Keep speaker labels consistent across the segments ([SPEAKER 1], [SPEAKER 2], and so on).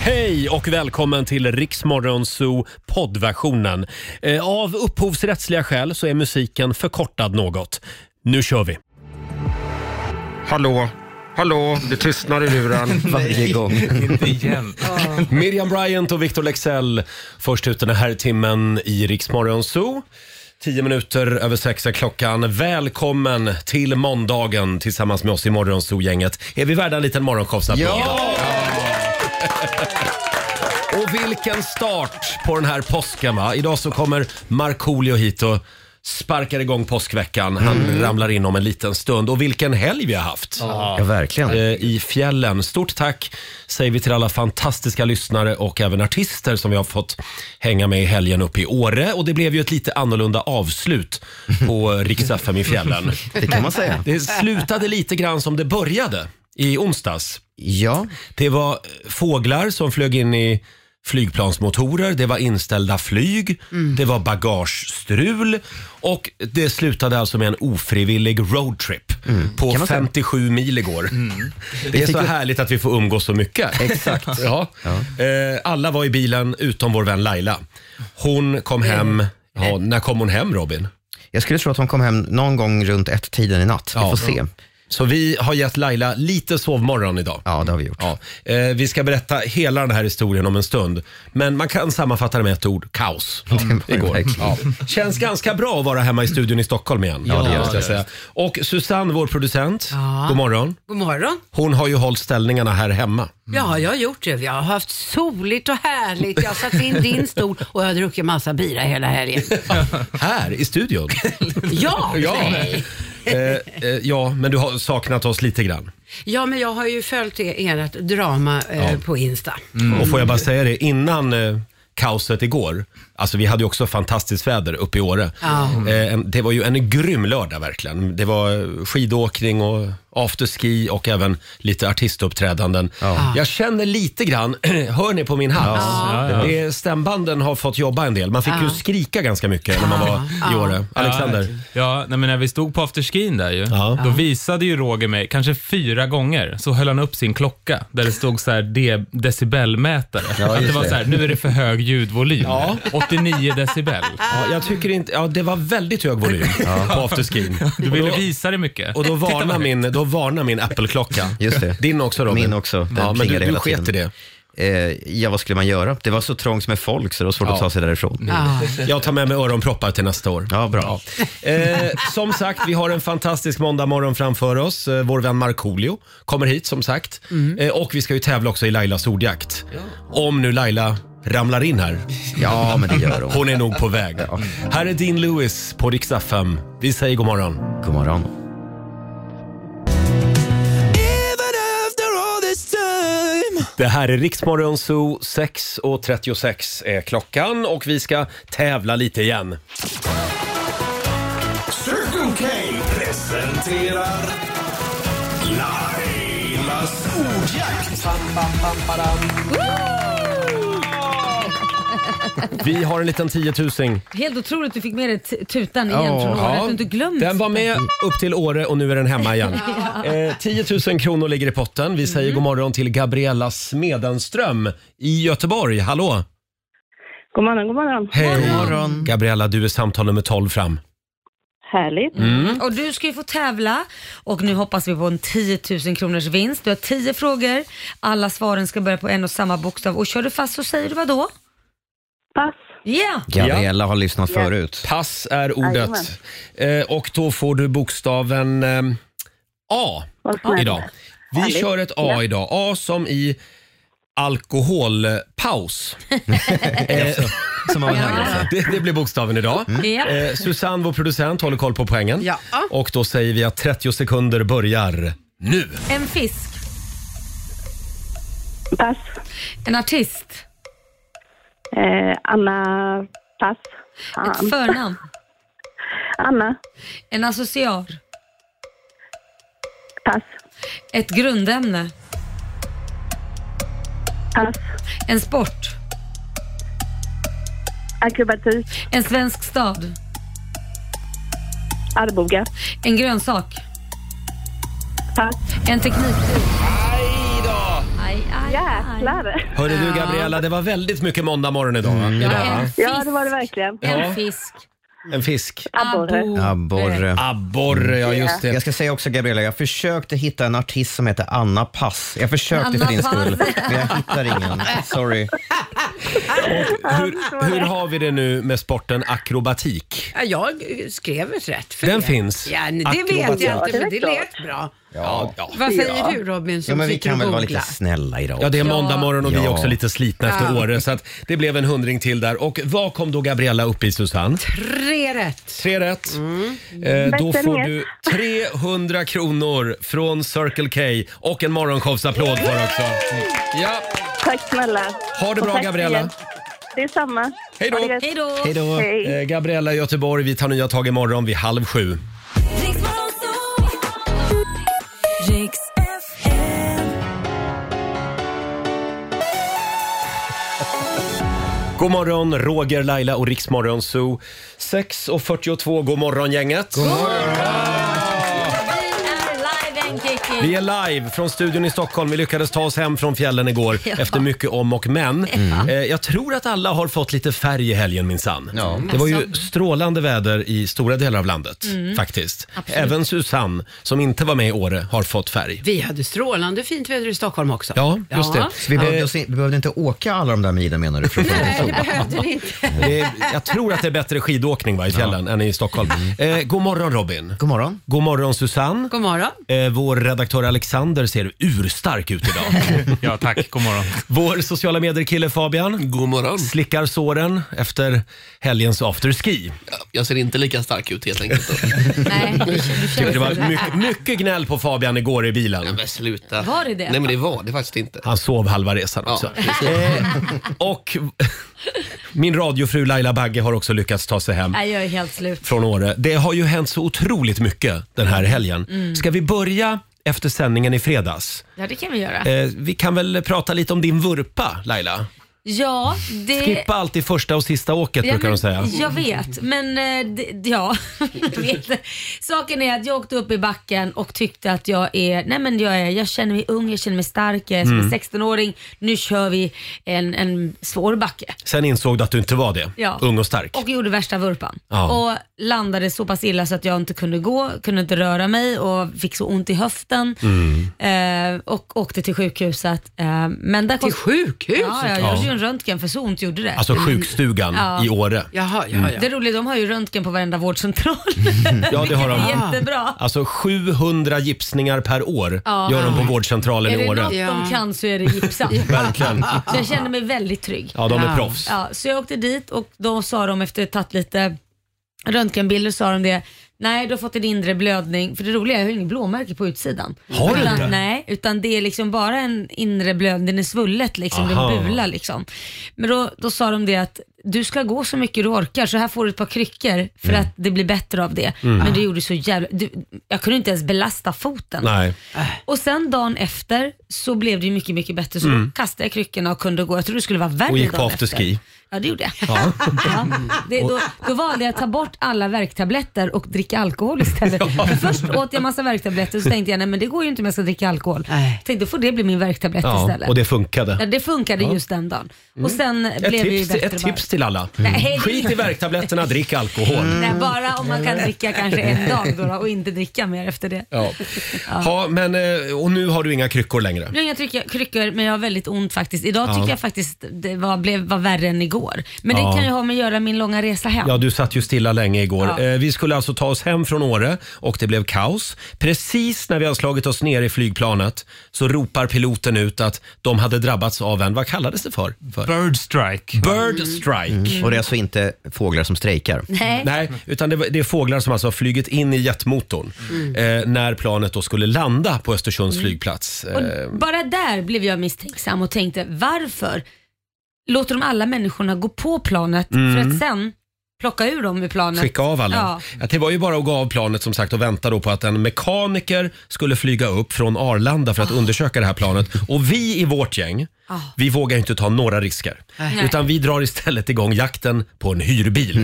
[SPEAKER 1] Hej och välkommen till Riksmorgonzoo poddversionen. Eh, Av upphovsrättsliga skäl så är musiken förkortad något. Nu kör vi!
[SPEAKER 2] Hallå, hallå, det tystnar i luren.
[SPEAKER 3] varje gång.
[SPEAKER 4] Inte igen.
[SPEAKER 1] Miriam Bryant och Victor Lexell först ut den här timmen i Riksmorgonzoo. Tio minuter över sex är klockan. Välkommen till måndagen tillsammans med oss i Morgonzoo-gänget. Är vi värda en liten morgonshowsapplåd?
[SPEAKER 3] Ja!
[SPEAKER 1] Och vilken start på den här påsken va? Idag så kommer Markoolio hit och sparkar igång påskveckan. Han ramlar in om en liten stund. Och vilken helg vi har haft!
[SPEAKER 3] Mm. Ja, verkligen.
[SPEAKER 1] eh, i fjällen. Stort tack säger vi till alla fantastiska lyssnare och även artister som vi har fått hänga med i helgen uppe i Åre. Och det blev ju ett lite annorlunda avslut på Rix FM i fjällen.
[SPEAKER 3] Det kan man säga.
[SPEAKER 1] Det slutade lite grann som det började i onsdags.
[SPEAKER 3] Ja,
[SPEAKER 1] Det var eh, fåglar som flög in i flygplansmotorer, det var inställda flyg,
[SPEAKER 3] Mm.
[SPEAKER 1] det var bagagestrul och det slutade alltså med en ofrivillig roadtrip på
[SPEAKER 3] Mm. Kan man säga. Mm.
[SPEAKER 1] 57 mil igår. Det är så härligt att vi får umgås så mycket. Exakt. ja. Eh, Alla var i bilen utom vår vän Laila. Hon kom
[SPEAKER 3] Mm.
[SPEAKER 1] hem,
[SPEAKER 3] Eh.
[SPEAKER 1] ja, när kom hon hem Robin?
[SPEAKER 3] jag skulle tro att hon kom hem någon gång runt ett-tiden i natt. Vi
[SPEAKER 1] Ja.
[SPEAKER 3] får se.
[SPEAKER 1] Så vi har gett Laila lite sovmorgon idag.
[SPEAKER 3] Ja, det har vi gjort.
[SPEAKER 1] Ja. Eh, vi ska berätta hela den här historien om en stund. Men man kan sammanfatta det med ett ord, kaos.
[SPEAKER 3] var
[SPEAKER 1] igår.
[SPEAKER 3] verkligen.
[SPEAKER 1] Ja. Känns ganska bra att vara hemma i studion i Stockholm igen. Ja,
[SPEAKER 4] det gör det.
[SPEAKER 1] säga. Och Susanne, vår producent, god morgon.
[SPEAKER 5] God morgon.
[SPEAKER 1] Hon har ju hållit ställningarna här hemma.
[SPEAKER 5] Ja, jag har gjort det. Jag har haft soligt och härligt. Jag har satt in din stol och jag har druckit massa bira hela helgen.
[SPEAKER 1] Här i studion.
[SPEAKER 5] Ja,
[SPEAKER 1] Ja.
[SPEAKER 5] nej.
[SPEAKER 1] eh, eh, ja, men du har saknat oss lite grann.
[SPEAKER 5] ja, men jag har ju följt er- ert drama eh, på Insta.
[SPEAKER 4] Mm.
[SPEAKER 1] Mm. Och får jag bara säga det, innan eh, kaoset igår, alltså vi hade ju också fantastiskt väder uppe i Åre.
[SPEAKER 5] Ja. Mm.
[SPEAKER 1] Eh, en- det var ju en grym lördag verkligen. Det var eh, skidåkning och afterski och även lite artistuppträdanden. Jag känner lite grann, hör ni på min hals? Det är, stämbanden har fått jobba en del. Man fick ju
[SPEAKER 5] Ja.
[SPEAKER 1] skrika ganska mycket när man var i Åre. Alexander?
[SPEAKER 4] Ja, nej, men när vi stod på afterskin där ju,
[SPEAKER 1] Ja.
[SPEAKER 4] då visade ju Roger mig, kanske fyra gånger, så höll han upp sin klocka där det stod så här de- decibelmätare. att det
[SPEAKER 3] just
[SPEAKER 4] var
[SPEAKER 3] det.
[SPEAKER 4] så här, nu är det för hög ljudvolym. 89 decibel.
[SPEAKER 1] Ja, jag tycker inte, ja, det var väldigt hög volym på afterskin.
[SPEAKER 4] Du ville visa dig mycket.
[SPEAKER 1] Och då
[SPEAKER 4] Titta vad
[SPEAKER 1] varnar
[SPEAKER 4] högt.
[SPEAKER 1] min, då varnar min Apple-klocka.
[SPEAKER 3] Just det.
[SPEAKER 1] Din också Robin?
[SPEAKER 3] Min också. Den
[SPEAKER 1] Ja, men du,
[SPEAKER 3] plingade
[SPEAKER 1] du
[SPEAKER 3] hela
[SPEAKER 1] sket i
[SPEAKER 3] tiden.
[SPEAKER 1] det.
[SPEAKER 3] Eh, ja, vad skulle man göra? Det var så trångt med folk så det var svårt att ta sig därifrån.
[SPEAKER 6] Ah.
[SPEAKER 5] Ja.
[SPEAKER 1] Mm. Jag tar med mig öronproppar till nästa år.
[SPEAKER 3] Ja, bra.
[SPEAKER 1] Eh, som sagt, vi har en fantastisk måndagmorgon framför oss. Eh, Vår vän Markoolio kommer hit som sagt. Eh, och vi ska ju tävla också i Lailas ordjakt. Om nu Laila ramlar in här.
[SPEAKER 3] Ja, men det gör hon.
[SPEAKER 1] Hon är nog på väg. Här är Dean Lewis på riksdag 5. Vi säger god morgon.
[SPEAKER 3] God morgon.
[SPEAKER 1] Det här är Riksmorgon Zoo, 6.36 är klockan och vi ska tävla lite igen.
[SPEAKER 7] Circle K presenterar Lailas ordjakt.
[SPEAKER 1] Vi har en liten tiotusing.
[SPEAKER 6] Helt otroligt du fick med dig t- tutan igen från Åre, att du inte glömt.
[SPEAKER 1] Den var med upp till Åre och nu är den hemma igen. Eh, 10 000 kronor ligger i potten. Vi
[SPEAKER 6] Mm.
[SPEAKER 1] säger god morgon till Gabriella Smedenström i Göteborg. Hallå!
[SPEAKER 8] God morgon, god morgon.
[SPEAKER 1] Hej! Gabriella, du är samtal nummer 12 fram.
[SPEAKER 8] Härligt.
[SPEAKER 6] Och du ska ju få tävla och nu hoppas vi på en 10 000 kronors vinst. Du har 10 frågor, alla svaren ska börja på en och samma bokstav och kör du fast så säger du vad då?
[SPEAKER 8] Pass.
[SPEAKER 6] Ja!
[SPEAKER 3] Gabriella har lyssnat förut.
[SPEAKER 1] Pass är ordet. Eh, och då får du bokstaven eh, A.
[SPEAKER 8] Vad snällt.
[SPEAKER 1] idag. Vi
[SPEAKER 8] Härligt.
[SPEAKER 1] kör ett A idag. A som i alkoholpaus. Eh,
[SPEAKER 3] Alltså, Som av en händelse.
[SPEAKER 1] det, det blir bokstaven idag.
[SPEAKER 6] Ja.
[SPEAKER 1] Eh, Susanne, vår producent, håller koll på poängen.
[SPEAKER 5] Ja.
[SPEAKER 1] Och då säger vi att 30 sekunder börjar nu.
[SPEAKER 6] En fisk,
[SPEAKER 8] Pass.
[SPEAKER 6] en artist,
[SPEAKER 8] Eh, Anna. Pass.
[SPEAKER 6] ett
[SPEAKER 8] Fan.
[SPEAKER 6] förnamn,
[SPEAKER 8] Anna.
[SPEAKER 6] en associar,
[SPEAKER 8] Pass.
[SPEAKER 6] ett grundämne,
[SPEAKER 8] Pass.
[SPEAKER 6] en sport,
[SPEAKER 8] Akrobatik.
[SPEAKER 6] en svensk stad,
[SPEAKER 8] Arboga.
[SPEAKER 6] en grönsak,
[SPEAKER 8] Pass.
[SPEAKER 6] en teknik. Aj då! Aj, aj.
[SPEAKER 8] Jäklar!
[SPEAKER 1] Hörde du Gabriella, det var väldigt mycket måndag morgon idag. va?
[SPEAKER 3] Mm.
[SPEAKER 1] idag
[SPEAKER 6] En
[SPEAKER 1] va?
[SPEAKER 6] fisk.
[SPEAKER 8] Ja, det var det verkligen.
[SPEAKER 1] Ja.
[SPEAKER 6] En fisk.
[SPEAKER 1] En fisk.
[SPEAKER 8] Abborre.
[SPEAKER 3] Oh. Abborre.
[SPEAKER 1] Abborre,
[SPEAKER 6] Mm.
[SPEAKER 1] ja just det.
[SPEAKER 3] Jag ska säga också Gabriella, jag försökte hitta en artist som heter Anna Pass. Jag försökte
[SPEAKER 6] Anna
[SPEAKER 3] för din
[SPEAKER 6] Pass.
[SPEAKER 3] skull, men jag hittar ingen. Sorry.
[SPEAKER 1] Hur, hur har vi det nu med sporten akrobatik?
[SPEAKER 5] Ja, jag skrev ett rätt för
[SPEAKER 1] Den
[SPEAKER 5] det.
[SPEAKER 1] finns.
[SPEAKER 5] Ja, det vet
[SPEAKER 1] Akrobatik.
[SPEAKER 5] jag inte,
[SPEAKER 8] Ja,
[SPEAKER 5] men
[SPEAKER 8] det
[SPEAKER 5] det
[SPEAKER 8] är klart.
[SPEAKER 5] lät bra.
[SPEAKER 1] Ja, ja.
[SPEAKER 5] Vad säger du Robin som
[SPEAKER 3] Ja, men vi
[SPEAKER 5] sitter och
[SPEAKER 3] kan väl vara
[SPEAKER 5] googlar?
[SPEAKER 3] lite snälla idag.
[SPEAKER 1] Ja, det är måndag morgon och vi är
[SPEAKER 3] Ja.
[SPEAKER 1] också lite slitna efter Åre så att det blev en hundring till där. Och vad kom då Gabriella upp i Susanne?
[SPEAKER 5] Tre rätt.
[SPEAKER 1] Tre rätt. Eh, då
[SPEAKER 8] Bättre
[SPEAKER 1] får
[SPEAKER 8] ner.
[SPEAKER 1] du 300 kronor från Circle K och en morgonshowsapplåd för också. Ja,
[SPEAKER 8] Tack snälla.
[SPEAKER 1] ha det
[SPEAKER 8] Och
[SPEAKER 1] bra
[SPEAKER 8] tack
[SPEAKER 1] Gabriella.
[SPEAKER 8] igen. Det är samma.
[SPEAKER 1] Hej då.
[SPEAKER 8] Ha det gött.
[SPEAKER 6] Hej då!
[SPEAKER 3] Hej då.
[SPEAKER 8] Hej.
[SPEAKER 1] Eh, Gabriella i Göteborg, vi tar nya tag imorgon vid halv sju. God morgon, Roger, Laila och Riksmorgon Zoo. 6.42, god morgon gänget.
[SPEAKER 6] Vi är live and kicking.
[SPEAKER 1] Vi är live från studion i Stockholm. Vi lyckades ta oss hem från fjällen igår
[SPEAKER 6] Ja. Mm.
[SPEAKER 1] efter mycket om och men. Eh, jag tror att alla har fått lite färg i helgen minsann.
[SPEAKER 3] Ja.
[SPEAKER 1] Det var
[SPEAKER 6] Alltså-
[SPEAKER 1] ju strålande väder i stora delar av landet faktiskt.
[SPEAKER 6] Mm. Absolut.
[SPEAKER 1] Även Susanne som inte var med i Åre har fått färg.
[SPEAKER 5] Vi hade strålande fint väder i Stockholm också.
[SPEAKER 1] Ja, just det. Eh,
[SPEAKER 3] Så vi behövde, oss in, vi behövde inte åka alla de där milen menar du? Från
[SPEAKER 5] Nej, det behövde ni inte.
[SPEAKER 1] det är, Eh, jag tror att det är bättre skidåkning va, i fjällen än i Stockholm. Eh, god morgon Robin.
[SPEAKER 3] Mm. God morgon.
[SPEAKER 1] God morgon Susanne.
[SPEAKER 5] God morgon.
[SPEAKER 1] Eh, vår redaktör Alexander ser urstark ut idag.
[SPEAKER 4] Ja, tack. God morgon.
[SPEAKER 1] Vår sociala medier-kille Fabian.
[SPEAKER 9] God morgon.
[SPEAKER 1] Slickar såren efter helgens afterski.
[SPEAKER 9] Jag ser inte lika stark ut helt enkelt.
[SPEAKER 6] Nej, du
[SPEAKER 1] Tycker det
[SPEAKER 6] känner
[SPEAKER 1] var
[SPEAKER 6] sådär.
[SPEAKER 1] mycket, mycket gnäll på Fabian igår i
[SPEAKER 9] Nej,
[SPEAKER 1] bilen.
[SPEAKER 9] men sluta.
[SPEAKER 6] Var det det?
[SPEAKER 9] Nej men det var det faktiskt inte.
[SPEAKER 1] Han sov halva resan
[SPEAKER 9] Ja,
[SPEAKER 1] också.
[SPEAKER 9] precis.
[SPEAKER 1] Eh, och min radiofru Laila Bagge har också lyckats ta sig hem.
[SPEAKER 6] Nej, jag är helt slut.
[SPEAKER 1] från Åre. Det har ju hänt så otroligt mycket den här helgen.
[SPEAKER 6] Mm.
[SPEAKER 1] Ska vi börja efter sändningen i fredags?
[SPEAKER 6] Ja, det kan vi göra.
[SPEAKER 1] Eh, vi kan väl prata lite om din vurpa, Laila?
[SPEAKER 6] Ja, det...
[SPEAKER 1] Skippa alltid första och sista åket,
[SPEAKER 6] Eh, Ja,
[SPEAKER 1] brukar de
[SPEAKER 6] men,
[SPEAKER 1] säga.
[SPEAKER 6] Jag vet, men eh, det- ja. jag vet. Saken är att jag åkte upp i backen och tyckte att jag är, nej men jag, är, jag känner mig ung, jag känner mig stark, jag är som
[SPEAKER 1] Mm.
[SPEAKER 6] en 16-åring. Nu kör vi en, en svår backe.
[SPEAKER 1] Sen insåg du att du inte var det,
[SPEAKER 6] Ja.
[SPEAKER 1] ung och stark.
[SPEAKER 6] Och gjorde värsta vurpan.
[SPEAKER 1] Ja.
[SPEAKER 6] Och landade så pass illa så att jag inte kunde gå, kunde inte röra mig och fick så ont i höften. Eh, och åkte till sjukhuset. Eh, men där kom...
[SPEAKER 5] Till sjukhuset?
[SPEAKER 6] Ja, jag gjorde ju en röntgen för så ont gjorde det.
[SPEAKER 1] Alltså sjukstugan
[SPEAKER 6] Ja.
[SPEAKER 1] i Åre. Mm.
[SPEAKER 5] Jaha, ja, ja.
[SPEAKER 6] Det roliga de har ju röntgen på varenda vårdcentral.
[SPEAKER 1] Ja, det har de.
[SPEAKER 6] Jättebra.
[SPEAKER 1] Alltså 700 gipsningar per år
[SPEAKER 6] Ja.
[SPEAKER 1] gör de på vårdcentralen
[SPEAKER 6] Är det
[SPEAKER 1] i Åre.
[SPEAKER 6] något
[SPEAKER 5] Ja.
[SPEAKER 6] de kan så är det gipsa.
[SPEAKER 1] Verkligen.
[SPEAKER 6] Så jag kände mig väldigt trygg.
[SPEAKER 1] Ja, de är
[SPEAKER 5] Ja.
[SPEAKER 1] proffs.
[SPEAKER 6] Ja, så jag åkte dit och då sa de efter att ha tagit lite röntgenbilder sa de det. Nej, du har fått en inre blödning. För det roliga är att jag har inget blåmärke på utsidan.
[SPEAKER 1] Har du
[SPEAKER 6] utan,
[SPEAKER 1] inte?
[SPEAKER 6] Nej, utan det är liksom bara en inre blödning. Den är svullet liksom.
[SPEAKER 1] Aha.
[SPEAKER 6] Den bular liksom. Men då, då sa de det att du ska gå så mycket du orkar så här får du ett par kryckor för
[SPEAKER 1] Mm.
[SPEAKER 6] att det blir bättre av det. Men det gjorde så jävla... Du, jag kunde inte ens belasta foten.
[SPEAKER 1] Nej.
[SPEAKER 6] Och sen dagen efter så blev det ju mycket, mycket bättre. Så då kastade jag kryckorna och kunde gå. Jag trodde det skulle vara värre
[SPEAKER 1] Mm. Och gick på
[SPEAKER 6] dagen efter.
[SPEAKER 1] afterski.
[SPEAKER 6] Ja, det gjorde jag. Ja. Det, då, då valde jag att ta bort alla värktabletter och dricka alkohol istället. För först åt jag massa värktabletter så tänkte jag nej men det går ju inte om jag ska dricka alkohol.
[SPEAKER 5] Nej.
[SPEAKER 6] Tänkte då får det bli min värktablett
[SPEAKER 1] Ja,
[SPEAKER 6] istället.
[SPEAKER 1] och det funkade. Mm.
[SPEAKER 6] Ja, det funkade just den dagen. Och sen
[SPEAKER 1] Ett
[SPEAKER 6] blev det ju
[SPEAKER 1] tips,
[SPEAKER 6] bättre
[SPEAKER 1] ett
[SPEAKER 6] bara.
[SPEAKER 1] tips till alla.
[SPEAKER 6] Nej,
[SPEAKER 1] Skit i värktabletterna, drick alkohol.
[SPEAKER 6] Nej, bara om man kan dricka kanske en dag då, då och inte dricka mer efter det.
[SPEAKER 1] Ja. Ja, men, eh, och nu har du inga kryckor längre.
[SPEAKER 6] Nu har jag trycka, kryckor men jag har väldigt ont faktiskt. Idag tycker jag faktiskt det var, blev, var värre än igår. Men det
[SPEAKER 1] Ja.
[SPEAKER 6] kan ju ha med att göra min långa resa hem.
[SPEAKER 1] Ja, du satt ju stilla länge igår.
[SPEAKER 6] Ja.
[SPEAKER 1] Eh, vi skulle alltså ta oss hem från Åre och det blev kaos. Precis när vi har slagit oss ner i flygplanet så ropar piloten ut att de hade drabbats av en, vad kallades det för? för?
[SPEAKER 4] Bird strike.
[SPEAKER 1] Bird strike.
[SPEAKER 3] Och det är alltså inte fåglar som strejkar.
[SPEAKER 6] Nej.
[SPEAKER 1] Nej, utan det, var- det är fåglar som alltså har flugit in i jetmotorn
[SPEAKER 3] Mm.
[SPEAKER 1] eh, när planet då skulle landa på Östersunds flygplats. Eh,
[SPEAKER 6] Och bara där blev jag misstänksam och tänkte varför låter de alla människorna gå på planet för att sen plocka ur dem ur planet.
[SPEAKER 1] Mm. Skicka av alla.
[SPEAKER 6] Ja.
[SPEAKER 1] Ja, det var ju bara att gå av planet som sagt och vänta då på att en mekaniker skulle flyga upp från Arlanda
[SPEAKER 6] Ah.
[SPEAKER 1] för att undersöka det här planet. Och vi i vårt gäng, vi vågar ju inte ta några risker.
[SPEAKER 6] Nej.
[SPEAKER 1] Utan vi drar istället igång jakten på en hyrbil.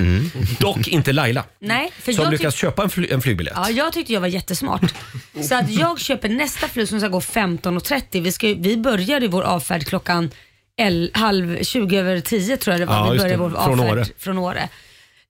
[SPEAKER 1] Dock inte Laila,
[SPEAKER 6] Nej, för
[SPEAKER 1] som
[SPEAKER 6] jag tyck-
[SPEAKER 1] lyckas köpa en, fly- en flygbiljett.
[SPEAKER 6] Ja, jag tyckte jag var jättesmart. Så att jag köper nästa flyg som ska gå 15.30. Vi, ska, ju- vi började vår avfärd klockan el, halv 20 över 10 tror jag det var.
[SPEAKER 1] Ja,
[SPEAKER 6] vi
[SPEAKER 1] just
[SPEAKER 6] började
[SPEAKER 1] det.
[SPEAKER 6] vår
[SPEAKER 1] Från
[SPEAKER 6] avfärd
[SPEAKER 1] Åre.
[SPEAKER 6] från Åre.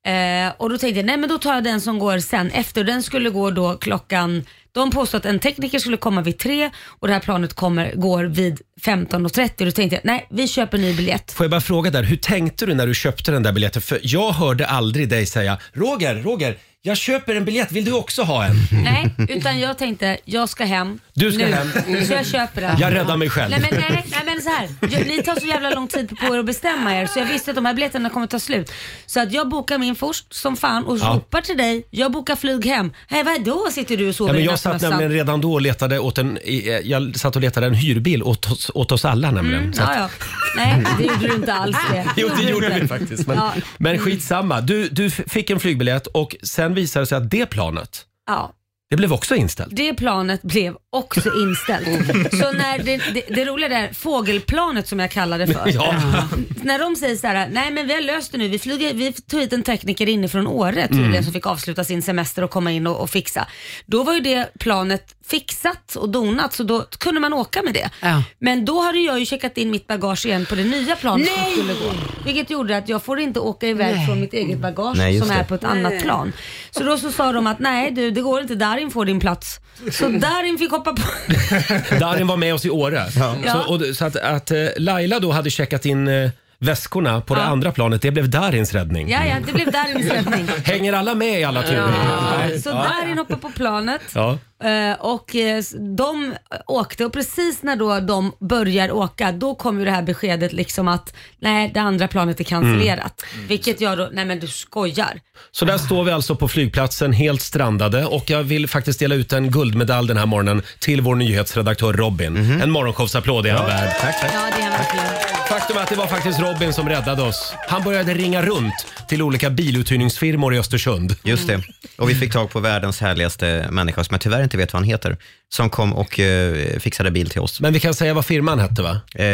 [SPEAKER 6] Eh, och då tänkte jag, nej men då tar jag den som går sen efter. Den skulle gå då klockan, de påstod att en tekniker skulle komma vid tre och det här planet kommer, går vid 15.30. Då tänkte jag, nej vi köper ny biljett.
[SPEAKER 1] Får jag bara fråga där, hur tänkte du när du köpte den där biljetten? För jag hörde aldrig dig säga “Roger, Roger, jag köper en biljett, vill du också ha en?”
[SPEAKER 6] Nej, utan jag tänkte, jag ska hem
[SPEAKER 1] Du ska
[SPEAKER 6] nu.
[SPEAKER 1] hem.
[SPEAKER 6] Så jag köper den.
[SPEAKER 1] Jag räddar mig själv.
[SPEAKER 6] Nej men, nej, nej, men så här. Jag- Ni tar så jävla lång tid på er att bestämma er så jag visste att de här biljetterna kommer ta slut. Så att jag bokar min först som fan och
[SPEAKER 1] Ja.
[SPEAKER 6] ropar till dig, jag bokar flyg hem. Hej vadå sitter du och sover
[SPEAKER 1] Ja, men
[SPEAKER 6] i
[SPEAKER 1] jag satt
[SPEAKER 6] nattmössan?
[SPEAKER 1] nämligen redan då och letade åt en, i- eh, jag satt och letade en hyrbil åt, oss- åt oss alla nämligen. Så att,
[SPEAKER 6] Mm, Ja, ja. Nej, det gjorde du inte alls det.
[SPEAKER 1] jo, det gjorde vi faktiskt. Men,
[SPEAKER 6] Ja.
[SPEAKER 1] men skitsamma. Du, du f- fick en flygbiljett och sen visade det sig att det planet,
[SPEAKER 6] Ja.
[SPEAKER 1] det blev också inställt.
[SPEAKER 6] Det planet blev också inställt. Så när det, det, det roliga där, fågelplanet som jag kallar det för.
[SPEAKER 1] Ja.
[SPEAKER 6] När de säger så här, nej men vi har löst det nu, vi, flyger, vi tog hit en tekniker inifrån Åre tydligen
[SPEAKER 3] Mm.
[SPEAKER 6] som fick avsluta sin semester och komma in och, och fixa. Då var ju det planet fixat och donat så då kunde man åka med det.
[SPEAKER 5] Ja.
[SPEAKER 6] Men då hade jag ju checkat in mitt bagage igen på det nya planet som skulle gå. Vilket gjorde att jag får inte åka iväg från mitt eget bagage
[SPEAKER 3] Nej, just
[SPEAKER 6] som är
[SPEAKER 3] det.
[SPEAKER 6] på ett annat plan. Så då så sa de att nej du, det går inte, Darin får din plats. Så Darin fick hoppa på.
[SPEAKER 1] Darin var med oss i Åre. Så,
[SPEAKER 6] Ja.
[SPEAKER 1] och, det- så att, att eh, Laila då hade checkat in eh, väskorna på det
[SPEAKER 6] Ja.
[SPEAKER 1] andra planet, det blev Darins räddning.
[SPEAKER 6] Ja, ja, det blev Darins räddning.
[SPEAKER 1] Hänger alla med i alla turer?
[SPEAKER 6] Ja, så Darin hoppade på planet
[SPEAKER 1] Ja.
[SPEAKER 6] eh, och eh, s- de åkte och precis när då de börjar åka då kom ju det här beskedet liksom att nej det andra planet är cancellerat.
[SPEAKER 1] Mm.
[SPEAKER 6] Vilket jag då, nej men du skojar.
[SPEAKER 1] Så där står vi alltså på flygplatsen helt strandade och jag vill faktiskt dela ut en guldmedalj den här morgonen till vår nyhetsredaktör Robin.
[SPEAKER 3] Mhm.
[SPEAKER 1] En morgonshowsapplåd är han värd.
[SPEAKER 6] Ja det är verkligen.
[SPEAKER 1] Faktum är att det var faktiskt Robin som räddade oss. Han började ringa runt till olika biluthyrningsfirmor i Östersund.
[SPEAKER 3] Just det. Och vi fick tag på världens härligaste människa, som jag tyvärr inte vet vad han heter, som kom och eh, fixade bil till oss.
[SPEAKER 1] Men vi kan säga vad firman hette va?
[SPEAKER 3] Eh,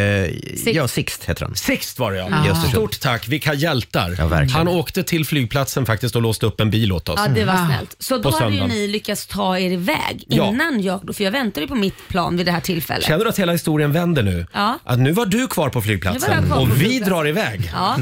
[SPEAKER 3] Ja, Sixt heter han.
[SPEAKER 1] Sixt var det ja.
[SPEAKER 3] I Östersund.
[SPEAKER 1] Stort tack, vilka hjältar.
[SPEAKER 3] Ja, verkligen.
[SPEAKER 1] han åkte till flygplatsen faktiskt och låste upp en bil åt oss.
[SPEAKER 6] Ja det var snällt. Så då
[SPEAKER 1] På
[SPEAKER 6] hade ju
[SPEAKER 1] söndagen.
[SPEAKER 6] ni lyckats ta er iväg
[SPEAKER 1] Ja.
[SPEAKER 6] innan jag, för jag väntade ju på mitt plan vid det här tillfället.
[SPEAKER 1] Känner du att hela historien vänder nu?
[SPEAKER 6] Ja.
[SPEAKER 1] Att nu var du kvar
[SPEAKER 6] Nu
[SPEAKER 1] på
[SPEAKER 6] var
[SPEAKER 1] flygplatsen
[SPEAKER 6] jag kvar på
[SPEAKER 1] och vi
[SPEAKER 6] flygplatsen.
[SPEAKER 1] drar iväg.
[SPEAKER 6] Ja,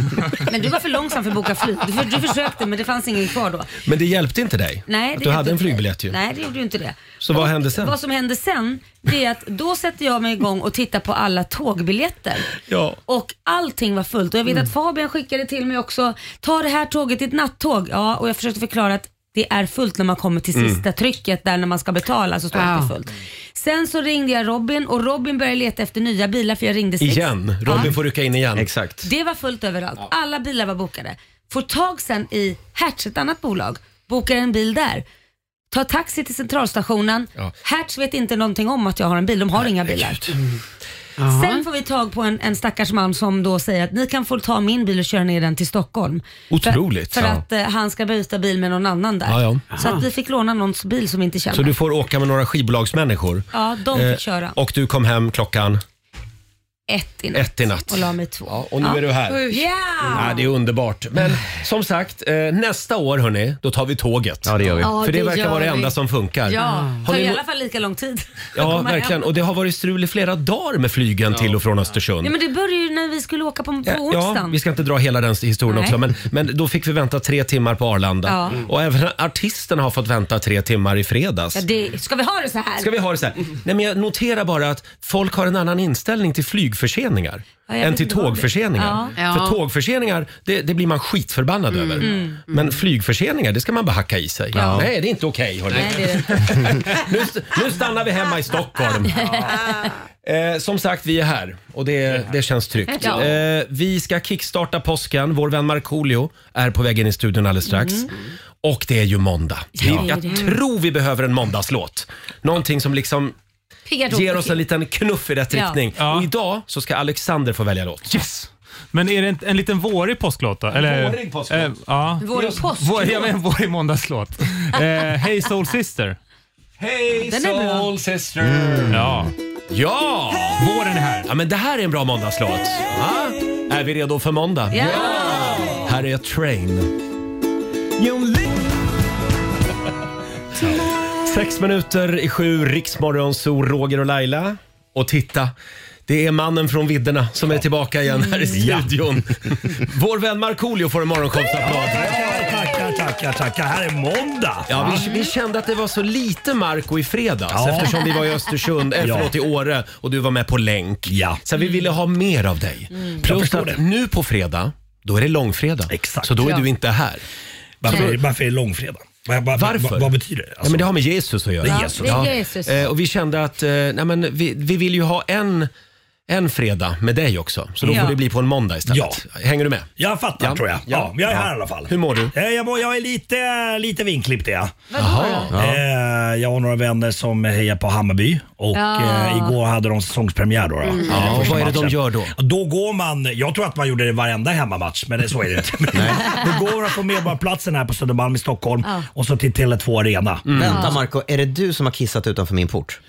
[SPEAKER 6] men du var för långsam för att boka flyg. Du, för, du försökte men det fanns ingen kvar då.
[SPEAKER 1] Men det hjälpte inte dig?
[SPEAKER 6] Nej,
[SPEAKER 1] att
[SPEAKER 6] det
[SPEAKER 1] du hade
[SPEAKER 6] gjorde
[SPEAKER 1] en
[SPEAKER 6] inte det.
[SPEAKER 1] flygbiljett ju.
[SPEAKER 6] Nej, det gjorde ju inte det.
[SPEAKER 1] Så vad hände Typ. sen?
[SPEAKER 6] Vad som hände sen, det är att då sätter jag mig igång och tittar på alla tågbiljetter.
[SPEAKER 1] Ja.
[SPEAKER 6] Och allting var fullt och jag vet
[SPEAKER 1] Mm.
[SPEAKER 6] att Fabian skickade till mig också, ta det här tåget, det är ett nattåg. Ja, och jag försökte förklara att det är fullt när man kommer till
[SPEAKER 1] Mm.
[SPEAKER 6] sista trycket där när man ska betala så står det
[SPEAKER 5] Ja.
[SPEAKER 6] inte fullt. Sen så ringde jag Robin och Robin började leta efter nya bilar för jag ringde sist.
[SPEAKER 1] Igen. Robin
[SPEAKER 6] Ja.
[SPEAKER 1] får rycka in igen.
[SPEAKER 3] Exakt.
[SPEAKER 6] Det var fullt överallt. Alla bilar var bokade. Får tag sen i Hertz, ett annat bolag, bokar en bil där. Tar taxi till centralstationen.
[SPEAKER 1] Ja.
[SPEAKER 6] Hertz vet inte någonting om att jag har en bil. De har inga bilar. Sen får vi tag på en, en stackars man som då säger att ni kan få ta min bil och köra ner den till Stockholm.
[SPEAKER 1] Otroligt.
[SPEAKER 6] För, för
[SPEAKER 1] Ja.
[SPEAKER 6] att eh, han ska byta bil med någon annan där.
[SPEAKER 1] Ja, ja.
[SPEAKER 6] Så att vi fick låna någons bil som vi inte känner.
[SPEAKER 1] Så du får åka med några skivbolagsmänniskor.
[SPEAKER 6] Ja, de fick
[SPEAKER 1] Eh,
[SPEAKER 6] köra.
[SPEAKER 1] Och du kom hem klockan
[SPEAKER 6] ett, i natt.
[SPEAKER 1] ett i natt.
[SPEAKER 6] Och la mig två.
[SPEAKER 1] Ja, och nu är du här.
[SPEAKER 6] Ja!
[SPEAKER 1] Ja, det är underbart. Men som sagt, eh, nästa år hörni, då tar vi tåget.
[SPEAKER 3] Ja, det gör vi.
[SPEAKER 6] Ja,
[SPEAKER 1] För det,
[SPEAKER 6] det
[SPEAKER 1] verkar
[SPEAKER 6] gör
[SPEAKER 1] vara det
[SPEAKER 6] vi.
[SPEAKER 1] enda som funkar.
[SPEAKER 6] Ja, tar
[SPEAKER 1] ni
[SPEAKER 6] i
[SPEAKER 1] nå-
[SPEAKER 6] alla fall lika lång tid. att
[SPEAKER 1] Ja,
[SPEAKER 6] komma hem.
[SPEAKER 1] verkligen. Och det har varit strul i flera dagar med flygen till och från Östersund.
[SPEAKER 6] Ja men det började ju när vi skulle åka Mm, på, på
[SPEAKER 1] Ja,
[SPEAKER 6] onsdagen.
[SPEAKER 1] vi ska inte dra hela den historien
[SPEAKER 6] Nej.
[SPEAKER 1] också, men, men då fick vi vänta tre timmar på Arlanda.
[SPEAKER 6] Ja.
[SPEAKER 1] Och även artisterna har fått vänta tre timmar i fredags.
[SPEAKER 6] Ja, det, ska vi ha det så här? Mm.
[SPEAKER 1] Ska vi ha det så här? Nej, men jag noterar bara att folk har en annan inställning till flygförseningar
[SPEAKER 6] Ja, jag
[SPEAKER 1] än
[SPEAKER 6] vet
[SPEAKER 1] till
[SPEAKER 6] inte vad det-
[SPEAKER 1] tågförseningar.
[SPEAKER 5] Ja.
[SPEAKER 1] För
[SPEAKER 5] Ja.
[SPEAKER 1] tågförseningar, det, det blir man skitförbannad
[SPEAKER 6] Mm.
[SPEAKER 1] över. Men flygförseningar, det ska man bara hacka i sig. Nej, det är inte okej. hörni.
[SPEAKER 6] Nej, det är det inte.
[SPEAKER 1] nu, st- nu stannar vi hemma i Stockholm. Eh, som sagt, vi är här och det, det känns tryggt.
[SPEAKER 6] Ja.
[SPEAKER 1] Eh, vi ska kickstarta påsken. Vår vän Markoolio är på väg in i studion alldeles strax.
[SPEAKER 6] Mm.
[SPEAKER 1] Och det är ju måndag.
[SPEAKER 6] Ja.
[SPEAKER 1] Jag tror vi behöver en måndagslåt. Någonting som liksom
[SPEAKER 6] Piggar upp
[SPEAKER 1] ger
[SPEAKER 6] och
[SPEAKER 1] oss
[SPEAKER 6] till.
[SPEAKER 1] en liten knuff i rätt
[SPEAKER 6] Ja.
[SPEAKER 1] riktning.
[SPEAKER 4] Ja.
[SPEAKER 1] Och idag så ska Alexander få välja låt.
[SPEAKER 4] Yes! Men är det en, en liten vårig påsklåt då? Eller,
[SPEAKER 1] vårig påsklåt?
[SPEAKER 4] Eh, ja.
[SPEAKER 6] Vårig påsk.
[SPEAKER 4] Vår, ja, men en vårig måndagslåt. Eh, hey Soul Sister.
[SPEAKER 1] Hey
[SPEAKER 6] Den är bra.
[SPEAKER 1] soul sister!
[SPEAKER 4] Mm. Ja,
[SPEAKER 1] Ja!
[SPEAKER 4] våren är här.
[SPEAKER 1] ja, men det här är en bra måndagslåt. Ja? Är vi redo för måndag?
[SPEAKER 6] Ja.
[SPEAKER 1] Här är Train. Sex minuter i sju, Riksmorgon, så Roger och Laila. Och titta, det är mannen från vidderna som är tillbaka igen här i
[SPEAKER 10] Mm.
[SPEAKER 1] studion. Vår vän Markoolio får en morgonshowsapplåd.
[SPEAKER 10] Tackar, tackar, tackar. Här är måndag.
[SPEAKER 1] Ja, vi, vi kände att det var så lite Marco i fredags eftersom vi var i Östersund, eh, förlåt i Åre och du var med på länk.
[SPEAKER 10] Ja.
[SPEAKER 1] Så vi ville ha mer av dig. Plus
[SPEAKER 10] förstår
[SPEAKER 1] att
[SPEAKER 10] det.
[SPEAKER 1] nu på fredag, då är det långfredag.
[SPEAKER 10] Exakt.
[SPEAKER 1] Så då är
[SPEAKER 6] Ja.
[SPEAKER 1] du inte här.
[SPEAKER 10] Varför, är- varför är det långfredag? Vad, vad,
[SPEAKER 1] Varför?
[SPEAKER 10] Vad, vad betyder det?
[SPEAKER 1] Ja, men det har med Jesus att göra.
[SPEAKER 6] Ja, Jesus. det är Jesus.
[SPEAKER 1] Eh, och vi kände att eh, nej, men vi, vi vill ju ha en, en fredag med dig också. Så då
[SPEAKER 6] Ja.
[SPEAKER 1] får det bli på en måndag istället. Hänger du med?
[SPEAKER 10] Jag fattar
[SPEAKER 1] Ja.
[SPEAKER 10] tror jag. Ja,
[SPEAKER 1] Ja.
[SPEAKER 10] men jag är
[SPEAKER 1] Ja.
[SPEAKER 10] här i alla fall.
[SPEAKER 1] Hur mår du?
[SPEAKER 10] Eh, Jag, mår, jag är lite, lite vinklippt är jag.
[SPEAKER 1] Jaha.
[SPEAKER 10] Eh, Jag har några vänner som hejar på Hammarby och
[SPEAKER 6] Ja.
[SPEAKER 10] eh, igår hade de säsongspremiär då. då
[SPEAKER 3] Mm.
[SPEAKER 1] Ja,
[SPEAKER 10] Första
[SPEAKER 1] vad är det de
[SPEAKER 10] matchen.
[SPEAKER 1] gör då?
[SPEAKER 10] Då går man, jag tror att man gjorde det i varenda hemmamatch men det, så är det inte. Men Då går man på Medborgarplatsen här på Södermalm i Stockholm
[SPEAKER 6] Ja.
[SPEAKER 10] och så till Tele2 Arena.
[SPEAKER 1] Mm.
[SPEAKER 3] Vänta Marco, är det du som har kissat utanför min port?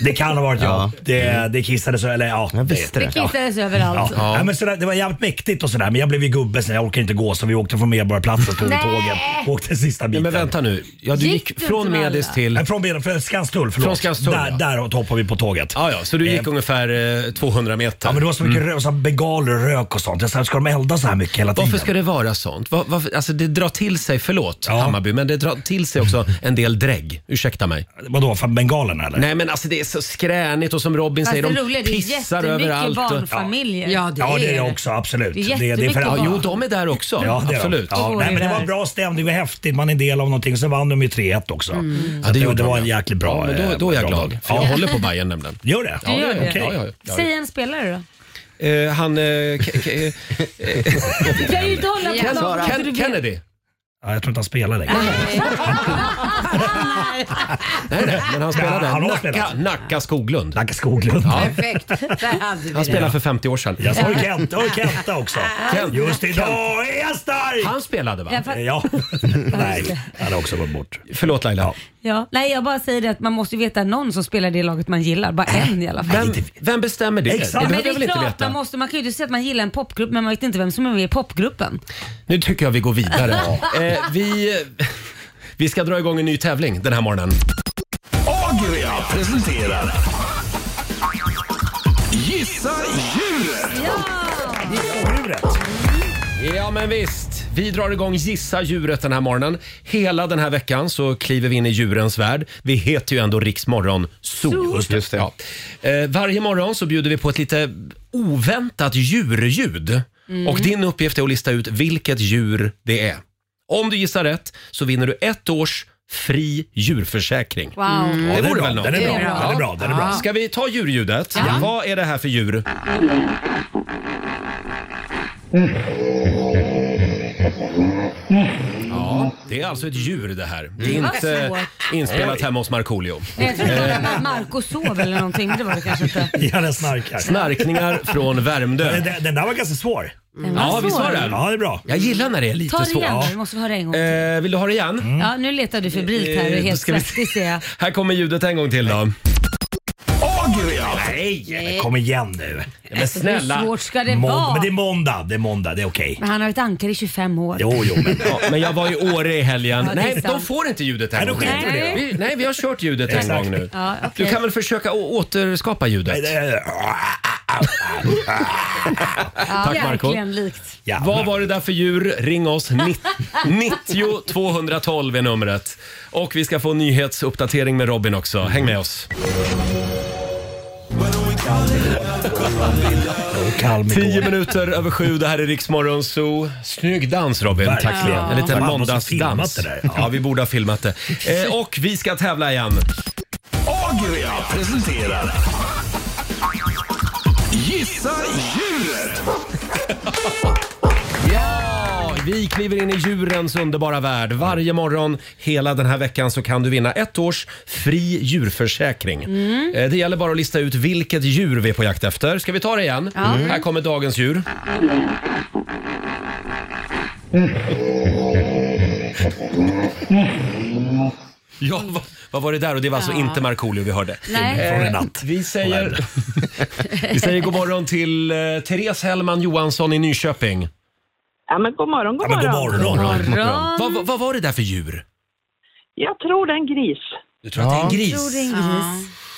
[SPEAKER 10] Det kan ha varit jag.
[SPEAKER 3] Ja.
[SPEAKER 10] Det, det kissades, eller ja.
[SPEAKER 3] Jag visste
[SPEAKER 6] Det
[SPEAKER 3] det. Ja.
[SPEAKER 6] kissades överallt.
[SPEAKER 10] Ja. men sådär, det var jävligt mäktigt och sådär men jag blev ju gubbe sen, jag orkade inte gå så vi åkte från Medborgarplatsen, tog
[SPEAKER 6] Nej.
[SPEAKER 10] tåget och åkte sista
[SPEAKER 1] Ja,
[SPEAKER 10] biten.
[SPEAKER 1] men vänta nu. Ja, du
[SPEAKER 6] Gick
[SPEAKER 1] gick,
[SPEAKER 6] du
[SPEAKER 1] från
[SPEAKER 6] inte med
[SPEAKER 1] Medis
[SPEAKER 6] alla?
[SPEAKER 1] till...
[SPEAKER 10] Nej, från, Beden- från Skanstull, förlåt.
[SPEAKER 1] Från Skanstull,
[SPEAKER 10] där,
[SPEAKER 1] ja.
[SPEAKER 10] där hoppade vi på tåget.
[SPEAKER 1] Ja, ja, så du gick
[SPEAKER 10] Eh,
[SPEAKER 1] ungefär eh, 200 meter. Mm.
[SPEAKER 10] Ja men det var så mycket rök, så här bengaler och rök och sånt. Jag sa, ska de elda så här mycket hela tiden?
[SPEAKER 1] Varför ska det vara sånt? Var, varför, alltså det drar till sig, förlåt
[SPEAKER 10] Ja.
[SPEAKER 1] Hammarby, men det drar till sig också en del drägg. Ursäkta mig.
[SPEAKER 10] Vadå, för bengalerna eller?
[SPEAKER 1] Nej men alltså det är så skränigt och som Robin
[SPEAKER 6] Fast
[SPEAKER 1] säger,
[SPEAKER 6] det
[SPEAKER 1] de
[SPEAKER 6] roliga är det är
[SPEAKER 1] pissar
[SPEAKER 6] jättemycket
[SPEAKER 1] överallt. och-
[SPEAKER 6] barnfamiljer.
[SPEAKER 5] Ja, det
[SPEAKER 10] ja det är
[SPEAKER 5] är
[SPEAKER 10] det också, absolut.
[SPEAKER 6] Det är
[SPEAKER 10] för
[SPEAKER 6] jättemycket
[SPEAKER 10] alla.
[SPEAKER 6] barn.
[SPEAKER 1] Jo, de är där också.
[SPEAKER 10] Ja, det är de.
[SPEAKER 1] Absolut.
[SPEAKER 10] Ja,
[SPEAKER 6] Då är
[SPEAKER 10] nej,
[SPEAKER 6] det
[SPEAKER 10] men det
[SPEAKER 6] där.
[SPEAKER 10] var bra stämning, det var häftigt, man är en del av någonting. Sen vann de ju 3-1 också.
[SPEAKER 6] Mm.
[SPEAKER 10] Så att
[SPEAKER 1] det
[SPEAKER 10] det,
[SPEAKER 1] gjorde
[SPEAKER 10] det var
[SPEAKER 1] de,
[SPEAKER 10] en
[SPEAKER 1] ja.
[SPEAKER 10] jäkligt
[SPEAKER 1] Ja,
[SPEAKER 10] bra
[SPEAKER 1] men då,
[SPEAKER 10] eh,
[SPEAKER 1] då är jag
[SPEAKER 10] bra
[SPEAKER 1] glad.
[SPEAKER 10] dag.
[SPEAKER 1] För jag
[SPEAKER 10] Ja.
[SPEAKER 1] håller på Bayern nämligen.
[SPEAKER 10] Gör det?
[SPEAKER 6] Du gör det.
[SPEAKER 10] okej.
[SPEAKER 1] Ja, ja, ja.
[SPEAKER 6] Säg en spelare då.
[SPEAKER 1] Eh, han... Eh, Ke- Ke-
[SPEAKER 6] Du kan ju inte hålla på
[SPEAKER 1] Ken-
[SPEAKER 6] dem.
[SPEAKER 1] Ken- Kennedy?
[SPEAKER 10] Ja, jag tror inte han spelar längre.
[SPEAKER 1] Nej, nej, men han spelade.
[SPEAKER 10] Ja, han har
[SPEAKER 1] Nacka,
[SPEAKER 10] spelat.
[SPEAKER 1] Nacka Skoglund.
[SPEAKER 10] Nacka Skoglund. Ja.
[SPEAKER 5] perfekt. Där hade vi
[SPEAKER 1] Han
[SPEAKER 5] det.
[SPEAKER 1] spelade för 50 år sedan.
[SPEAKER 10] Jag sa ju Kenta, och Kenta också.
[SPEAKER 1] Kent.
[SPEAKER 10] Just idag är jag stark!
[SPEAKER 1] Han spelade va?
[SPEAKER 6] Ja, för,
[SPEAKER 10] Ja, nej, han har också gått bort.
[SPEAKER 1] Förlåt Laila.
[SPEAKER 6] ja. Nej, jag bara säger det att man måste ju veta någon som spelar det laget man gillar. Bara
[SPEAKER 1] Äh,
[SPEAKER 6] en i alla fall.
[SPEAKER 1] Vem, vem bestämmer det?
[SPEAKER 10] Exakt.
[SPEAKER 1] Det
[SPEAKER 10] Men
[SPEAKER 6] Men
[SPEAKER 1] behöver
[SPEAKER 6] det
[SPEAKER 1] jag väl
[SPEAKER 6] är
[SPEAKER 1] inte
[SPEAKER 6] klart, man,
[SPEAKER 1] veta?
[SPEAKER 6] måste, man kan ju inte säga att man gillar en popgrupp men man vet inte vem som är med i popgruppen.
[SPEAKER 1] Nu tycker jag vi går vidare. eh, vi, vi ska dra igång en ny tävling den här morgonen.
[SPEAKER 7] Agria presenterar Gissa djuret.
[SPEAKER 1] Ja, men visst. Vi drar igång Gissa djuret den här morgonen. Hela den här veckan så kliver vi in i djurens värld. Vi heter ju ändå Riksmorgon Zoo. Just det. Ja. Eh, varje morgon så bjuder vi på ett lite oväntat djurljud. Och din uppgift är att lista ut vilket djur det är. Om du gissar rätt så vinner du ett års fri djurförsäkring. Mm.
[SPEAKER 6] Wow.
[SPEAKER 1] Det
[SPEAKER 10] Den är
[SPEAKER 1] vore
[SPEAKER 10] bra,
[SPEAKER 1] väl något.
[SPEAKER 10] den är bra, den är bra, den är bra.
[SPEAKER 1] Ska vi ta djurljudet? Vad är det här för djur? Ja, det är alltså ett djur det här. Det
[SPEAKER 6] Mm.
[SPEAKER 1] är
[SPEAKER 6] Vad
[SPEAKER 1] inte eh, inspelat hemma hos Markoolio. Eh,
[SPEAKER 6] Nej, Jag trodde det var Marco sov eller någonting men det var det kanske inte.
[SPEAKER 10] Ja, den snarkar.
[SPEAKER 1] Snarkningar från
[SPEAKER 10] Den,
[SPEAKER 1] Värmdö.
[SPEAKER 10] den- den där var ganska svår.
[SPEAKER 6] Den var
[SPEAKER 1] Ja, vi
[SPEAKER 6] svår.
[SPEAKER 1] sa det.
[SPEAKER 10] Ja, det är bra.
[SPEAKER 1] Jag gillar när det är
[SPEAKER 6] Ta
[SPEAKER 1] lite
[SPEAKER 6] det
[SPEAKER 1] svårt.
[SPEAKER 6] igen då, vi måste höra en gång till. Mm.
[SPEAKER 1] Eh, vill du ha det igen?
[SPEAKER 6] Ja, nu letar du febrilt här, du är
[SPEAKER 1] Eh, då
[SPEAKER 6] helt
[SPEAKER 1] ska vi
[SPEAKER 6] svettig ser jag.
[SPEAKER 1] Här kommer ljudet en gång till då.
[SPEAKER 7] Agria.
[SPEAKER 10] Nej, kom igen nu.
[SPEAKER 1] Men
[SPEAKER 6] Alltså, Hur
[SPEAKER 1] snälla.
[SPEAKER 6] svårt ska det
[SPEAKER 10] Måndag,
[SPEAKER 6] vara?
[SPEAKER 10] men det är måndag, det är måndag, det är okej.
[SPEAKER 6] Men han har ett ankar i 25 år.
[SPEAKER 10] Jo, jo, men.
[SPEAKER 1] Ja, men jag var i Åre i helgen.
[SPEAKER 6] Ja, det är
[SPEAKER 1] Nej, de
[SPEAKER 6] sant.
[SPEAKER 1] får inte ljudet
[SPEAKER 10] Nej,
[SPEAKER 1] en
[SPEAKER 10] då
[SPEAKER 1] gång till.
[SPEAKER 10] skiter vi i det.
[SPEAKER 1] Vi, nej, vi har kört ljudet en
[SPEAKER 10] Exakt.
[SPEAKER 1] gång nu.
[SPEAKER 6] Ja, okej.
[SPEAKER 1] Du kan väl försöka å- återskapa
[SPEAKER 10] Nej, det
[SPEAKER 1] ljudet?
[SPEAKER 10] är-
[SPEAKER 6] ja,
[SPEAKER 1] tack, Marco.
[SPEAKER 6] Verkligen likt.
[SPEAKER 10] Ja,
[SPEAKER 1] Vad
[SPEAKER 10] men-
[SPEAKER 1] var det där för djur? Ring oss. Ni- 90 212 är numret. Och vi ska få en nyhetsuppdatering med Robin också. Häng med oss.
[SPEAKER 10] Och kalm
[SPEAKER 1] 10
[SPEAKER 10] igår.
[SPEAKER 1] minuter över sju. Det här är Riksmorgon Zoo. Snygg dans Robin.
[SPEAKER 10] Verkligen.
[SPEAKER 1] Tack. En liten
[SPEAKER 10] Fan, måste
[SPEAKER 1] måndagsdans.
[SPEAKER 10] filmat det där.
[SPEAKER 1] Ja.
[SPEAKER 10] Ja.
[SPEAKER 1] vi borde ha filmat det. Eh, och vi ska tävla igen.
[SPEAKER 7] Agria presenterar Gissa djuret.
[SPEAKER 1] Ja! Vi Ah, Vi kliver in i djurens underbara värld. Varje morgon hela den här veckan så kan du vinna ett års fri djurförsäkring.
[SPEAKER 6] Mm.
[SPEAKER 1] Eh, Det gäller bara att lista ut vilket djur vi är på jakt efter. Ska vi ta det igen?
[SPEAKER 6] Ja. Mm.
[SPEAKER 1] Här kommer dagens djur. Ja, vad, vad var det där? Och det var alltså
[SPEAKER 6] Ja.
[SPEAKER 1] inte Markoolio vi hörde.
[SPEAKER 6] Nej. Från en
[SPEAKER 1] natt. Eh, Vi säger, vi säger god morgon till eh, Therese Hellman Johansson i Nyköping.
[SPEAKER 8] Ja, men god morgon, god
[SPEAKER 1] Ja, men god
[SPEAKER 8] morgon.
[SPEAKER 1] morgon. God morgon.
[SPEAKER 8] morgon.
[SPEAKER 1] Vad, vad- vad var det där för djur?
[SPEAKER 8] Jag tror det är en gris.
[SPEAKER 1] Du tror att det är en gris?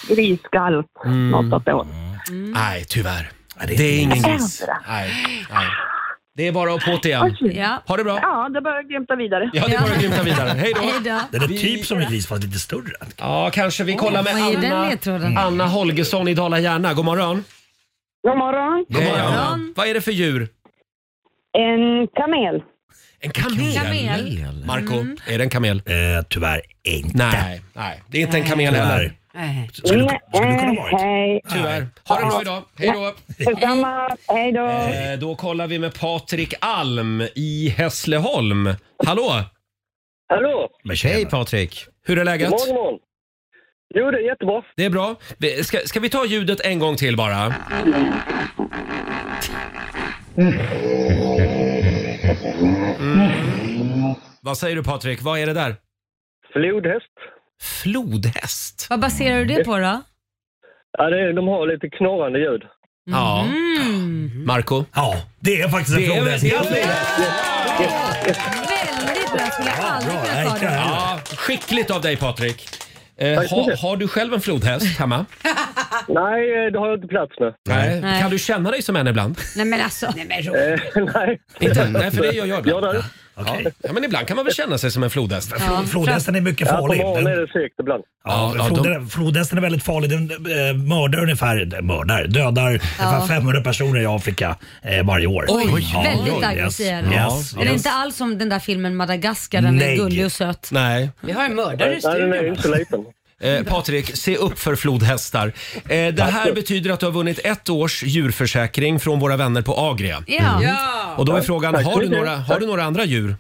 [SPEAKER 8] Grisgalt. Mm. Något åt det hållet.
[SPEAKER 1] Mm. Nej, tyvärr. Det är ingen gris. Nej, nej. Det är bara att på det igen.
[SPEAKER 6] Ja.
[SPEAKER 1] Ha det bra.
[SPEAKER 8] Ja, det börjar glömta vidare.
[SPEAKER 1] Ja, det är bara att glimta vidare. Hej då.
[SPEAKER 10] Den är typ som en gris fast lite större.
[SPEAKER 1] Ja, kanske vi kollar med
[SPEAKER 6] Vad är den
[SPEAKER 1] Anna,
[SPEAKER 6] ledtråden? Mm.
[SPEAKER 1] Anna Holgersson i Dala-Järna. God morgon.
[SPEAKER 11] God morgon.
[SPEAKER 1] God morgon. Vad är det för djur?
[SPEAKER 11] En kamel.
[SPEAKER 1] En kamel?
[SPEAKER 11] Kamel.
[SPEAKER 1] Marco,
[SPEAKER 6] Mm.
[SPEAKER 1] är det en kamel?
[SPEAKER 10] tyvärr inte.
[SPEAKER 1] Nej, nej. det är inte en kamel
[SPEAKER 10] Nej.
[SPEAKER 1] heller.
[SPEAKER 11] Nej.
[SPEAKER 1] Skulle det- skulle det kunna ha varit?
[SPEAKER 11] Nej.
[SPEAKER 1] Tyvärr. Ha det bra idag. Hej då.
[SPEAKER 11] Detsamma. Hej då.
[SPEAKER 1] Eh, Då kollar vi med Patrik Alm i Hässleholm. Hallå!
[SPEAKER 12] Hallå!
[SPEAKER 1] Hej Patrik! Hur är läget?
[SPEAKER 12] Morgon, morgon. Jo, det är jättebra.
[SPEAKER 1] Det är bra. Vi- Ska, ska vi ta ljudet en gång till bara? Mm. Vad säger du Patrik? Vad är det där?
[SPEAKER 12] Flodhäst.
[SPEAKER 1] Flodhäst?
[SPEAKER 6] Vad baserar du
[SPEAKER 1] Eh.
[SPEAKER 6] det på då?
[SPEAKER 12] Ja, det är, de har lite knorrande ljud.
[SPEAKER 1] Ja.
[SPEAKER 6] Mm.
[SPEAKER 1] Marco?
[SPEAKER 10] Ja, det är faktiskt en
[SPEAKER 1] Det är
[SPEAKER 10] fråga.
[SPEAKER 1] väl-
[SPEAKER 10] Det är
[SPEAKER 1] ja,
[SPEAKER 10] en fråga.
[SPEAKER 6] Väldigt bra, skulle jag aldrig kunna ta det.
[SPEAKER 1] Ja, skickligt av dig Patrik. Eh,
[SPEAKER 12] Tack så
[SPEAKER 1] ha,
[SPEAKER 12] mycket.
[SPEAKER 1] har du själv en flodhäst hemma?
[SPEAKER 12] Nej, det har jag inte plats med.
[SPEAKER 1] Nej.
[SPEAKER 6] Nej.
[SPEAKER 1] Kan du känna dig som en ibland?
[SPEAKER 6] Nej men alltså. Nej, men
[SPEAKER 12] Eh, nej.
[SPEAKER 1] Inte? Nej, för det gör jag ibland.
[SPEAKER 12] Ja,
[SPEAKER 1] Ja. ja, men ibland kan man väl känna sig som en flodhäst.
[SPEAKER 10] Fl- Flodhästen är mycket
[SPEAKER 12] Ja, på
[SPEAKER 10] farlig.
[SPEAKER 12] morgonen
[SPEAKER 10] Den-
[SPEAKER 12] är det segt ibland.
[SPEAKER 10] Ja,
[SPEAKER 1] ja,
[SPEAKER 10] flod, Flodhästen är väldigt farlig. Den eh, mördar ungefär, den mördar, dödar ungefär 500 personer i Afrika eh, varje år.
[SPEAKER 6] Oj,
[SPEAKER 10] Ja.
[SPEAKER 6] väldigt
[SPEAKER 10] Yes,
[SPEAKER 6] aggressiv är den.
[SPEAKER 10] Yes,
[SPEAKER 6] Den är
[SPEAKER 10] yes.
[SPEAKER 6] inte alls som den där filmen Madagaskar, den är
[SPEAKER 1] Nej.
[SPEAKER 6] gullig och söt.
[SPEAKER 1] Nej.
[SPEAKER 6] Vi har en
[SPEAKER 12] Nej, den är inte liten.
[SPEAKER 1] Eh, Patrik, se upp för flodhästar. Eh, det här betyder att du har vunnit ett års djurförsäkring från våra vänner på Agria. Mm.
[SPEAKER 6] Ja.
[SPEAKER 1] Och då är frågan,
[SPEAKER 12] Tack
[SPEAKER 1] har
[SPEAKER 12] så
[SPEAKER 1] du
[SPEAKER 12] mycket.
[SPEAKER 1] några, har du några andra djur?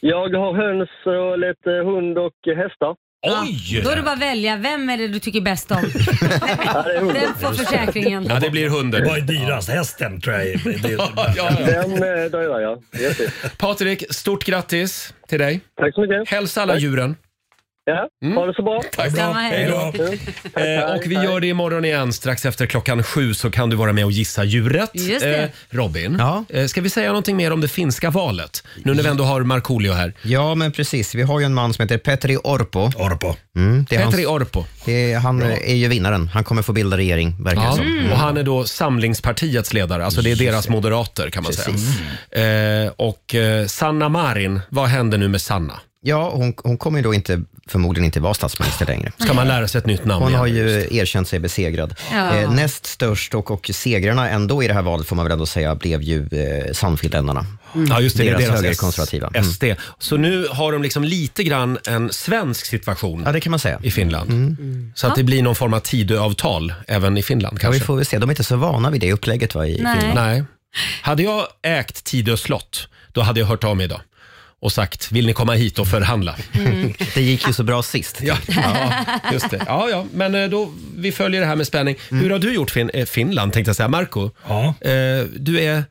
[SPEAKER 12] Jag har höns och lite hund och hästar.
[SPEAKER 1] Oj!
[SPEAKER 6] Då är det bara att välja, vem är det du tycker bäst om? Den får försäkringen.
[SPEAKER 1] Ja, det blir hunden.
[SPEAKER 10] Vad är dyrast? Hästen tror jag är- det är.
[SPEAKER 12] Den eh, dödar jag. Jättefint.
[SPEAKER 1] Patrik, stort grattis till dig.
[SPEAKER 12] Tack så mycket.
[SPEAKER 1] Hälsa alla djuren. Mm.
[SPEAKER 12] Ja, ha det så bra.
[SPEAKER 1] Tack.
[SPEAKER 6] Samma här.
[SPEAKER 1] Hej då. Eh, och vi gör det imorgon igen. Strax efter klockan sju så kan du vara med och gissa djuret.
[SPEAKER 6] Just det.
[SPEAKER 1] Robin, eh, ska vi säga någonting mer om det finska valet? Nu när vi ändå har Markoolio här.
[SPEAKER 3] Ja, men precis. Vi har ju en man som heter Petri Orpo.
[SPEAKER 10] Orpo.
[SPEAKER 3] Mm, det är
[SPEAKER 1] Petri
[SPEAKER 3] hans-
[SPEAKER 1] Orpo.
[SPEAKER 3] Det är, han eh, är ju vinnaren. Han kommer få bilda regering, verkar det
[SPEAKER 1] Ja. Mm.
[SPEAKER 3] som.
[SPEAKER 1] Och han är då Samlingspartiets ledare, alltså det är deras moderater kan man
[SPEAKER 3] Mm.
[SPEAKER 1] säga. Eh, och eh, Sanna Marin, vad händer nu med Sanna?
[SPEAKER 3] Ja, hon, hon kommer ju då inte, förmodligen inte vara statsminister längre.
[SPEAKER 1] Ska man lära sig ett nytt namn
[SPEAKER 3] Hon
[SPEAKER 1] igen?
[SPEAKER 3] har ju erkänt sig besegrad.
[SPEAKER 1] Ja.
[SPEAKER 3] Eh, näst störst och, och segrarna ändå i det här valet får man väl ändå säga blev ju eh, Sannfinländarna.
[SPEAKER 1] Mm. Ja, just det.
[SPEAKER 3] Mm. Deras,
[SPEAKER 1] det är
[SPEAKER 3] högerkonservativa. Mm.
[SPEAKER 1] SD. Så nu har de liksom lite grann en svensk situation
[SPEAKER 3] Ja, det kan man säga.
[SPEAKER 1] i Finland.
[SPEAKER 3] Mm.
[SPEAKER 1] Så att det blir någon form av Tidöavtal även i Finland
[SPEAKER 3] Ja,
[SPEAKER 1] kanske.
[SPEAKER 3] vi får väl se. De är inte så vana vid det upplägget va, i
[SPEAKER 6] Nej.
[SPEAKER 3] Finland.
[SPEAKER 1] Nej. Hade jag ägt Tidö slott, då hade jag hört av mig idag och sagt, vill ni komma hit och förhandla?
[SPEAKER 3] Mm. Det gick ju så bra sist.
[SPEAKER 1] Ja, ja just det. Ja, ja. Men eh, då, vi följer det här med spänning.
[SPEAKER 3] Mm.
[SPEAKER 1] Hur har du gjort fin- eh, Finland, tänkte jag säga. Marco, eh, du, är,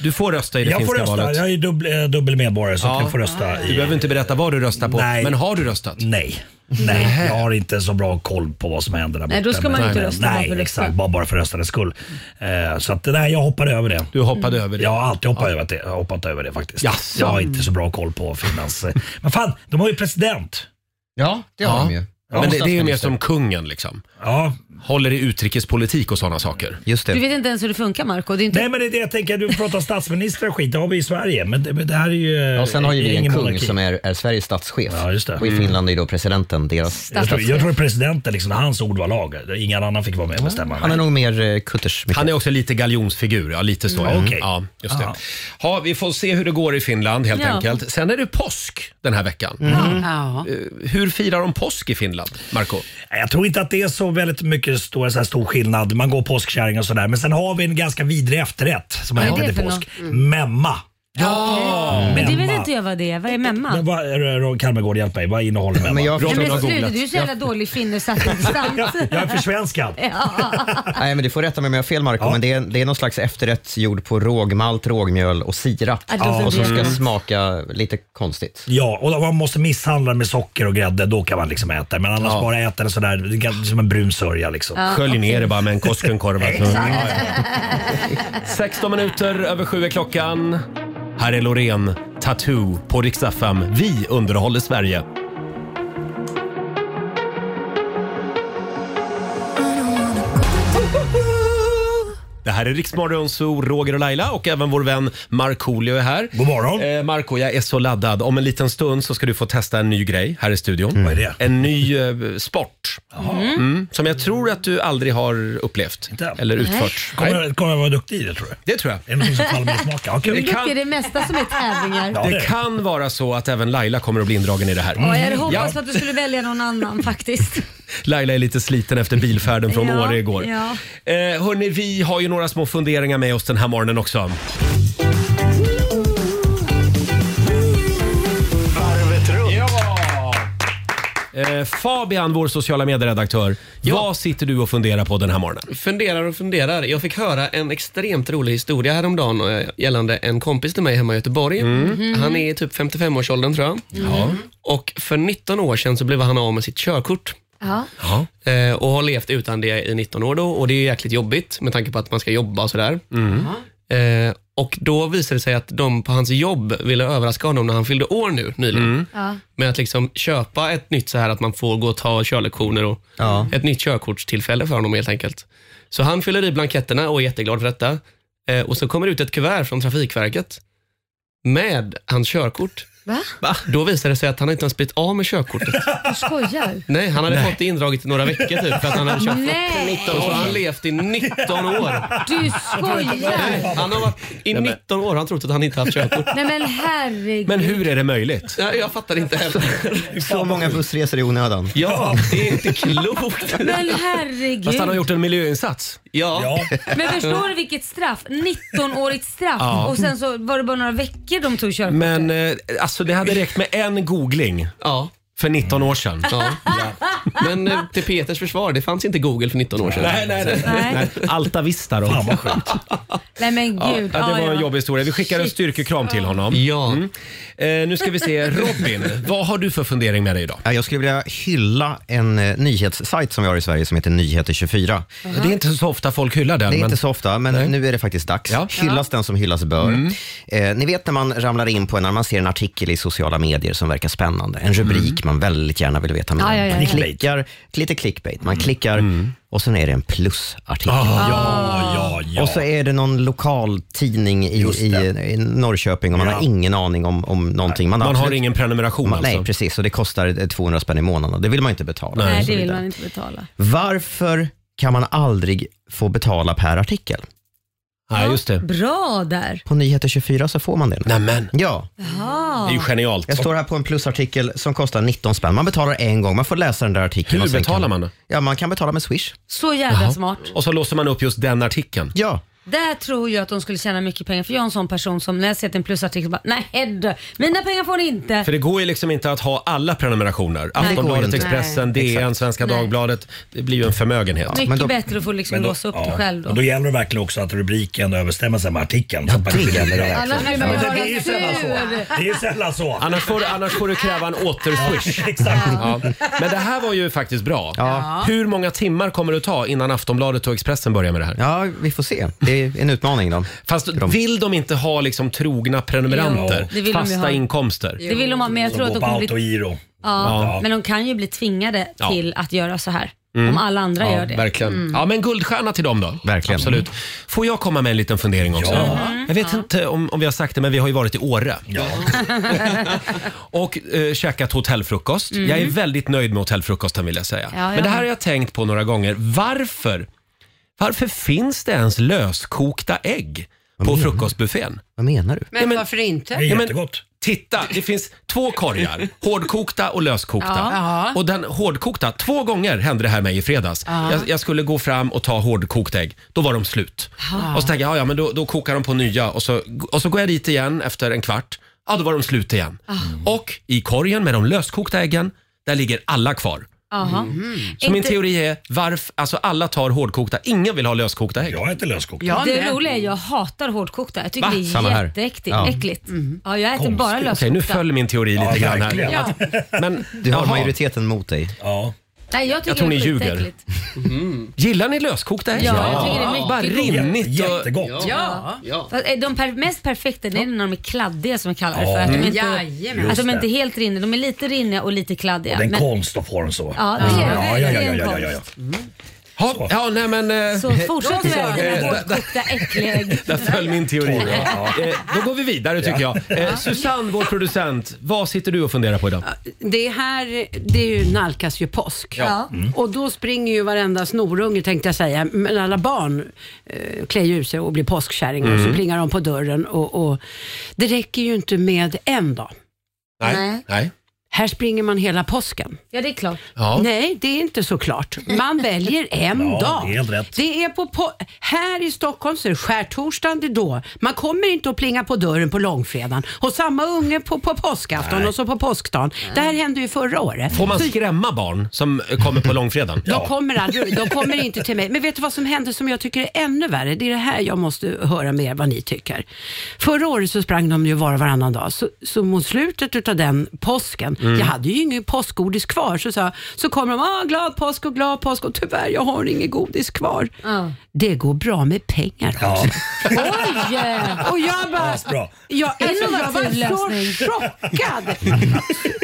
[SPEAKER 1] du får rösta i det
[SPEAKER 10] Jag får
[SPEAKER 1] finska
[SPEAKER 10] rösta.
[SPEAKER 1] valet.
[SPEAKER 10] Jag är dubbel, eh, dubbel medborgare så
[SPEAKER 1] Ja.
[SPEAKER 10] att jag får rösta.
[SPEAKER 1] Du
[SPEAKER 10] I,
[SPEAKER 1] behöver inte berätta vad du röstar på,
[SPEAKER 10] Nej.
[SPEAKER 1] men har du röstat?
[SPEAKER 10] Nej. Nej, jag har inte så bra koll på vad som händer där
[SPEAKER 6] Nej, då
[SPEAKER 10] borta,
[SPEAKER 6] ska man
[SPEAKER 10] men-
[SPEAKER 6] inte rösta, bara
[SPEAKER 10] Nej,
[SPEAKER 6] för rösta.
[SPEAKER 10] exakt. Bara, bara för röstandets skull. Eh, så att, nej, jag hoppade över det.
[SPEAKER 1] Du hoppade över det?
[SPEAKER 10] Jag har alltid hoppat, över, det, jag har hoppat över det faktiskt.
[SPEAKER 1] Jaså?
[SPEAKER 10] Jag har inte så bra koll på Finlands... eh, Men fan, de har ju president.
[SPEAKER 3] Ja, det
[SPEAKER 1] har de ju. men det, det är ju mer
[SPEAKER 10] statsminister.
[SPEAKER 1] som kungen liksom.
[SPEAKER 10] Ja.
[SPEAKER 1] Håller i utrikespolitik och sådana saker.
[SPEAKER 3] Just
[SPEAKER 6] Du vet inte ens hur det funkar Marco. Det är inte...
[SPEAKER 10] Nej men det är det jag tänker, du pratar statsminister och skit, det har vi i Sverige. Men det, men det här är ju... eh,
[SPEAKER 3] Och sen har ju vi en
[SPEAKER 10] ingen
[SPEAKER 3] kung
[SPEAKER 10] monarki.
[SPEAKER 3] som är, är Sveriges statschef.
[SPEAKER 10] Ja, just det. Mm.
[SPEAKER 3] Och i Finland är ju då presidenten deras
[SPEAKER 10] Jag tror, jag tror presidenten, liksom, hans ord var lag. Ingen annan fick vara med och bestämma.
[SPEAKER 3] Han är nog mer eh, Kutters.
[SPEAKER 1] Han är också lite galjonsfigur, ja lite så.
[SPEAKER 10] Mm. Okej.
[SPEAKER 1] Ja, just det. Ja, vi får se hur det går i Finland helt
[SPEAKER 6] Ja.
[SPEAKER 1] enkelt. Sen är det påsk den här veckan.
[SPEAKER 5] Mm.
[SPEAKER 6] Mm. Ja.
[SPEAKER 1] Eh, Hur firar de påsk i Finland, Marco?
[SPEAKER 10] Nej, Jag tror inte att det är så väldigt mycket stor, så här stor skillnad. Man går påskkärring och sådär. Men sen har vi en ganska vidrig efterrätt som
[SPEAKER 6] Vad är
[SPEAKER 10] äter
[SPEAKER 6] det
[SPEAKER 10] till
[SPEAKER 6] för
[SPEAKER 10] påsk.
[SPEAKER 6] något? Mm.
[SPEAKER 10] Memma. Ja!
[SPEAKER 6] Men det vet inte jag vad det är. Vad är memma?
[SPEAKER 10] Ah. Men vad, Ro- Kalmegård hjälp mig, vad innehåller memma? Men
[SPEAKER 6] Ja, men sluta, du är så jävla dålig finne så att det inte sant.
[SPEAKER 10] Jag är försvenskad.
[SPEAKER 6] Ja.
[SPEAKER 3] Nej, men du får rätta mig om jag har fel Marco, men det är, det är någon slags efterrätt gjord på rågmalt, rågmjöl och sirap.
[SPEAKER 10] Ja, det låter
[SPEAKER 3] Och som ska
[SPEAKER 10] bra.
[SPEAKER 3] smaka lite konstigt.
[SPEAKER 10] Ja, och man måste misshandla den med socker och grädde, då kan man liksom äta. Men annars
[SPEAKER 3] Ja.
[SPEAKER 10] bara äta den sådär, det kan- som en brun sörja liksom.
[SPEAKER 6] Ja, Skölj
[SPEAKER 1] ner det bara med en Koskenkorva.
[SPEAKER 10] Exakt.
[SPEAKER 1] 16 minuter över sju är klockan. Här är Loreen, Tattoo på riksdag 5. Vi underhåller Sverige. Det här är Riksmorgon Zoo, Roger och Laila och även vår vän Markoolio är här. God
[SPEAKER 10] morgon.
[SPEAKER 1] Eh, Marco, jag är så laddad. Om en liten stund så ska du få testa en ny grej här i studion.
[SPEAKER 10] Mm. Vad är det?
[SPEAKER 1] En ny eh, sport. Mm, som jag tror att du aldrig har upplevt eller utfört.
[SPEAKER 10] Kommer,
[SPEAKER 1] Nej.
[SPEAKER 10] jag- kommer jag vara duktig i det tror jag?
[SPEAKER 1] Det tror jag.
[SPEAKER 10] Är det någonting som faller mig i smaken? Ja, kul.
[SPEAKER 1] Det
[SPEAKER 6] Det
[SPEAKER 1] kan-
[SPEAKER 6] är det mesta som är tävlingar.
[SPEAKER 1] Det kan vara så att även Laila kommer att bli indragen i det här.
[SPEAKER 6] Ja, jag hade
[SPEAKER 1] Ja,
[SPEAKER 6] hoppats på att du skulle välja någon annan faktiskt.
[SPEAKER 1] Laila är lite sliten efter bilfärden från
[SPEAKER 6] Ja,
[SPEAKER 1] Åre igår.
[SPEAKER 6] ja.
[SPEAKER 1] Eh, hörni, vi har ju några små funderingar med oss den här morgonen också.
[SPEAKER 7] Varvet runt.
[SPEAKER 1] Eh, Fabian, vår sociala medieredaktör. Vad sitter du och funderar på den här morgonen?
[SPEAKER 9] Funderar och funderar. Jag fick höra en extremt rolig historia häromdagen eh, gällande en kompis till mig hemma i Göteborg.
[SPEAKER 1] Mm. Mhm.
[SPEAKER 9] Han är i typ 55-årsåldern tror jag. Och för 19 år sedan så blev han av med sitt körkort.
[SPEAKER 6] Ja.
[SPEAKER 9] Eh, och har levt utan det i 19 år då och det är jäkligt jobbigt med tanke på att man ska jobba och sådär.
[SPEAKER 1] Mm.
[SPEAKER 9] Eh, och då visade det sig att de på hans jobb ville överraska honom när han fyllde år nu nyligen.
[SPEAKER 1] Mm.
[SPEAKER 7] Mm.
[SPEAKER 6] Ja.
[SPEAKER 9] Med att liksom köpa ett nytt så här att man får gå och ta körlektioner och ett nytt körkortstillfälle för honom helt enkelt. Så han fyller i blanketterna och är jätteglad för detta. Eh, och så kommer det ut ett kuvert från Trafikverket med hans körkort.
[SPEAKER 6] Va?
[SPEAKER 9] Då visar det sig att han inte ens blivit av med körkortet.
[SPEAKER 6] Du skojar?
[SPEAKER 9] Nej, han hade
[SPEAKER 6] Nej.
[SPEAKER 9] fått det indraget i några veckor typ för att han hade kört
[SPEAKER 6] Nej.
[SPEAKER 9] 19 år. Så har han levt i 19 år.
[SPEAKER 6] Du
[SPEAKER 9] Nej,
[SPEAKER 6] skojar?
[SPEAKER 9] Han har varit i 19 år har han trott att han inte haft körkort.
[SPEAKER 6] Nej men herregud.
[SPEAKER 1] hur är det möjligt?
[SPEAKER 9] Nej, jag fattar inte heller.
[SPEAKER 3] Så många bussresor i onödan.
[SPEAKER 9] Ja, det är inte klokt.
[SPEAKER 6] Men herregud.
[SPEAKER 1] Fast han har gjort en miljöinsats.
[SPEAKER 9] Ja.
[SPEAKER 6] Men förstår du vilket straff? 19-årigt straff
[SPEAKER 1] Ja.
[SPEAKER 6] och sen så var det bara några veckor de tog körkortet.
[SPEAKER 1] Men eh, alltså det hade räckt med en googling.
[SPEAKER 9] Ja.
[SPEAKER 1] För 19 år sedan.
[SPEAKER 9] Ja. Men eh, till Peters försvar, det fanns inte Google för 19 år sedan.
[SPEAKER 1] Nej, nej, nej. nej. Alta Vista då.
[SPEAKER 6] Nej men
[SPEAKER 1] Ja,
[SPEAKER 6] gud.
[SPEAKER 1] ja, det
[SPEAKER 6] Ja,
[SPEAKER 1] var en
[SPEAKER 6] ja.
[SPEAKER 1] jobbig historia. Vi skickar en styrkekram till honom.
[SPEAKER 9] Ja.
[SPEAKER 1] Mm. Eh, nu ska vi se, Robin, vad har du för fundering med dig idag?
[SPEAKER 3] Ja, Jag skulle vilja hylla en eh, nyhetssajt som vi har i Sverige som heter Nyheter24.
[SPEAKER 1] Det är inte så ofta folk hyllar den.
[SPEAKER 3] Det är
[SPEAKER 1] men-
[SPEAKER 3] inte så ofta, men nu är det faktiskt dags. Hyllas den som hyllas bör.
[SPEAKER 1] Mm.
[SPEAKER 3] Eh, ni vet när man ramlar in på en, när man ser en artikel i sociala medier som verkar spännande, en rubrik
[SPEAKER 1] Mm.
[SPEAKER 3] man väldigt gärna vill veta mer
[SPEAKER 6] Ja,
[SPEAKER 3] om.
[SPEAKER 6] ja, ja,
[SPEAKER 3] Man
[SPEAKER 6] ja.
[SPEAKER 3] klickar, lite clickbait,
[SPEAKER 1] Mm.
[SPEAKER 3] man klickar och sen är det en plusartikel.
[SPEAKER 10] Ah, ja, ja, ja.
[SPEAKER 3] Och så är det någon lokaltidning i, i, i Norrköping och man har ingen aning om, om någonting.
[SPEAKER 1] Man har
[SPEAKER 3] absolut-
[SPEAKER 1] ingen prenumeration
[SPEAKER 3] man,
[SPEAKER 1] alltså?
[SPEAKER 3] Nej, precis. Och det kostar eh, 200 spänn i månaden och det vill man ju inte betala.
[SPEAKER 6] Nej,
[SPEAKER 3] Och så
[SPEAKER 6] det vill
[SPEAKER 3] vidare.
[SPEAKER 6] man inte betala.
[SPEAKER 3] Varför kan man aldrig få betala per artikel?
[SPEAKER 1] Ja, just det.
[SPEAKER 6] Bra där.
[SPEAKER 3] På Nyheter 24 så får man det.
[SPEAKER 1] Nämen.
[SPEAKER 3] Ja.
[SPEAKER 6] Jaha.
[SPEAKER 1] genialt.
[SPEAKER 3] Jag står här på en plusartikel som kostar 19 spänn. Man betalar en gång, man får läsa den där artikeln.
[SPEAKER 1] Hur
[SPEAKER 3] och sen
[SPEAKER 1] betalar
[SPEAKER 3] kan...
[SPEAKER 1] man då?
[SPEAKER 3] Ja, man kan betala med Swish.
[SPEAKER 6] Så jävla
[SPEAKER 3] Jaha.
[SPEAKER 6] smart.
[SPEAKER 1] Och så låser man upp just den artikeln?
[SPEAKER 3] Ja.
[SPEAKER 6] Där tror jag att de skulle tjäna mycket pengar för jag är en sån person som när jag sett en plusartikel bara nej du, mina pengar får ni inte.
[SPEAKER 1] För det går ju liksom inte att ha alla prenumerationer.
[SPEAKER 6] Nej. Det går ju
[SPEAKER 1] Aftonbladet,
[SPEAKER 6] inte.
[SPEAKER 1] Expressen,
[SPEAKER 6] Nej.
[SPEAKER 1] DN, Svenska
[SPEAKER 6] Nej.
[SPEAKER 1] Dagbladet. Det blir ju en förmögenhet.
[SPEAKER 6] Mycket bättre att få liksom låsa upp det själv då.
[SPEAKER 10] Och då gäller det verkligen också att rubriken överstämmer sig med artikeln. Ja,
[SPEAKER 1] det gäller det
[SPEAKER 6] Annars blir man ju
[SPEAKER 10] det,
[SPEAKER 6] bara
[SPEAKER 10] är ju sällan så.
[SPEAKER 6] sur.
[SPEAKER 10] Det är ju sällan så.
[SPEAKER 1] Annars får, annars får du kräva en återswish.
[SPEAKER 10] Ja, exakt.
[SPEAKER 1] Ja. Men det här var ju faktiskt bra.
[SPEAKER 3] Ja.
[SPEAKER 1] Hur många timmar kommer det ta innan Aftonbladet och Expressen börjar med det här?
[SPEAKER 3] Ja, vi får se. Det är en utmaning. Då.
[SPEAKER 1] Fast vill de inte ha liksom trogna prenumeranter?
[SPEAKER 6] Jo, det vill de ju
[SPEAKER 1] fasta
[SPEAKER 6] ha.
[SPEAKER 1] inkomster?
[SPEAKER 6] Det vill de ha men jag tror att de kommer bli...
[SPEAKER 1] autogiro.
[SPEAKER 6] Ja, men de kan ju bli tvingade
[SPEAKER 1] Ja.
[SPEAKER 6] till att göra så här.
[SPEAKER 1] Mm.
[SPEAKER 6] Om alla andra
[SPEAKER 1] ja,
[SPEAKER 6] gör det.
[SPEAKER 1] Verkligen.
[SPEAKER 6] Mm.
[SPEAKER 1] Ja, men guldstjärna till dem då. Verkligen. Absolut. Får jag komma med en liten fundering också? Jag vet inte om, om vi har sagt det, men vi har ju varit i Åre. och eh, käkat hotellfrukost.
[SPEAKER 7] Mm.
[SPEAKER 1] Jag är väldigt nöjd med hotellfrukosten vill jag säga.
[SPEAKER 7] Ja, jag
[SPEAKER 1] men det
[SPEAKER 7] med.
[SPEAKER 1] här har jag tänkt på några gånger. Varför? Varför finns det ens löskokta ägg på frukostbuffén?
[SPEAKER 3] Vad menar du?
[SPEAKER 5] Men varför inte?
[SPEAKER 1] Ja, men Titta, det finns två korgar. Hårdkokta och löskokta.
[SPEAKER 5] Ja.
[SPEAKER 1] Och den hårdkokta, två gånger hände det här mig i fredags.
[SPEAKER 5] Ja.
[SPEAKER 1] Jag, jag skulle gå fram och ta hårdkokt ägg. Då var de slut.
[SPEAKER 5] Ja.
[SPEAKER 1] Och så tänkte jag, ja, ja men då, då kokar de på nya. Och så, och så går jag dit igen efter en kvart. Ja, då var de slut igen.
[SPEAKER 6] Ah.
[SPEAKER 1] Och i korgen med de löskokta äggen, där ligger alla kvar.
[SPEAKER 6] Aha.
[SPEAKER 1] Så min
[SPEAKER 6] Inte-
[SPEAKER 1] teori är varför, alltså alla tar hårdkokta, ingen vill ha löskokta ägg. Jag äter löskokta.
[SPEAKER 6] det roliga är jag hatar hårdkokta. Jag tycker
[SPEAKER 1] Va?
[SPEAKER 6] det
[SPEAKER 1] Samma här.
[SPEAKER 6] är jätteäckligt.
[SPEAKER 1] Ja.
[SPEAKER 6] Ja. Ja, jag äter bara löskokta.
[SPEAKER 1] Okej, nu föll min teori lite grann här.
[SPEAKER 3] verkligen.
[SPEAKER 6] Ja.
[SPEAKER 1] Men,
[SPEAKER 3] Du har
[SPEAKER 1] jaha.
[SPEAKER 3] majoriteten mot dig.
[SPEAKER 1] Ja.
[SPEAKER 6] Nej, jag tycker
[SPEAKER 1] Jag tror
[SPEAKER 6] det är
[SPEAKER 1] ni ljuger.
[SPEAKER 6] skitäckligt.
[SPEAKER 1] Gillar ni löskokta ägg?
[SPEAKER 6] Ja, jag tycker det är mycket
[SPEAKER 1] Bara
[SPEAKER 6] gott.
[SPEAKER 1] rinnigt och...
[SPEAKER 6] Ja. Fast, eh, De per- mest perfekta det är när de är kladdiga som jag kallar det för.
[SPEAKER 10] Ja.
[SPEAKER 6] Att de
[SPEAKER 10] Mm.
[SPEAKER 6] inte,
[SPEAKER 10] Jajamän.
[SPEAKER 6] att de
[SPEAKER 10] Just
[SPEAKER 6] inte
[SPEAKER 10] det.
[SPEAKER 6] är helt rinniga. De är lite rinniga och lite kladdiga.
[SPEAKER 10] Det är en
[SPEAKER 6] Men-
[SPEAKER 10] konst att få den så.
[SPEAKER 6] Ja, det är-
[SPEAKER 10] ja, ja, ja, ja, ja, ja, ja.
[SPEAKER 1] Ja, ja, nej men... eh,
[SPEAKER 6] Så fortsätt
[SPEAKER 1] då
[SPEAKER 6] du
[SPEAKER 1] så.
[SPEAKER 6] äta
[SPEAKER 1] Eh,
[SPEAKER 6] dina
[SPEAKER 1] där-
[SPEAKER 6] hårdkokta äcklägg.
[SPEAKER 1] Där föll min teori.
[SPEAKER 6] Ja.
[SPEAKER 1] Eh, Då går vi vidare tycker
[SPEAKER 5] Ja.
[SPEAKER 1] jag. Eh,
[SPEAKER 5] Ja.
[SPEAKER 1] Susanne, vår producent, vad sitter du och funderar på idag?
[SPEAKER 5] Det här, det är ju, nalkas ju påsk.
[SPEAKER 1] Ja. Mm.
[SPEAKER 5] Och då springer ju varenda snorunge tänkte jag säga, men alla barn eh, klär ju ut sig och blir påskkärringar och
[SPEAKER 13] Mm.
[SPEAKER 5] så plingar de på dörren och, och det räcker ju inte med en dag.
[SPEAKER 6] Nej.
[SPEAKER 1] Nej.
[SPEAKER 5] Här springer man hela påsken.
[SPEAKER 6] Ja, det är klart.
[SPEAKER 5] Nej, det är inte så klart. Man väljer en
[SPEAKER 6] Ja,
[SPEAKER 5] dag.
[SPEAKER 6] det är helt rätt.
[SPEAKER 5] Det är på, på, här i Stockholm så är det skärtorsdagen det är då. Man kommer inte att plinga på dörren på långfredagen. Och samma unge på, på påskafton och så på påskdagen. Det här hände ju förra året.
[SPEAKER 1] Får man
[SPEAKER 5] så,
[SPEAKER 1] skrämma barn som kommer på långfredagen?
[SPEAKER 5] de, kommer aldrig, de kommer inte till mig. Men vet du vad som hände som jag tycker är ännu värre? Det är det här jag måste höra mer vad ni tycker. Förra året så sprang de ju var och varannan dag. Så, så mot slutet av den påsken,
[SPEAKER 13] Mm.
[SPEAKER 5] jag hade ju ingen påskgodis kvar, så, så, så kommer de ah, glad påsk och glad påsk och tyvärr jag har inget godis kvar. Det går bra med pengar.
[SPEAKER 6] Oj!
[SPEAKER 5] Och jag bara...
[SPEAKER 6] Asbra.
[SPEAKER 5] Jag, alltså, jag
[SPEAKER 6] Innovativ
[SPEAKER 5] var
[SPEAKER 6] lösning.
[SPEAKER 5] så chockad.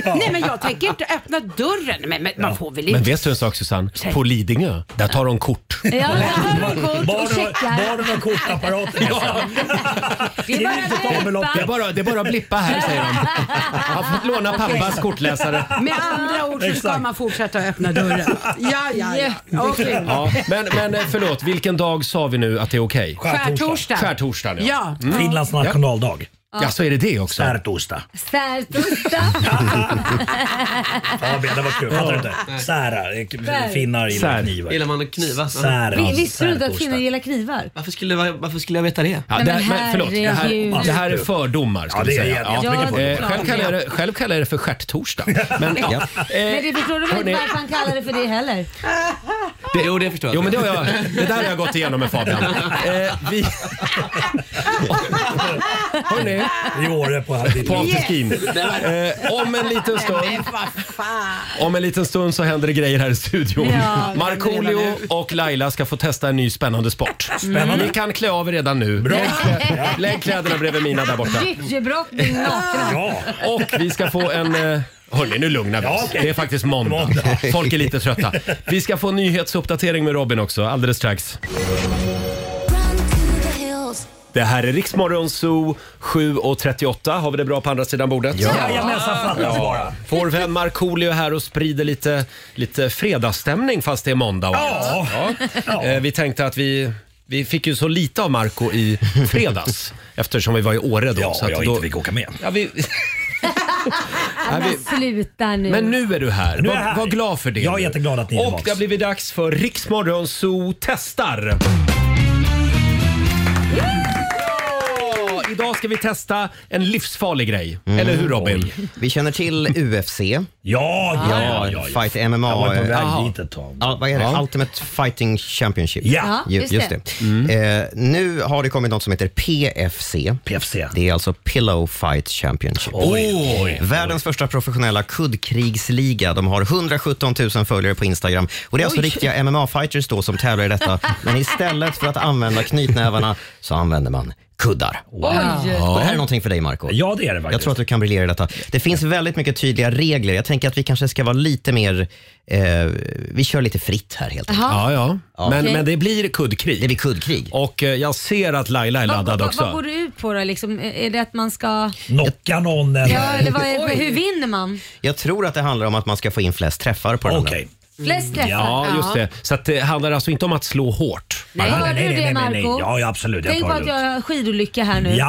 [SPEAKER 5] Nej men jag tänker inte öppna dörren. Men, men man får väl inte...
[SPEAKER 1] Men vet du en sak Susanne? På Lidingö, där tar de kort.
[SPEAKER 5] Ja, jag har
[SPEAKER 10] Barnen
[SPEAKER 5] kort och checkar.
[SPEAKER 10] har kortapparaten.
[SPEAKER 7] alltså.
[SPEAKER 6] Det är bara
[SPEAKER 10] Det
[SPEAKER 1] är bara, det är bara att blippa här säger de. Jag har fått låna pappas kortläsare.
[SPEAKER 5] Med andra ord så ska
[SPEAKER 1] Exakt.
[SPEAKER 5] man fortsätta öppna dörren. Ja, ja, ja. Okej.
[SPEAKER 1] Ja, men, men eh, förlåt, vilken dag sa vi nu att det är okej?
[SPEAKER 5] Skärtorsdag.
[SPEAKER 1] Skärtorsdagen, ja.
[SPEAKER 6] Mm.
[SPEAKER 5] Ja. Finlands
[SPEAKER 1] nationaldag. Ja.
[SPEAKER 6] Ja.
[SPEAKER 1] så är det det också?
[SPEAKER 10] Skärtorsdag.
[SPEAKER 6] Särtosta.
[SPEAKER 10] Ja, men det var kul. Fattar du inte? Sära. Finnar gillar
[SPEAKER 1] Sär.
[SPEAKER 10] knivar.
[SPEAKER 9] Gillar man knivar?
[SPEAKER 10] Sär.
[SPEAKER 6] Vi- Visste du inte att kvinnor gillar knivar?
[SPEAKER 9] Varför skulle, jag- varför skulle jag veta det?
[SPEAKER 1] Ja, det, här, men, förlåt, det, här, det här är fördomar. Ska
[SPEAKER 9] Ja,
[SPEAKER 1] vi
[SPEAKER 9] det är
[SPEAKER 1] säga.
[SPEAKER 9] jätte- jättemycket fördomar.
[SPEAKER 1] Eh, själv, kallar jag det, själv kallar jag det för stjärttorsdag. Men, ja.
[SPEAKER 6] Men det förstår du väl inte
[SPEAKER 1] hörni.
[SPEAKER 6] varför han kallar det för det heller?
[SPEAKER 1] det, jo, det förstår jag. Jo, men det, har jag, det där har jag gått igenom med Fabian. Eh, vi... Hörni.
[SPEAKER 10] I Åre på
[SPEAKER 1] På afterskin.
[SPEAKER 10] Yes.
[SPEAKER 1] Eh, om en liten stund.
[SPEAKER 5] Men vad fan.
[SPEAKER 1] Om en liten stund så händer det grejer här i studion.
[SPEAKER 5] Ja, det händer
[SPEAKER 1] Markoolio
[SPEAKER 5] redan
[SPEAKER 1] och Laila ska få testa en ny spännande sport.
[SPEAKER 5] Spännande.
[SPEAKER 1] Ni kan klä av er redan nu. Lägg, klä, lägg kläderna bredvid mina där borta.
[SPEAKER 6] Gyttjebrottning nakna.
[SPEAKER 1] Och vi ska få en... eh, Hörni, nu lugnar vi oss.
[SPEAKER 10] Ja, okej.
[SPEAKER 1] Det är faktiskt måndag.
[SPEAKER 10] Måndag.
[SPEAKER 1] Folk är lite trötta. Vi ska få en nyhetsuppdatering med Robin också alldeles strax. Det här är Riksmorgon Zoo 7.38. Har vi det bra på andra sidan bordet?
[SPEAKER 10] Ja. Jajamensan, fattas bara.
[SPEAKER 1] Vår vän Markoolio är här och sprider lite, lite fredagsstämning fast det är måndag. och
[SPEAKER 10] Ja.
[SPEAKER 1] allt. Ja. Eh, Vi tänkte att vi... Vi fick ju så lite av Marco i fredags eftersom vi var i Åre då.
[SPEAKER 10] Ja,
[SPEAKER 1] så att
[SPEAKER 10] jag
[SPEAKER 1] då...
[SPEAKER 10] inte fick åka med.
[SPEAKER 1] Ja, vi...
[SPEAKER 6] Men
[SPEAKER 1] Nej, vi-
[SPEAKER 6] sluta nu.
[SPEAKER 1] Men nu är du här.
[SPEAKER 10] Nu är
[SPEAKER 1] var,
[SPEAKER 10] jag här.
[SPEAKER 1] var glad för det.
[SPEAKER 10] Jag är
[SPEAKER 1] nu.
[SPEAKER 10] jätteglad att ni är
[SPEAKER 1] Och
[SPEAKER 10] tillbaks.
[SPEAKER 1] det har blivit dags för Riksmorgon Zoo testar. Ja, Idag ska vi testa en livsfarlig grej. Eller hur Robin?
[SPEAKER 3] Mm. Vi känner till UFC. Ja,
[SPEAKER 10] ja, ja, ja.
[SPEAKER 3] Fight MMA.
[SPEAKER 10] Jag var på väg
[SPEAKER 3] Aha.
[SPEAKER 10] dit ett tag.
[SPEAKER 3] Ja, vad är det?
[SPEAKER 10] Ja.
[SPEAKER 3] Ultimate Fighting Championship.
[SPEAKER 10] Ja. Mm. Ja,
[SPEAKER 3] Ju-
[SPEAKER 10] just
[SPEAKER 3] just,
[SPEAKER 10] det.
[SPEAKER 3] det. Eh, nu har det kommit något som heter PFC.
[SPEAKER 10] PFC.
[SPEAKER 3] Det är alltså Pillow Fight Championship.
[SPEAKER 10] Oj, oj, oj.
[SPEAKER 3] Världens första professionella kuddkrigsliga. De har 117 000 följare på Instagram. Och Det är alltså
[SPEAKER 10] Oj.
[SPEAKER 3] riktiga MMA-fighters då som tävlar i detta. Men istället för att använda knytnävarna så använder man kuddar.
[SPEAKER 10] Oj.
[SPEAKER 3] Och det här är någonting för dig Marco
[SPEAKER 10] Ja, det är det
[SPEAKER 3] Jag
[SPEAKER 10] faktiskt.
[SPEAKER 3] tror att du kan briljera i detta. Det finns väldigt mycket tydliga regler. Jag tänker att vi kanske ska vara lite mer... Eh, vi kör lite fritt här helt enkelt.
[SPEAKER 1] Ja, ja. Men,
[SPEAKER 6] Okej.
[SPEAKER 1] men det blir kuddkrig. Det
[SPEAKER 3] blir kuddkrig.
[SPEAKER 1] Och eh, jag ser att Laila är laddad
[SPEAKER 6] Vad-
[SPEAKER 1] också.
[SPEAKER 6] Vad går det ut på då? Liksom, är- är det att man ska...
[SPEAKER 10] Knocka någon
[SPEAKER 6] Ja, eller vad är, hur vinner man?
[SPEAKER 3] Jag tror att det handlar om att man ska få in flest träffar på den.
[SPEAKER 10] Okej.
[SPEAKER 3] där.
[SPEAKER 6] Flest träffar.
[SPEAKER 1] Ja, just det. Så att det handlar alltså inte om att slå hårt.
[SPEAKER 6] Nej, hör du det Marco? Tänk på att jag har skidolycka här nu.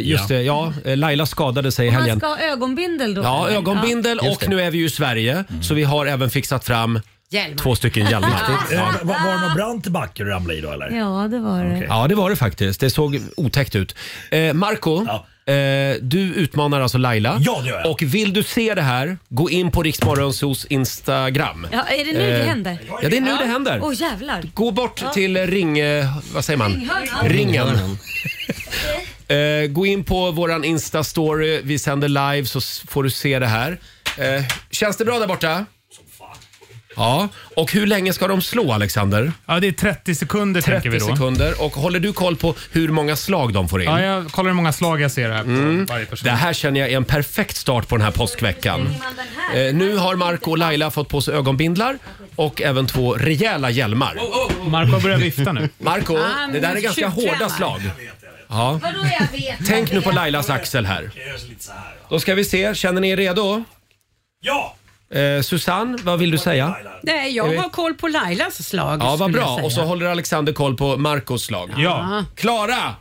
[SPEAKER 1] Eh, Just det, ja. eh, Laila skadade sig i
[SPEAKER 6] Man
[SPEAKER 1] helgen.
[SPEAKER 6] ska ha ögonbindel då?
[SPEAKER 1] Ja, Mm.
[SPEAKER 6] eller?
[SPEAKER 1] ögonbindel
[SPEAKER 6] Ja.
[SPEAKER 1] och nu är vi ju i Sverige så vi har även fixat fram
[SPEAKER 6] Hjälmar.
[SPEAKER 1] två stycken hjälmar.
[SPEAKER 6] Riktigt.
[SPEAKER 1] Ja.
[SPEAKER 10] Var, Eh, var det någon brant backe du ramlade i då eller?
[SPEAKER 6] Ja, det var det.
[SPEAKER 1] Ja, det var det faktiskt. Det såg otäckt ut. Eh, Marco, eh, du utmanar alltså Laila. Ja, det gör jag. Och vill du se det här, gå in på Riksmorgonsos Instagram.
[SPEAKER 6] Ja, är det nu det
[SPEAKER 1] Eh,
[SPEAKER 6] händer?
[SPEAKER 1] Ja, det är nu det händer.
[SPEAKER 6] Åh jävlar.
[SPEAKER 1] Gå bort
[SPEAKER 6] Ja.
[SPEAKER 1] till ring... eh, Vad säger man?
[SPEAKER 6] Ringhörnan.
[SPEAKER 1] Ringen. Eh, gå in på våran Insta-story. Vi sänder live så s- får du se det här. Eh, känns det bra där borta? Ja, och hur länge ska de slå Alexander?
[SPEAKER 4] Ja, det är 30 sekunder
[SPEAKER 1] 30
[SPEAKER 4] tänker vi då.
[SPEAKER 1] sekunder. Och håller du koll på hur många slag de får in?
[SPEAKER 4] Ja, jag kollar hur många slag jag ser här på
[SPEAKER 1] Mm.
[SPEAKER 4] varje person.
[SPEAKER 1] Det här känner jag är en perfekt start på den här påskveckan. Eh, nu har Marco och Laila fått på sig ögonbindlar och även två rejäla hjälmar.
[SPEAKER 4] Oh, Marco börjar vifta nu.
[SPEAKER 1] Marco,
[SPEAKER 6] Ah,
[SPEAKER 1] det där är ganska
[SPEAKER 6] tjuvtränar.
[SPEAKER 1] hårda slag. Ja.
[SPEAKER 6] Vadå jag vet?
[SPEAKER 1] Tänk
[SPEAKER 6] jag
[SPEAKER 1] nu på
[SPEAKER 6] vet.
[SPEAKER 1] Lailas axel här. Då ska vi se, känner ni er redo? Ja! Eh, Susanne, vad vill du säga?
[SPEAKER 5] Nej,
[SPEAKER 1] Är
[SPEAKER 5] jag
[SPEAKER 1] vi-
[SPEAKER 5] har koll på Lailas slag.
[SPEAKER 1] Ja, vad
[SPEAKER 5] skulle jag
[SPEAKER 1] bra.
[SPEAKER 5] säga.
[SPEAKER 1] Och så håller Alexander koll på Marcos slag.
[SPEAKER 5] Ja.
[SPEAKER 1] Klara!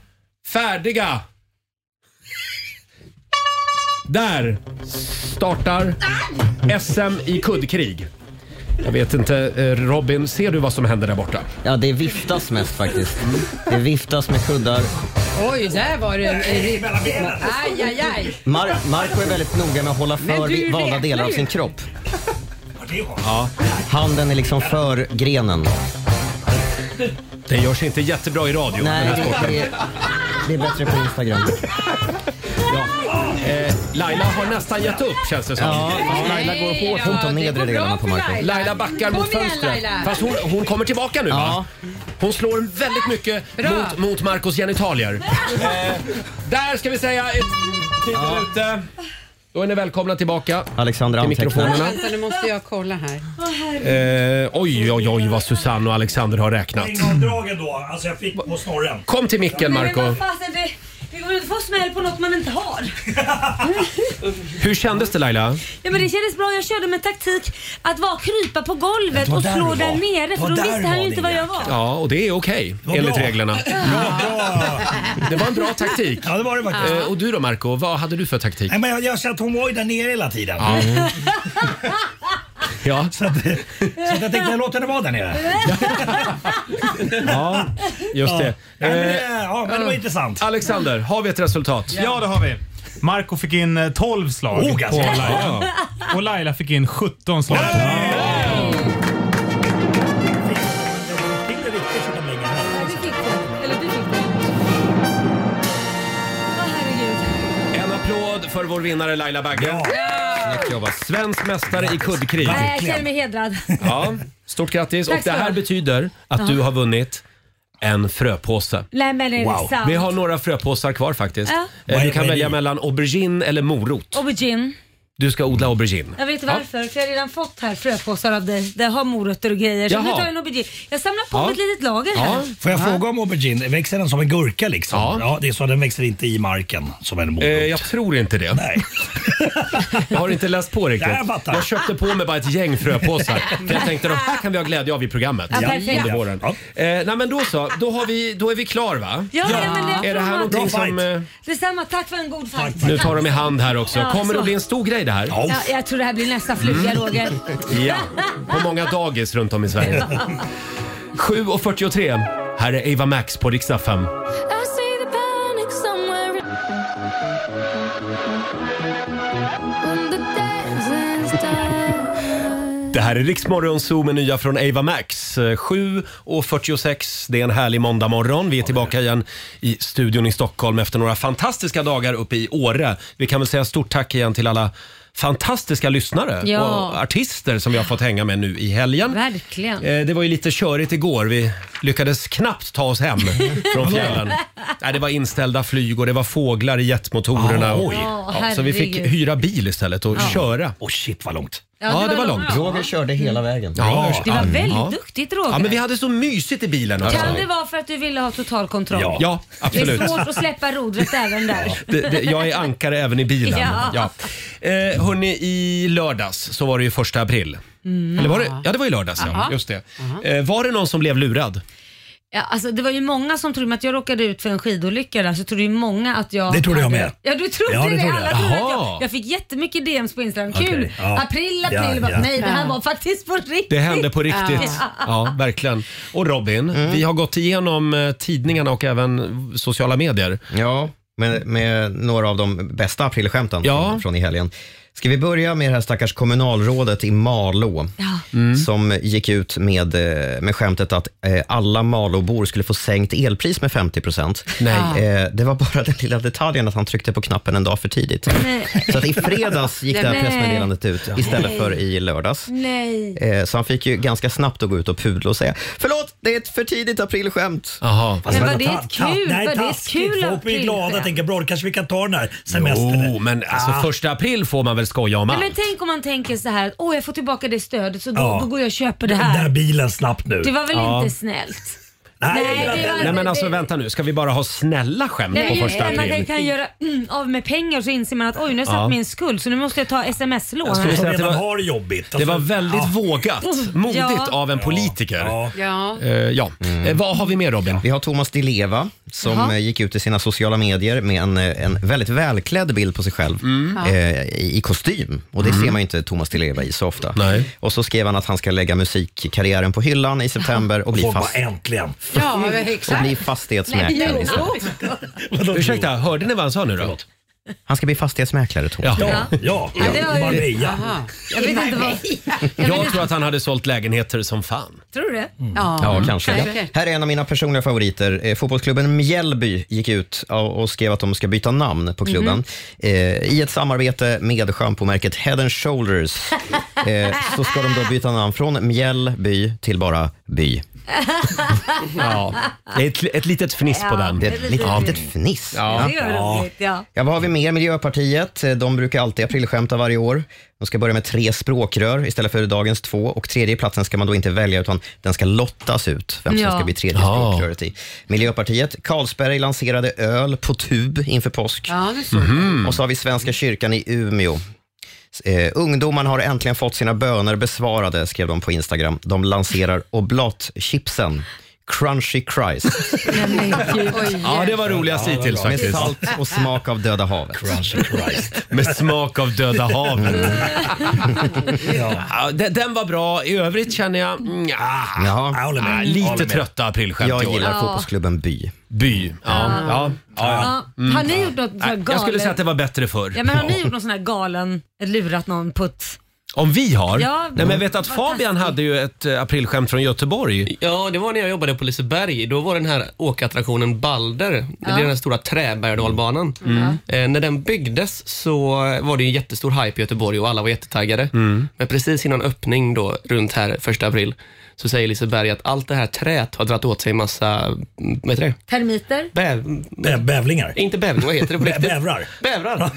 [SPEAKER 1] Färdiga! Där startar SM i kuddkrig. Jag vet inte, eh, Robin, ser du vad som händer där borta?
[SPEAKER 3] Ja, det viftas mest faktiskt. Det viftas med kuddar.
[SPEAKER 5] Oj, där var det en en riktig... Aj, aj, aj.
[SPEAKER 3] Mar Marco är väldigt noga med att hålla
[SPEAKER 5] Men
[SPEAKER 3] för
[SPEAKER 5] du
[SPEAKER 3] vi- valda
[SPEAKER 5] räknar
[SPEAKER 3] delar av
[SPEAKER 5] ju.
[SPEAKER 3] sin kropp. Ja. Handen är liksom för grenen.
[SPEAKER 1] Den gör sig inte jättebra i radio,
[SPEAKER 3] Nej,
[SPEAKER 1] den här sporten.
[SPEAKER 3] det, är, det är bättre på Instagram.
[SPEAKER 1] Eh, Laila har nästan gett upp känns det som.
[SPEAKER 3] Ja,
[SPEAKER 1] Fast Laila
[SPEAKER 3] Nej,
[SPEAKER 1] går på
[SPEAKER 3] ja, Hon tar det nedre går bra delarna på för marken. Laila.
[SPEAKER 1] Laila backar
[SPEAKER 3] Kom
[SPEAKER 1] mot
[SPEAKER 3] igen,
[SPEAKER 1] fönstret.
[SPEAKER 3] Laila.
[SPEAKER 1] Fast hon, hon kommer tillbaka nu va?
[SPEAKER 3] Ja.
[SPEAKER 1] Hon slår väldigt mycket
[SPEAKER 3] Bra.
[SPEAKER 1] mot, mot Marcos genitalier. Eh, där ska vi säga ett tiden ute. Då är ni välkomna tillbaka
[SPEAKER 3] Alexandra
[SPEAKER 1] till mikrofonerna.
[SPEAKER 5] Vänta, nu måste jag kolla här.
[SPEAKER 1] Eh, oj, oj, oj vad Susanne och Alexander har räknat.
[SPEAKER 10] Ringavdragen då, alltså jag fick på snorren.
[SPEAKER 1] Kom till micken
[SPEAKER 6] Men
[SPEAKER 1] Marco
[SPEAKER 6] vad fasen, det- Vi kommer inte få smäll på något man inte har.
[SPEAKER 1] Hur kändes det Laila?
[SPEAKER 6] Ja, men det kändes bra. Jag körde med taktik att vara krypa på golvet
[SPEAKER 1] Det var
[SPEAKER 6] och
[SPEAKER 1] där
[SPEAKER 6] slå
[SPEAKER 1] du var.
[SPEAKER 6] där nere
[SPEAKER 1] Det
[SPEAKER 6] för
[SPEAKER 1] var
[SPEAKER 6] då
[SPEAKER 1] där
[SPEAKER 6] visste
[SPEAKER 1] du
[SPEAKER 6] han
[SPEAKER 1] var,
[SPEAKER 6] ju inte
[SPEAKER 1] din
[SPEAKER 6] vad jag var.
[SPEAKER 1] Ja, och det är okej
[SPEAKER 6] var
[SPEAKER 1] enligt
[SPEAKER 6] bra.
[SPEAKER 1] reglerna. Det var en bra taktik.
[SPEAKER 10] Ja, det var det faktiskt.
[SPEAKER 1] Eh, och du då Marco, vad hade du för taktik?
[SPEAKER 10] Nej, men jag, jag ser att hon var ju där nere hela tiden.
[SPEAKER 1] Ja. ja.
[SPEAKER 10] Så, att, så att jag tänkte jag låter henne vara där nere.
[SPEAKER 1] Ja, just
[SPEAKER 10] Ja.
[SPEAKER 1] det.
[SPEAKER 10] Nej, men det-
[SPEAKER 1] Eh,
[SPEAKER 10] ja, men det var intressant.
[SPEAKER 1] Alexander, har vi ett resultat?
[SPEAKER 4] Ja, det har vi. Marco fick in eh, 12 slag
[SPEAKER 1] Oh,
[SPEAKER 4] på
[SPEAKER 1] ganska bra.
[SPEAKER 4] Laila. Och Laila fick in 17 slag.
[SPEAKER 6] Eller du fick det. Åh, herregud.
[SPEAKER 1] En applåd för vår vinnare Laila Bagge. Snyggt jobbat. Svensk mästare i kuddkrig.
[SPEAKER 6] Nej, jag känner mig hedrad.
[SPEAKER 1] Ja, stort grattis.
[SPEAKER 6] Tack
[SPEAKER 1] Och det
[SPEAKER 6] ska du
[SPEAKER 1] här
[SPEAKER 6] ha.
[SPEAKER 1] betyder att
[SPEAKER 6] Ja.
[SPEAKER 1] du har vunnit en fröpåse.
[SPEAKER 6] Nej men är det sant?
[SPEAKER 1] Vi har några fröpåsar kvar faktiskt.
[SPEAKER 6] Ja.
[SPEAKER 1] Eh,
[SPEAKER 6] Vad är-
[SPEAKER 1] Du
[SPEAKER 6] vad
[SPEAKER 1] kan
[SPEAKER 6] är
[SPEAKER 1] välja
[SPEAKER 6] det?
[SPEAKER 1] mellan aubergine eller morot.
[SPEAKER 6] Aubergine.
[SPEAKER 1] Du ska odla aubergine.
[SPEAKER 6] Jag vet inte
[SPEAKER 1] Ja.
[SPEAKER 6] varför, för jag har redan fått här fröpåsar av dig. Det har morötter och grejer. Så
[SPEAKER 10] Jaha.
[SPEAKER 6] nu tar jag en aubergine. Jag samlar på
[SPEAKER 10] Ja.
[SPEAKER 6] mig ett litet lager här.
[SPEAKER 10] Får jag fråga om aubergine, växer den som en gurka liksom? Ja. det är så den växer inte i marken som en morot.
[SPEAKER 1] Eh, jag tror inte det.
[SPEAKER 10] Nej.
[SPEAKER 1] Jag har inte läst på riktigt.
[SPEAKER 10] Nej, jag fattar.
[SPEAKER 1] köpte på mig bara ett gäng fröpåsar. För jag tänkte de här kan vi ha glädje av i programmet
[SPEAKER 6] Ja, perfekt.
[SPEAKER 1] under våren. Eh, nej men då så, då, har vi, då är vi klar va?
[SPEAKER 6] Ja, ja, men det-
[SPEAKER 1] Är det här
[SPEAKER 6] Bra
[SPEAKER 1] någonting
[SPEAKER 6] fight.
[SPEAKER 1] som... Eh,
[SPEAKER 6] Detsamma, tack för en god fight.
[SPEAKER 1] nu tar de i hand här också.
[SPEAKER 6] Ja, så.
[SPEAKER 1] Kommer det bli en stor grej det här?
[SPEAKER 6] Ja, jag tror det här blir nästa fluga
[SPEAKER 1] Mm.
[SPEAKER 6] Roger.
[SPEAKER 1] Ja, på många dagis runt om i Sverige. 7.43, här är Eva Max på riksdag 5. Det här är Riksmorgon Zoo med nya från Ava Max. Eh, 7.46, det är en härlig måndagmorgon. Vi är tillbaka igen i studion i Stockholm efter några fantastiska dagar uppe i Åre. Vi kan väl säga stort tack igen till alla fantastiska lyssnare
[SPEAKER 6] Ja.
[SPEAKER 1] och artister som vi har fått hänga med nu i helgen.
[SPEAKER 6] Verkligen.
[SPEAKER 1] Eh, Det var ju lite körigt igår. Vi lyckades knappt ta oss hem från fjällen. Nej, det var inställda flyg och det var fåglar i jetmotorerna.
[SPEAKER 10] Ah,
[SPEAKER 1] och-
[SPEAKER 10] oj.
[SPEAKER 1] Ja, så vi fick
[SPEAKER 10] herregud.
[SPEAKER 1] hyra bil istället och
[SPEAKER 6] Ja.
[SPEAKER 1] köra.
[SPEAKER 10] Och shit vad långt.
[SPEAKER 6] Ja, det var långt. Mm.
[SPEAKER 3] Roger körde hela vägen.
[SPEAKER 1] Ja,
[SPEAKER 6] Det var väldigt
[SPEAKER 1] ja.
[SPEAKER 6] duktigt Roger.
[SPEAKER 1] Ja, men vi hade så mysigt i bilen.
[SPEAKER 6] Kan det vara för att du ville ha total kontroll?
[SPEAKER 1] Ja. Ja, absolut.
[SPEAKER 6] Det är svårt att släppa rodret även där.
[SPEAKER 1] Det, det, jag är ankare även i bilen.
[SPEAKER 6] Ja.
[SPEAKER 1] Ja. Eh, hörni, i lördags så var det ju första april.
[SPEAKER 6] Mm.
[SPEAKER 1] Eller var det? Ja, det var i lördags. Ja.
[SPEAKER 6] Aha.
[SPEAKER 1] Just det. Eh, Var det någon som blev lurad?
[SPEAKER 6] Ja, alltså, det var ju många som trodde att jag råkade ut för en skidolycka där, så trodde ju många att jag...
[SPEAKER 1] Det trodde jag
[SPEAKER 6] hade-
[SPEAKER 1] med.
[SPEAKER 6] Ja, du trodde
[SPEAKER 1] Ja, det
[SPEAKER 6] det?
[SPEAKER 1] trodde
[SPEAKER 6] Alla
[SPEAKER 1] jag.
[SPEAKER 6] trodde att
[SPEAKER 1] Jaha.
[SPEAKER 6] jag, jag fick jättemycket DMs på Instagram. Kul!
[SPEAKER 1] Okej, ja.
[SPEAKER 6] April, april.
[SPEAKER 1] Ja,
[SPEAKER 6] bara,
[SPEAKER 1] ja.
[SPEAKER 6] Nej, det här
[SPEAKER 1] Ja.
[SPEAKER 6] var faktiskt på riktigt.
[SPEAKER 1] Det hände på riktigt.
[SPEAKER 6] Ja.
[SPEAKER 1] Ja, verkligen. Och Robin,
[SPEAKER 3] Mm.
[SPEAKER 1] vi har gått igenom eh, tidningarna och även sociala medier.
[SPEAKER 3] Ja, med, med några av de bästa aprilskämten från, från i helgen. Ska vi börja med det här stackars kommunalrådet i Malå
[SPEAKER 6] Ja.
[SPEAKER 1] Mm.
[SPEAKER 3] som gick ut med, eh, med skämtet att eh, alla Malåbor skulle få sänkt elpris med 50 procent. Eh,
[SPEAKER 6] Ja.
[SPEAKER 3] Det var bara den lilla detaljen att han tryckte på knappen en dag för tidigt.
[SPEAKER 6] Nej.
[SPEAKER 3] Så att i fredags gick det här
[SPEAKER 6] Nej.
[SPEAKER 3] pressmeddelandet ut istället
[SPEAKER 6] Nej.
[SPEAKER 3] för i lördags.
[SPEAKER 6] Nej.
[SPEAKER 3] Eh, Så han fick ju ganska snabbt att gå ut och pudla och säga Alltså, Förlåt, det är ett för tidigt aprilskämt.
[SPEAKER 1] Aha.
[SPEAKER 6] Men var det ett kul-
[SPEAKER 10] Nej,
[SPEAKER 6] var det ett
[SPEAKER 10] taskigt.
[SPEAKER 6] kul
[SPEAKER 10] Folk blir glada
[SPEAKER 6] aprilskämt?
[SPEAKER 10] och tänker bra, då kanske vi kan ta den här semestern.
[SPEAKER 1] Jo, men alltså
[SPEAKER 10] Ah.
[SPEAKER 1] första april får man väl skoja om
[SPEAKER 6] Nej,
[SPEAKER 1] allt?
[SPEAKER 6] men tänk om man tänker så här, åh jag får tillbaka det stödet så då,
[SPEAKER 1] Ja.
[SPEAKER 6] då går jag och köper det här.
[SPEAKER 10] bilen snabbt nu.
[SPEAKER 6] Det var väl
[SPEAKER 1] Ja.
[SPEAKER 6] inte snällt?
[SPEAKER 1] Nej,
[SPEAKER 6] Nej, det var-
[SPEAKER 1] men
[SPEAKER 6] det-
[SPEAKER 1] alltså vänta nu, ska vi bara ha snälla skämt
[SPEAKER 6] Nej,
[SPEAKER 1] på första
[SPEAKER 6] man kan,
[SPEAKER 1] april?
[SPEAKER 6] kan göra mm, av med pengar så inser man att oj nu har jag satt
[SPEAKER 1] Ja.
[SPEAKER 6] mig i en skuld så nu måste jag ta sms-lån.
[SPEAKER 1] Jag skulle säga att det var- Det var väldigt
[SPEAKER 6] Ja.
[SPEAKER 1] vågat, modigt
[SPEAKER 6] Ja.
[SPEAKER 1] av en politiker.
[SPEAKER 6] Ja.
[SPEAKER 1] Eh, ja. Eh, vad har vi med Robin?
[SPEAKER 3] Mm. Vi har Thomas Di Leva som
[SPEAKER 1] Jaha.
[SPEAKER 3] eh, gick ut i sina sociala medier med en, eh, en väldigt välklädd bild på sig själv
[SPEAKER 1] Ja.
[SPEAKER 3] eh, i, i kostym. Och det
[SPEAKER 1] Mm.
[SPEAKER 3] ser man ju inte Thomas Di Leva i så ofta.
[SPEAKER 1] Nej.
[SPEAKER 3] Och så skrev han att han ska lägga musikkarriären på hyllan i september och bli,
[SPEAKER 10] Folk bara,
[SPEAKER 3] fast...
[SPEAKER 10] äntligen. Mm.
[SPEAKER 5] Ja, men
[SPEAKER 3] och
[SPEAKER 5] exakt.
[SPEAKER 3] bli fastighetsmäklare istället.
[SPEAKER 1] Ursäkta, hörde ni vad han sa nu då?
[SPEAKER 3] Han ska bli fastighetsmäklare Thomas.
[SPEAKER 1] Ja. Ja.
[SPEAKER 10] Ja,
[SPEAKER 1] Ja, det var ju-
[SPEAKER 10] Maria.
[SPEAKER 5] Aha. Jag vet inte vad...
[SPEAKER 1] Jag tror att han hade sålt lägenheter som fan.
[SPEAKER 6] Tror du det?
[SPEAKER 7] Mm.
[SPEAKER 3] Ja, kanske. Här är en av mina personliga favoriter. Eh, fotbollsklubben Mjällby gick ut och och skrev att de ska byta namn på klubben. Eh, I ett samarbete med schampomärket Head and Shoulders eh, så ska de då byta namn från Mjällby till bara By.
[SPEAKER 1] Ja, det är ett, ett litet fniss
[SPEAKER 6] på Ja, den.
[SPEAKER 3] Det är ett litet,
[SPEAKER 6] Ja.
[SPEAKER 3] litet fniss.
[SPEAKER 6] Ja. Det var roligt, ja.
[SPEAKER 3] Ja, vad har vi mer? Miljöpartiet, eh, de brukar alltid aprilskämta varje år. De ska börja med tre språkrör istället för dagens två. Och tredje platsen ska man då inte välja, utan den ska lottas ut, vem som
[SPEAKER 13] Ja.
[SPEAKER 3] ska bli tredje
[SPEAKER 13] Ja.
[SPEAKER 3] språkröret i. Miljöpartiet, Carlsberg lanserade öl på tub inför påsk.
[SPEAKER 5] Ja, det såg jag.
[SPEAKER 3] Mhm. Och så har vi Svenska kyrkan i Umeå. Eh, ungdomarna har äntligen fått sina böner besvarade, skrev de på Instagram. De lanserar oblatchipsen, Crunchy Christ.
[SPEAKER 1] Ja, det var roligast hittills faktiskt.
[SPEAKER 3] Med salt och smak av döda havet. Mm.
[SPEAKER 1] Med smak av döda havet.
[SPEAKER 7] Mm.
[SPEAKER 1] ja. de- Den var bra. I övrigt känner jag... Mm, ah,
[SPEAKER 3] Jaha.
[SPEAKER 1] jag håller med. Ah,
[SPEAKER 3] Jag håller
[SPEAKER 1] lite
[SPEAKER 3] med.
[SPEAKER 1] trötta aprilskämt
[SPEAKER 3] Jag
[SPEAKER 1] i år.
[SPEAKER 3] gillar
[SPEAKER 6] Ja. fotbollsklubben
[SPEAKER 3] By.
[SPEAKER 1] By. Ja.
[SPEAKER 6] Ja.
[SPEAKER 1] Ja. Ja. Mm.
[SPEAKER 6] Ja. Ah. Har ni gjort något så här
[SPEAKER 1] Nej, Jag skulle
[SPEAKER 6] galet?
[SPEAKER 1] säga att det var bättre förr.
[SPEAKER 6] Ja, men har ni gjort någon sån här galen, lurat någon på ett...
[SPEAKER 1] Om vi har?
[SPEAKER 6] Ja,
[SPEAKER 1] Nej, men jag vet att
[SPEAKER 6] vad
[SPEAKER 1] Fabian hade ju ett eh, aprilskämt från Göteborg.
[SPEAKER 9] Ja, det var när jag jobbade på Liseberg. Då var den här åkattraktionen Balder, det är den här stora träberg-och-dalbanan.
[SPEAKER 1] Mm.
[SPEAKER 9] Eh, när den byggdes så var det ju en jättestor hype i Göteborg och alla var jättetaggade.
[SPEAKER 1] Mm.
[SPEAKER 9] Men precis innan öppning då, runt här första april, så säger Liseberg att allt det här träet har dragit åt sig massa, mm, vad heter det?
[SPEAKER 6] Termiter?
[SPEAKER 9] Bäv...
[SPEAKER 10] bävlingar?
[SPEAKER 9] Inte bävlingar, vad heter det på
[SPEAKER 10] Bä-
[SPEAKER 9] riktigt?
[SPEAKER 10] bävrar.
[SPEAKER 9] Bävrar.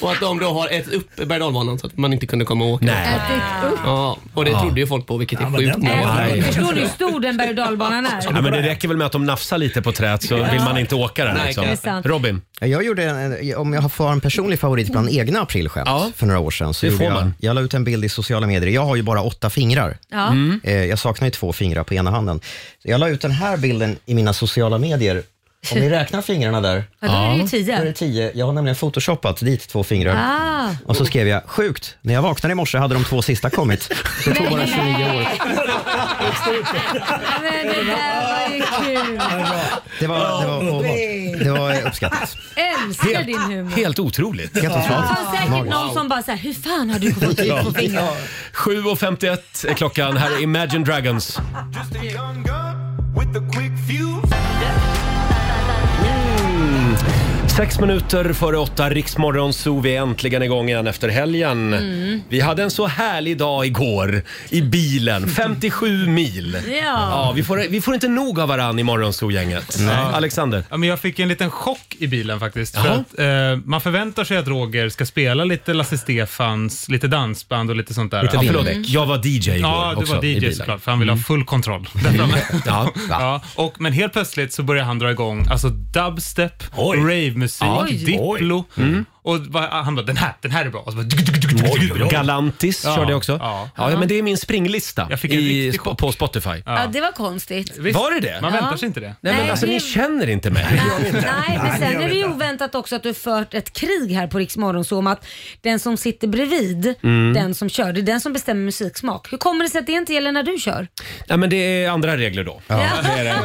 [SPEAKER 9] och att de då har ätit upp berg dalbanan så att man inte kunde komma och åka.
[SPEAKER 1] Nej.
[SPEAKER 6] Ätit upp?
[SPEAKER 9] Ja, och det
[SPEAKER 1] Ja.
[SPEAKER 9] trodde ju folk på, vilket är
[SPEAKER 1] Ja, men
[SPEAKER 9] sjukt.
[SPEAKER 1] den- Nej.
[SPEAKER 9] Ja.
[SPEAKER 6] Förstår du hur stor den berg och dalbanan är?
[SPEAKER 1] Ja, men det räcker väl med att de nafsar lite på träet så vill man inte åka den.
[SPEAKER 3] Nej,
[SPEAKER 1] Liksom.
[SPEAKER 3] det är sant.
[SPEAKER 1] Robin?
[SPEAKER 3] Ja, Jag gjorde, en, om jag får ha en personlig favorit bland egna aprilskämt för några år sedan. Så
[SPEAKER 1] det
[SPEAKER 3] gjorde
[SPEAKER 1] får
[SPEAKER 3] jag,
[SPEAKER 1] man.
[SPEAKER 3] jag la ut en bild i sociala medier. Jag har ju bara åtta fingrar.
[SPEAKER 6] Ja. Mm.
[SPEAKER 3] Eh, Jag saknar ju två fingrar på ena handen. Så Jag la ut den här bilden i mina sociala medier. Om ni räknar fingrarna där.
[SPEAKER 6] Ja, då är det ju
[SPEAKER 3] Då är det
[SPEAKER 6] tio.
[SPEAKER 3] tio. Jag har nämligen photoshoppat dit två fingrar.
[SPEAKER 6] Ah.
[SPEAKER 3] Och så skrev jag, sjukt, när jag vaknade i morse hade de två sista kommit. Det tog bara 29 år.
[SPEAKER 6] Ja, Men det där var ju kul.
[SPEAKER 3] Det var, det var, det var uppskattat.
[SPEAKER 6] Älskar din humor.
[SPEAKER 1] Helt otroligt.
[SPEAKER 3] Helt otroligt.
[SPEAKER 6] Det fanns säkert
[SPEAKER 1] Magiskt.
[SPEAKER 6] någon som bara såhär, hur fan har du fått ut
[SPEAKER 1] Ja.
[SPEAKER 6] på fingret?
[SPEAKER 1] 7.51 är klockan. Här är Imagine Dragons. Mm. Sex minuter före åtta, Riksmorgon Zoo. Vi är äntligen igång igen efter helgen.
[SPEAKER 6] Mm.
[SPEAKER 1] Vi hade en så härlig dag igår i bilen. 57 mil.
[SPEAKER 6] Ja.
[SPEAKER 1] vi, får, vi får inte nog av varann i Morgonzoo-gänget.
[SPEAKER 4] Nej.
[SPEAKER 1] Alexander?
[SPEAKER 4] Ja, men jag fick en liten chock i bilen faktiskt. För
[SPEAKER 1] Jaha.
[SPEAKER 4] att, eh, man förväntar sig att Roger ska spela lite Lasse Stefans, lite dansband och lite sånt där.
[SPEAKER 1] Lite
[SPEAKER 4] ja,
[SPEAKER 1] Lindbäck. Jag var DJ igår
[SPEAKER 4] Ja, du
[SPEAKER 1] också
[SPEAKER 4] var
[SPEAKER 1] i
[SPEAKER 4] DJ
[SPEAKER 1] bilen. Mm.
[SPEAKER 4] såklart, för han ville ha full kontroll. Där framme.
[SPEAKER 1] ja.
[SPEAKER 4] Ja, och, men helt plötsligt så börjar han dra igång alltså dubstep, ravemusik,
[SPEAKER 1] Ja. Oj.
[SPEAKER 4] Diplo.
[SPEAKER 1] Mm.
[SPEAKER 4] Och bara, han bara, den här, den här är bra. Och så bara, duk, duk, duk, duk, duk, duk.
[SPEAKER 1] Galantis
[SPEAKER 4] Ja,
[SPEAKER 1] körde jag också.
[SPEAKER 4] ja.
[SPEAKER 1] Ja. Ja, men det är min springlista i, sp- på Spotify.
[SPEAKER 6] Ja, det var konstigt.
[SPEAKER 1] Var det det? Nej, men alltså
[SPEAKER 6] det-
[SPEAKER 1] ni känner inte mig.
[SPEAKER 6] Nej, men
[SPEAKER 1] det
[SPEAKER 6] sen
[SPEAKER 1] gör
[SPEAKER 6] är
[SPEAKER 1] vi
[SPEAKER 6] det ju oväntat också att du har fört ett krig här på Rix Morgon, så om att den som sitter bredvid
[SPEAKER 1] Mm.
[SPEAKER 6] den som kör, det är den som bestämmer musiksmak. Hur kommer det sig att det inte gäller när du kör?
[SPEAKER 1] Nej, men det är andra regler då.
[SPEAKER 6] Ja.
[SPEAKER 1] Det är det.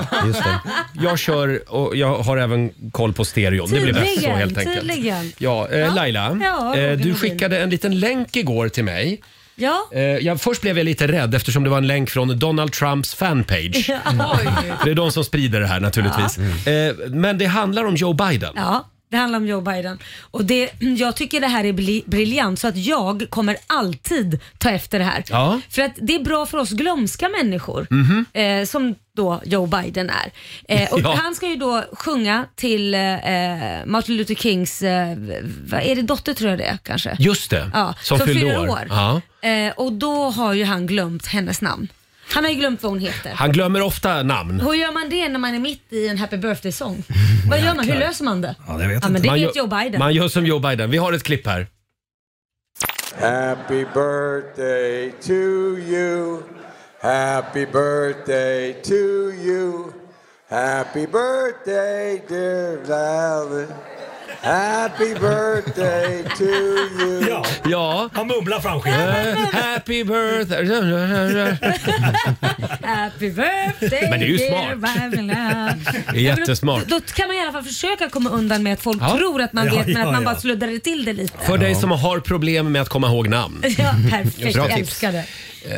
[SPEAKER 1] Jag kör och jag har även koll på stereon. Det blir bäst så
[SPEAKER 6] Tydligen,
[SPEAKER 1] helt enkelt.
[SPEAKER 6] tydligen.
[SPEAKER 1] Ja, eh, Laila,
[SPEAKER 6] Ja, Roger
[SPEAKER 1] eh, du
[SPEAKER 6] Nordin.
[SPEAKER 1] skickade en liten länk igår till mig.
[SPEAKER 6] Ja.
[SPEAKER 1] Eh, jag, först blev jag lite rädd eftersom det var en länk från Donald Trumps fanpage. För Det är de som sprider det här naturligtvis. Eh, men det handlar om Joe Biden.
[SPEAKER 6] Ja, det handlar om Joe Biden. Och det, jag tycker det här är bli- briljant så att jag kommer alltid ta efter det här.
[SPEAKER 1] Ja.
[SPEAKER 6] För att det är bra för oss glömska människor.
[SPEAKER 1] Mhm.
[SPEAKER 6] Eh, som då Joe Biden är. Eh, och
[SPEAKER 1] Ja.
[SPEAKER 6] Han ska ju då sjunga till eh, Martin Luther Kings, eh, vad är det dotter tror jag det är kanske?
[SPEAKER 1] Just det,
[SPEAKER 6] Ja,
[SPEAKER 1] som fyllde år. Ja.
[SPEAKER 6] Eh, och då har ju han glömt hennes namn. Han har ju glömt vad hon heter.
[SPEAKER 1] Han glömmer ofta namn.
[SPEAKER 6] Hur gör man det när man är mitt i en happy birthday-sång? Vad gör man? Hur löser man det? Ja, men det
[SPEAKER 1] man,
[SPEAKER 6] vet
[SPEAKER 1] gör-
[SPEAKER 6] Joe Biden.
[SPEAKER 1] man gör som Joe Biden. Vi har ett klipp här.
[SPEAKER 13] Happy birthday to you. Happy birthday to you. Happy birthday, dear Valen. Happy birthday to you. Ja,
[SPEAKER 1] ja.
[SPEAKER 13] han mumlar
[SPEAKER 1] Eh, happy birthday...
[SPEAKER 6] Happy birthday
[SPEAKER 1] Men det är ju
[SPEAKER 6] dear
[SPEAKER 1] smart.
[SPEAKER 6] Vavela.
[SPEAKER 1] Det är jättesmart.
[SPEAKER 6] Då, då kan man i alla fall försöka komma undan med att folk
[SPEAKER 1] Ja.
[SPEAKER 6] tror att man
[SPEAKER 1] Ja,
[SPEAKER 6] vet men
[SPEAKER 1] ja,
[SPEAKER 6] att man
[SPEAKER 1] ja.
[SPEAKER 6] bara sluddade till det lite.
[SPEAKER 1] För dig som har problem med att komma ihåg namn.
[SPEAKER 6] Ja, perfekt.
[SPEAKER 1] Mm. Bra
[SPEAKER 6] Bra
[SPEAKER 1] tips.
[SPEAKER 6] Älskar det.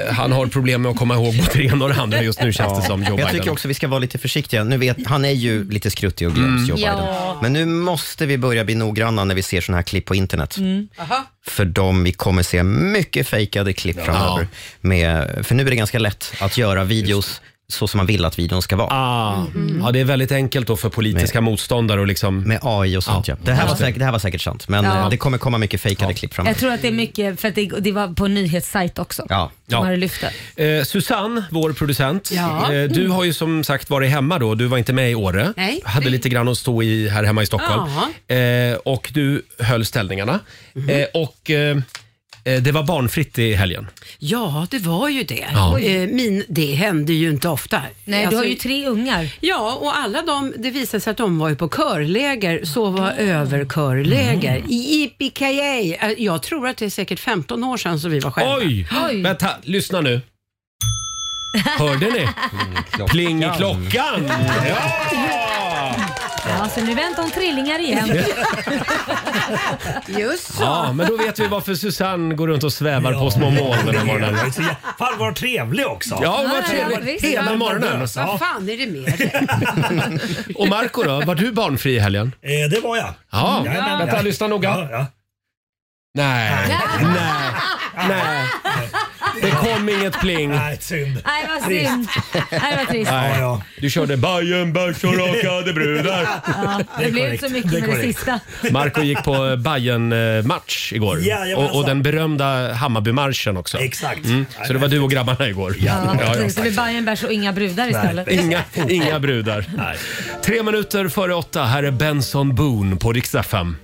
[SPEAKER 1] Eh, Han har problem med att komma ihåg både det ena och det andra just nu känns det som, Joe
[SPEAKER 3] Jag
[SPEAKER 1] Biden.
[SPEAKER 3] tycker också vi ska vara lite försiktiga. Nu vet, han är ju lite skruttig och
[SPEAKER 1] Mm.
[SPEAKER 3] glömsk, Joe
[SPEAKER 14] Ja.
[SPEAKER 3] Biden. Men nu måste vi börja bli noggranna när vi ser såna här klipp på internet.
[SPEAKER 6] Mm.
[SPEAKER 14] Aha.
[SPEAKER 3] För de, vi kommer se mycket fejkade klipp framöver. Med, för nu är det ganska lätt att göra videos så som man vill att videon ska vara.
[SPEAKER 1] Ah.
[SPEAKER 6] Mm-hmm.
[SPEAKER 1] Ja, det är väldigt enkelt då för politiska motståndare och liksom...
[SPEAKER 3] Med AI och sånt ja. Det, här var
[SPEAKER 1] Just det.
[SPEAKER 3] säkert, det här var säkert sant, men
[SPEAKER 6] Ja.
[SPEAKER 3] eh, det kommer komma mycket fejkade klipp framöver.
[SPEAKER 6] Jag tror att det är mycket för att det, det var på en nyhetssajt också.
[SPEAKER 3] Ja.
[SPEAKER 6] De
[SPEAKER 1] Ja.
[SPEAKER 6] hade lyft det.
[SPEAKER 1] Eh, Susanne, vår producent,
[SPEAKER 6] Ja.
[SPEAKER 1] eh, du har ju som sagt varit hemma då. Du var inte med i Åre.
[SPEAKER 5] Nej.
[SPEAKER 1] Hade lite grann att stå i här hemma i Stockholm. Eh, och du höll ställningarna.
[SPEAKER 6] Mhm.
[SPEAKER 1] Eh, och eh, eh, det var barnfritt i helgen.
[SPEAKER 5] Ja, det var ju det.
[SPEAKER 1] Ja.
[SPEAKER 5] Och, eh, Min, det hände ju inte ofta. Alltså-
[SPEAKER 6] Nej, du har ju tre ungar.
[SPEAKER 5] Ja, och alla de, det visade sig att de var ju på körläger,
[SPEAKER 6] Ah.
[SPEAKER 5] sova över körläger. Mm. Yippee-ki-yay! Eh, Jag tror att det är säkert 15 år sedan som vi var själva.
[SPEAKER 1] Oj! Vänta, lyssna nu. Hörde ni? Pling i klockan! Ja!
[SPEAKER 6] Ja, så nu väntar hon trillingar igen.
[SPEAKER 5] Just
[SPEAKER 1] Ja, men då vet vi varför Susanne går runt och svävar på små moln den här morgonen.
[SPEAKER 10] Fan vad trevlig också.
[SPEAKER 1] Ja, hon var trevlig hela morgonen.
[SPEAKER 5] Vad fan är det med
[SPEAKER 1] Och Marco då, var du barnfri i helgen?
[SPEAKER 10] Eh, det var jag.
[SPEAKER 1] Ja,
[SPEAKER 10] Jajamän.
[SPEAKER 1] vänta
[SPEAKER 10] Ja.
[SPEAKER 1] lyssna noga. Nej, nej, nej. Det kom inget pling. Nej,
[SPEAKER 10] synd.
[SPEAKER 6] Nej, vad synd. Nej, vad trist.
[SPEAKER 1] Du körde Bajen, bärs och rakade brudar.
[SPEAKER 6] Ja, det,
[SPEAKER 1] är
[SPEAKER 6] blev
[SPEAKER 1] korrekt.
[SPEAKER 6] inte så mycket
[SPEAKER 1] Det är
[SPEAKER 6] med det
[SPEAKER 1] korrekt.
[SPEAKER 6] sista.
[SPEAKER 1] Marco gick på bayern match igår.
[SPEAKER 6] Jajamensan.
[SPEAKER 1] och, och den berömda Hammarbymarschen också.
[SPEAKER 10] Exakt.
[SPEAKER 1] Mm. Så det var du och grabbarna igår.
[SPEAKER 6] Ja,
[SPEAKER 1] Ja, ja.
[SPEAKER 6] precis. det blir Bajen bärs och inga brudar istället.
[SPEAKER 1] Inga, inga brudar. Tre minuter före åtta. Här är Benson Boone på riksdag 5.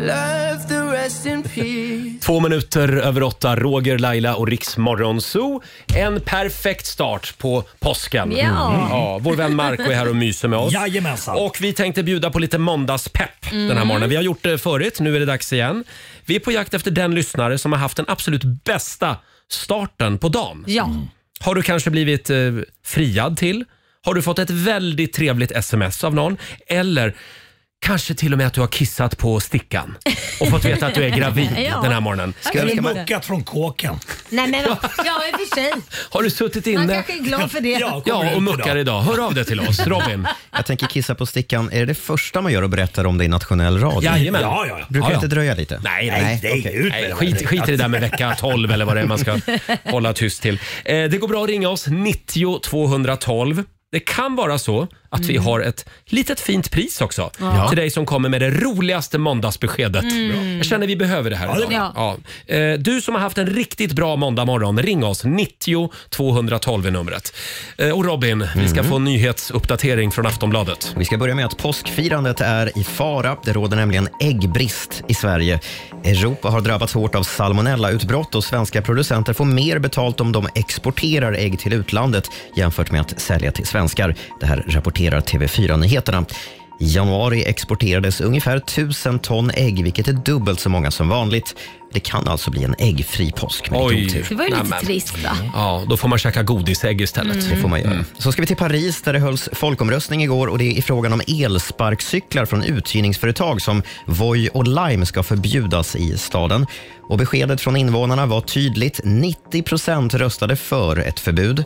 [SPEAKER 14] Love the rest in peace.
[SPEAKER 1] Två minuter över åtta, Roger, Laila och Riksmorgon Zoo. En perfekt start på påsken.
[SPEAKER 14] Ja. Mm.
[SPEAKER 1] Ja, vår vän Marco är här och myser med oss.
[SPEAKER 10] Jajamensan.
[SPEAKER 1] Och vi tänkte bjuda på lite måndagspepp den här
[SPEAKER 10] Mm.
[SPEAKER 1] morgonen. Vi har gjort det förut, nu är det dags igen. Vi är på jakt efter den lyssnare som har haft den absolut bästa starten på dagen.
[SPEAKER 6] Ja.
[SPEAKER 1] Har du kanske blivit eh, friad till? Har du fått ett väldigt trevligt sms av någon? Eller kanske till och med att du har kissat på stickan och fått veta att du är gravid
[SPEAKER 6] Ja.
[SPEAKER 1] den här morgonen.
[SPEAKER 6] Ska-
[SPEAKER 10] Eller
[SPEAKER 6] ska man-
[SPEAKER 10] muckat från kåken.
[SPEAKER 6] Nej, men ja, i och för sig.
[SPEAKER 1] Har du suttit inne?
[SPEAKER 6] Man kanske är glad för det.
[SPEAKER 1] Ja, och muckar idag. Hör av dig till oss. Robin.
[SPEAKER 3] Jag tänker kissa på stickan. Är det det första man gör och berättar om det i nationell radio?
[SPEAKER 1] Jajamän. Ja, ja, ja.
[SPEAKER 3] Brukar
[SPEAKER 1] Ja,
[SPEAKER 3] det
[SPEAKER 1] ja.
[SPEAKER 3] inte dröja lite?
[SPEAKER 1] Nej, nej, nej,
[SPEAKER 3] okej.
[SPEAKER 1] ut med det. skit, skit i det där med vecka 12 eller vad det är man ska hålla tyst till. Eh, det går bra att ringa oss, 90 212. Det kan vara så att vi
[SPEAKER 9] Mm.
[SPEAKER 1] har ett litet fint pris också
[SPEAKER 9] Ja.
[SPEAKER 1] till dig som kommer med det roligaste måndagsbeskedet.
[SPEAKER 9] Mm.
[SPEAKER 1] Jag känner vi behöver det här.
[SPEAKER 9] Ja, det är
[SPEAKER 1] idag.
[SPEAKER 9] bra.
[SPEAKER 1] Ja. Eh, Du som har haft en riktigt bra måndagmorgon, ring oss. 90 212 är numret. Eh, Och Robin, vi ska få en nyhetsuppdatering från Aftonbladet.
[SPEAKER 3] Vi ska börja med att påskfirandet är i fara. Det råder nämligen äggbrist i Sverige. Europa har drabbats hårt av salmonellautbrott och svenska producenter får mer betalt om de exporterar ägg till utlandet jämfört med att sälja till svenskar. Det här rapporterar TV4 Nyheterna. I januari exporterades ungefär 1000 ton ägg, vilket är dubbelt så många som vanligt. Det kan alltså bli en äggfri påsk med
[SPEAKER 1] Oj.
[SPEAKER 3] lite otur.
[SPEAKER 6] Det var ju lite
[SPEAKER 1] Nämen.
[SPEAKER 6] trist va?
[SPEAKER 1] Ja, då får man käka godisägg istället.
[SPEAKER 6] Mm.
[SPEAKER 3] Det får man göra. Så ska vi till Paris där det hölls folkomröstning igår och det är frågan om elsparkcyklar från uthyrningsföretag som Voi och Lime ska förbjudas i staden. Och beskedet från invånarna var tydligt. 90 procent röstade för ett förbud.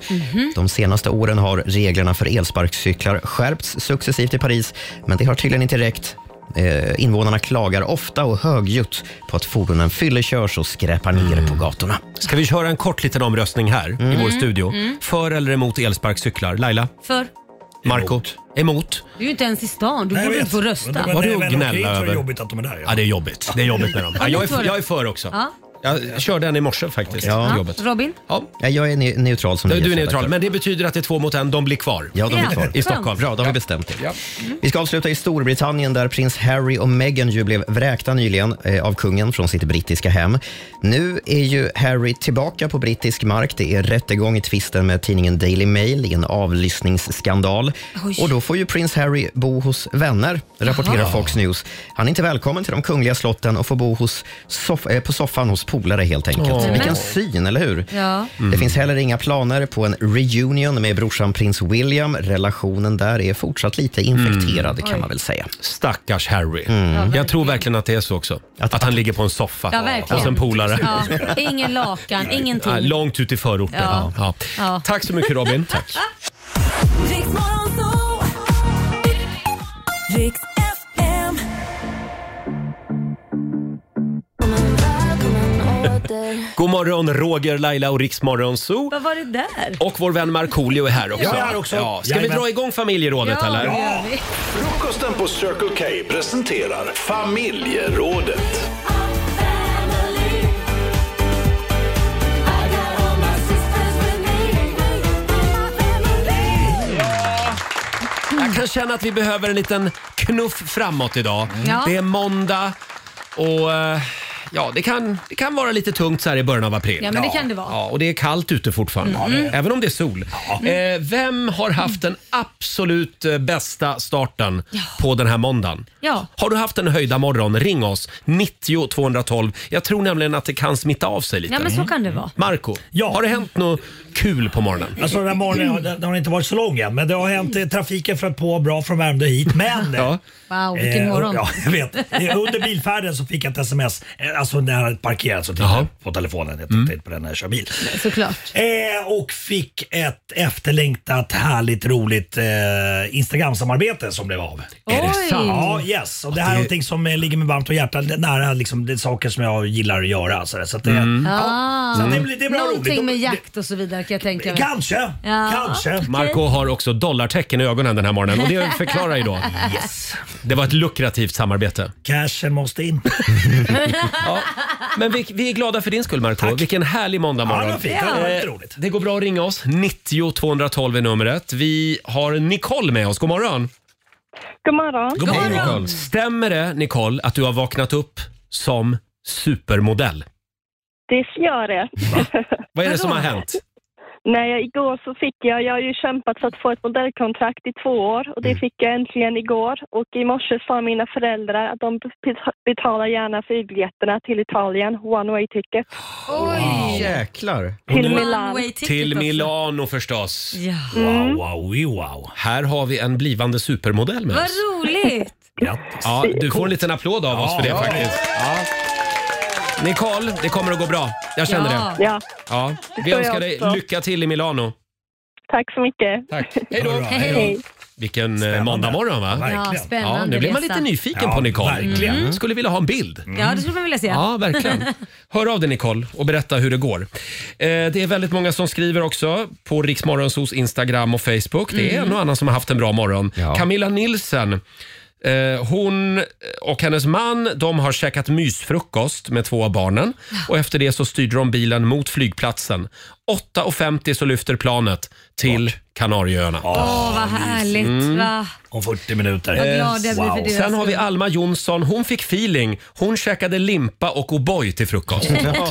[SPEAKER 3] De senaste åren har reglerna för elsparkcyklar skärpts successivt i Paris, men det har tydligen inte räckt. Eh, Invånarna klagar ofta och högljutt på att fordonen fyllekörs och skräpar ner
[SPEAKER 1] Mm.
[SPEAKER 3] på gatorna.
[SPEAKER 1] Ska vi köra en kort liten omröstning här i vår
[SPEAKER 6] Mm.
[SPEAKER 1] studio?
[SPEAKER 6] Mm.
[SPEAKER 1] För eller emot elsparkcyklar? Laila?
[SPEAKER 6] För
[SPEAKER 1] Marco? Emot?
[SPEAKER 6] du är ju inte ens i stan, du borde inte få rösta.
[SPEAKER 1] Vad du gnälla över?
[SPEAKER 10] att de är där. Ja.
[SPEAKER 1] det är jobbigt. Det är jobbigt med dem. Ja, jag, är för, jag är för också.
[SPEAKER 6] Ja.
[SPEAKER 1] Jag körde en i morse faktiskt.
[SPEAKER 6] Ja.
[SPEAKER 1] till jobbet.
[SPEAKER 6] Robin?
[SPEAKER 1] Ja.
[SPEAKER 3] Jag är ne- neutral som
[SPEAKER 1] Du, du är
[SPEAKER 3] nyhetsredaktör.
[SPEAKER 1] neutral, men det betyder att det är två mot en. De blir kvar.
[SPEAKER 3] Ja, de är
[SPEAKER 1] Ja,
[SPEAKER 3] kvar.
[SPEAKER 1] I Stockholm.
[SPEAKER 3] Bra, då har vi bestämt det.
[SPEAKER 15] Mm.
[SPEAKER 3] Vi ska avsluta i Storbritannien där prins Harry och Meghan ju blev vräkta nyligen eh, av kungen från sitt brittiska hem. Nu är ju Harry tillbaka på brittisk mark. Det är rättegång i tvisten med tidningen Daily Mail i en avlyssningsskandal.
[SPEAKER 15] Oj.
[SPEAKER 3] Och då får ju prins Harry bo hos vänner, rapporterar
[SPEAKER 15] Jaha.
[SPEAKER 3] Fox News. Han är inte välkommen till de kungliga slotten och får bo hos soff- eh, på soffan hos polare helt enkelt.
[SPEAKER 15] Åh.
[SPEAKER 3] Vilken
[SPEAKER 15] Men-
[SPEAKER 3] syn, eller hur?
[SPEAKER 15] Ja.
[SPEAKER 1] Mm.
[SPEAKER 3] Det finns heller inga planer på en reunion med brorsan prins William. Relationen där är fortsatt lite infekterad
[SPEAKER 1] Mm.
[SPEAKER 3] kan
[SPEAKER 1] Oj.
[SPEAKER 3] man väl säga.
[SPEAKER 1] Stackars Harry.
[SPEAKER 3] Mm.
[SPEAKER 1] Jag tror verkligen att det är så också. Att, han ligger på en soffa
[SPEAKER 6] Ja, verkligen.
[SPEAKER 1] hos en polare.
[SPEAKER 6] Ja. Ingen lakan,
[SPEAKER 1] Ja,
[SPEAKER 6] ingenting.
[SPEAKER 1] Långt ut i förorten.
[SPEAKER 6] Ja.
[SPEAKER 1] Ja.
[SPEAKER 6] Ja.
[SPEAKER 1] Tack så mycket Robin. Tack. God morgon Roger, Laila och Riksmorgon Zoo.
[SPEAKER 6] Vad var det där?
[SPEAKER 1] Och vår vän Markoolio är här också.
[SPEAKER 6] Jag är här också.
[SPEAKER 1] Ska vi
[SPEAKER 7] Jajamän.
[SPEAKER 1] dra igång familjerådet eller?
[SPEAKER 7] Frukosten på Circle K presenterar familjerådet.
[SPEAKER 1] Jag kan känna att vi behöver en liten knuff framåt idag.
[SPEAKER 6] Mm. Ja.
[SPEAKER 1] Det är måndag och eh, ja, det kan, det kan vara lite tungt så här i början av april.
[SPEAKER 6] Ja, men det kan det vara.
[SPEAKER 1] Ja, och det är kallt ute fortfarande,
[SPEAKER 6] Mm. Ja, det är det.
[SPEAKER 1] även om det är sol. Eh, vem har haft den absolut eh, bästa starten på den här måndagen?
[SPEAKER 6] Ja.
[SPEAKER 1] Har du haft en höjda morgon, ring oss. 90 212. Jag tror nämligen att det kan smitta av sig lite.
[SPEAKER 6] Ja, men så kan det vara.
[SPEAKER 1] Marco, har det hänt något kul på morgonen?
[SPEAKER 10] Alltså den här morgonen har- den har inte varit så lång än, men det har hänt. eh, Trafiken flöt på bra från Värmdö hit, men...
[SPEAKER 1] Ja.
[SPEAKER 6] Wow,
[SPEAKER 1] Eh,
[SPEAKER 6] vilken morgon.
[SPEAKER 10] Ja, jag vet. Eh, Under bilfärden så fick jag ett sms, eh, alltså när jag hade parkerat så tittade jag på telefonen.
[SPEAKER 7] Mm.
[SPEAKER 10] Jag tittade inte på den när jag kör bil.
[SPEAKER 6] Såklart.
[SPEAKER 10] Eh, och fick ett efterlängtat, härligt, roligt eh, Instagram-samarbete som blev av.
[SPEAKER 7] Är det Oj! sant?
[SPEAKER 10] Ja, yes. Och det här
[SPEAKER 7] Det-
[SPEAKER 10] är någonting som eh, ligger mig varmt om hjärtat. Det, nära, liksom, det är saker som jag gillar att göra. Så, där. så att det,
[SPEAKER 7] Mm.
[SPEAKER 6] Ah.
[SPEAKER 10] Mm. Så det blir- det blir roligt.
[SPEAKER 6] Någonting
[SPEAKER 10] De-
[SPEAKER 6] med jakt och så vidare kan jag tänka mig.
[SPEAKER 10] Kanske,
[SPEAKER 6] Ja.
[SPEAKER 10] kanske.
[SPEAKER 1] Marco har också dollartecken i ögonen den här morgonen och det förklarar ju då.
[SPEAKER 10] Yes.
[SPEAKER 1] Det var ett lukrativt samarbete.
[SPEAKER 10] Cashen måste in.
[SPEAKER 1] ja, men vi, vi är glada för din skull Marco. Vilken härlig måndag morgon.
[SPEAKER 10] Ja, det var fint. Det var
[SPEAKER 1] Eh,
[SPEAKER 10] lite roligt.
[SPEAKER 1] det går bra att ringa oss. 90 212 är numret. Vi har Nicole med oss. God morgon.
[SPEAKER 11] God morgon.
[SPEAKER 1] Hej, Nicole. Stämmer det Nicole att du har vaknat upp som supermodell?
[SPEAKER 11] Det gör det.
[SPEAKER 1] Vad är det som har
[SPEAKER 11] Vadå?
[SPEAKER 1] hänt?
[SPEAKER 11] Nej, jag- igår så fick jag, jag har ju kämpat för att få ett modellkontrakt i två år
[SPEAKER 1] Mm.
[SPEAKER 11] och det fick jag äntligen igår. Och i morse sa mina föräldrar att de bet- betalar gärna flygbiljetterna till Italien, one way ticket.
[SPEAKER 6] Oj!
[SPEAKER 3] Jäklar.
[SPEAKER 11] Till Milano.
[SPEAKER 1] Till Milano förstås.
[SPEAKER 6] Ja.
[SPEAKER 11] Mm.
[SPEAKER 1] Wow,
[SPEAKER 10] wow, wow.
[SPEAKER 1] Här har vi en blivande supermodell med
[SPEAKER 6] Vad
[SPEAKER 1] oss.
[SPEAKER 6] roligt!
[SPEAKER 1] Ja, du får en liten applåd av oss
[SPEAKER 7] Ja,
[SPEAKER 1] för det
[SPEAKER 7] ja.
[SPEAKER 1] faktiskt. Ja. Nicole, det kommer att gå bra. Jag känner
[SPEAKER 6] Ja.
[SPEAKER 1] det.
[SPEAKER 11] Ja.
[SPEAKER 1] Ja.
[SPEAKER 11] Det
[SPEAKER 1] Vi
[SPEAKER 11] tror jag
[SPEAKER 1] önskar dig
[SPEAKER 11] också.
[SPEAKER 1] lycka till i Milano.
[SPEAKER 11] Tack så mycket.
[SPEAKER 1] Tack. Hej då.
[SPEAKER 11] Hej.
[SPEAKER 1] Vilken eh, måndagmorgon va?
[SPEAKER 6] Verkligen. Ja, spännande
[SPEAKER 1] nu blir man
[SPEAKER 6] resa.
[SPEAKER 1] lite nyfiken
[SPEAKER 6] Ja,
[SPEAKER 1] på Nicole.
[SPEAKER 6] verkligen. Mm.
[SPEAKER 1] Skulle vilja ha en bild.
[SPEAKER 6] Ja, det skulle man vilja se.
[SPEAKER 1] Ja, verkligen. Hör av dig Nicole och berätta hur det går. Eh, det är väldigt många som skriver också på Riksmorgonsos Instagram och Facebook. Det är
[SPEAKER 15] Mm.
[SPEAKER 1] en och annan som har haft en bra morgon. Camilla Nilsen eh, hon och hennes man de har käkat mysfrukost med två av barnen och efter det så styrde de bilen mot flygplatsen. 8.50 så lyfter planet till Kanarieöarna. Mm.
[SPEAKER 6] Åh, vad härligt va?
[SPEAKER 1] Om 40 minuter.
[SPEAKER 6] Vad glad jag blir för deras
[SPEAKER 1] Sen har vi
[SPEAKER 6] skull.
[SPEAKER 1] Alma Jonsson. Hon fick feeling. Hon käkade limpa och O'boy till frukost.
[SPEAKER 6] Ja.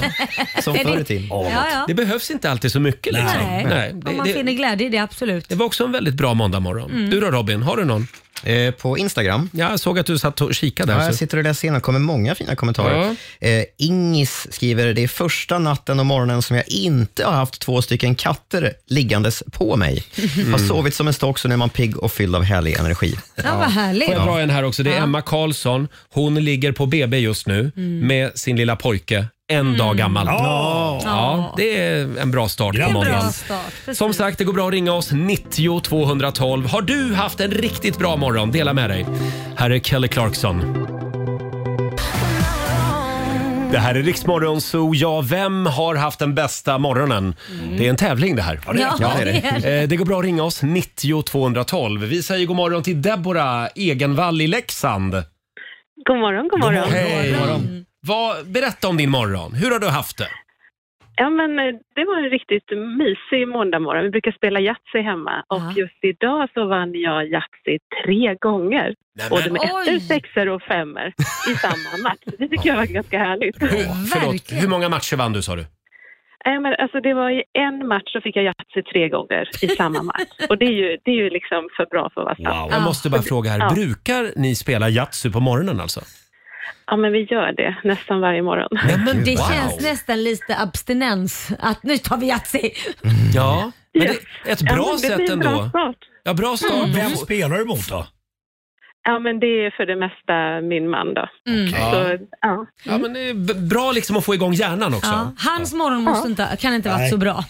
[SPEAKER 1] Som
[SPEAKER 6] Det är
[SPEAKER 1] förr i
[SPEAKER 6] det-
[SPEAKER 1] tiden.
[SPEAKER 6] Ja, ja.
[SPEAKER 1] Det behövs inte alltid så mycket. Liksom.
[SPEAKER 6] Nej, om man
[SPEAKER 1] det, det,
[SPEAKER 6] finner glädje i det, absolut.
[SPEAKER 1] det var också en väldigt bra måndagmorgon.
[SPEAKER 6] Mm.
[SPEAKER 1] Du då Robin, har du någon?
[SPEAKER 3] Eh, på Instagram.
[SPEAKER 1] Jag såg att du satt och kikade.
[SPEAKER 3] Ja,
[SPEAKER 1] alltså.
[SPEAKER 3] jag sitter och läser igenom. Det kommer många fina kommentarer. Eh, Ingis skriver, det är första natten och morgonen som jag inte har haft två stycken katter liggandes på mig. Har
[SPEAKER 1] Mm.
[SPEAKER 3] sovit som en stock, så nu är man pigg och fylld av härlig energi.
[SPEAKER 6] Ja, vad härligt.
[SPEAKER 1] Får jag dra en här också? Det är
[SPEAKER 6] Ja.
[SPEAKER 1] Emma Karlsson. Hon ligger på BB just nu
[SPEAKER 6] Mm.
[SPEAKER 1] med sin lilla pojke. En dag gammal.
[SPEAKER 6] Ja.
[SPEAKER 1] Ja, det är en bra start på morgonen. Som sagt, det går bra att ringa oss. 90 212. Har du haft en riktigt bra morgon? Dela med dig. Här är Kelly Clarkson. Det här är Riksmorgon Zoo. Ja, vem har haft den bästa morgonen? Det är en tävling det här.
[SPEAKER 6] Mm. Ja, det är det. Ja, det är det.
[SPEAKER 1] Eh, Det går bra att ringa oss. 90 212. Vi säger god morgon till Deborah Egenvall i Leksand.
[SPEAKER 16] God morgon, god morgon.
[SPEAKER 1] Hej. Vad, berätta om din morgon. Hur har du haft det?
[SPEAKER 16] Ja, men eh, det var en riktigt mysig måndagmorgon. Vi brukar spela Yatzy hemma och just idag så vann jag Yatzy tre gånger. Både med ettor, sexor och femmor i samma match. Det tycker jag var ganska härligt.
[SPEAKER 1] Förlåt, hur många matcher vann du sa du?
[SPEAKER 16] Nej, men alltså, det var i en match så fick jag Yatzy tre gånger i samma match. Och det är ju, det är ju liksom för bra för att vara sant.
[SPEAKER 1] Jag måste bara fråga här,
[SPEAKER 16] Ja.
[SPEAKER 1] brukar ni spela Yatzy på morgonen alltså?
[SPEAKER 16] Ja, men vi gör det nästan varje morgon.
[SPEAKER 1] men
[SPEAKER 6] Det
[SPEAKER 1] wow.
[SPEAKER 6] känns nästan lite abstinens att nu tar vi Yatzy.
[SPEAKER 1] Ja, Mm. men det, ett
[SPEAKER 16] Ja,
[SPEAKER 1] bra
[SPEAKER 16] men det
[SPEAKER 1] sätt
[SPEAKER 16] blir en bra
[SPEAKER 1] ändå.
[SPEAKER 16] start.
[SPEAKER 1] Ja, bra start.
[SPEAKER 16] Mm. Vem
[SPEAKER 1] spelar du mot då?
[SPEAKER 16] Ja, men det är för det mesta min man då.
[SPEAKER 6] Mm.
[SPEAKER 16] Så, ja.
[SPEAKER 1] Ja, men det är b- bra liksom att få igång hjärnan också.
[SPEAKER 6] Ja, hans morgon måste inte, kan inte varit
[SPEAKER 1] Nej.
[SPEAKER 6] så bra.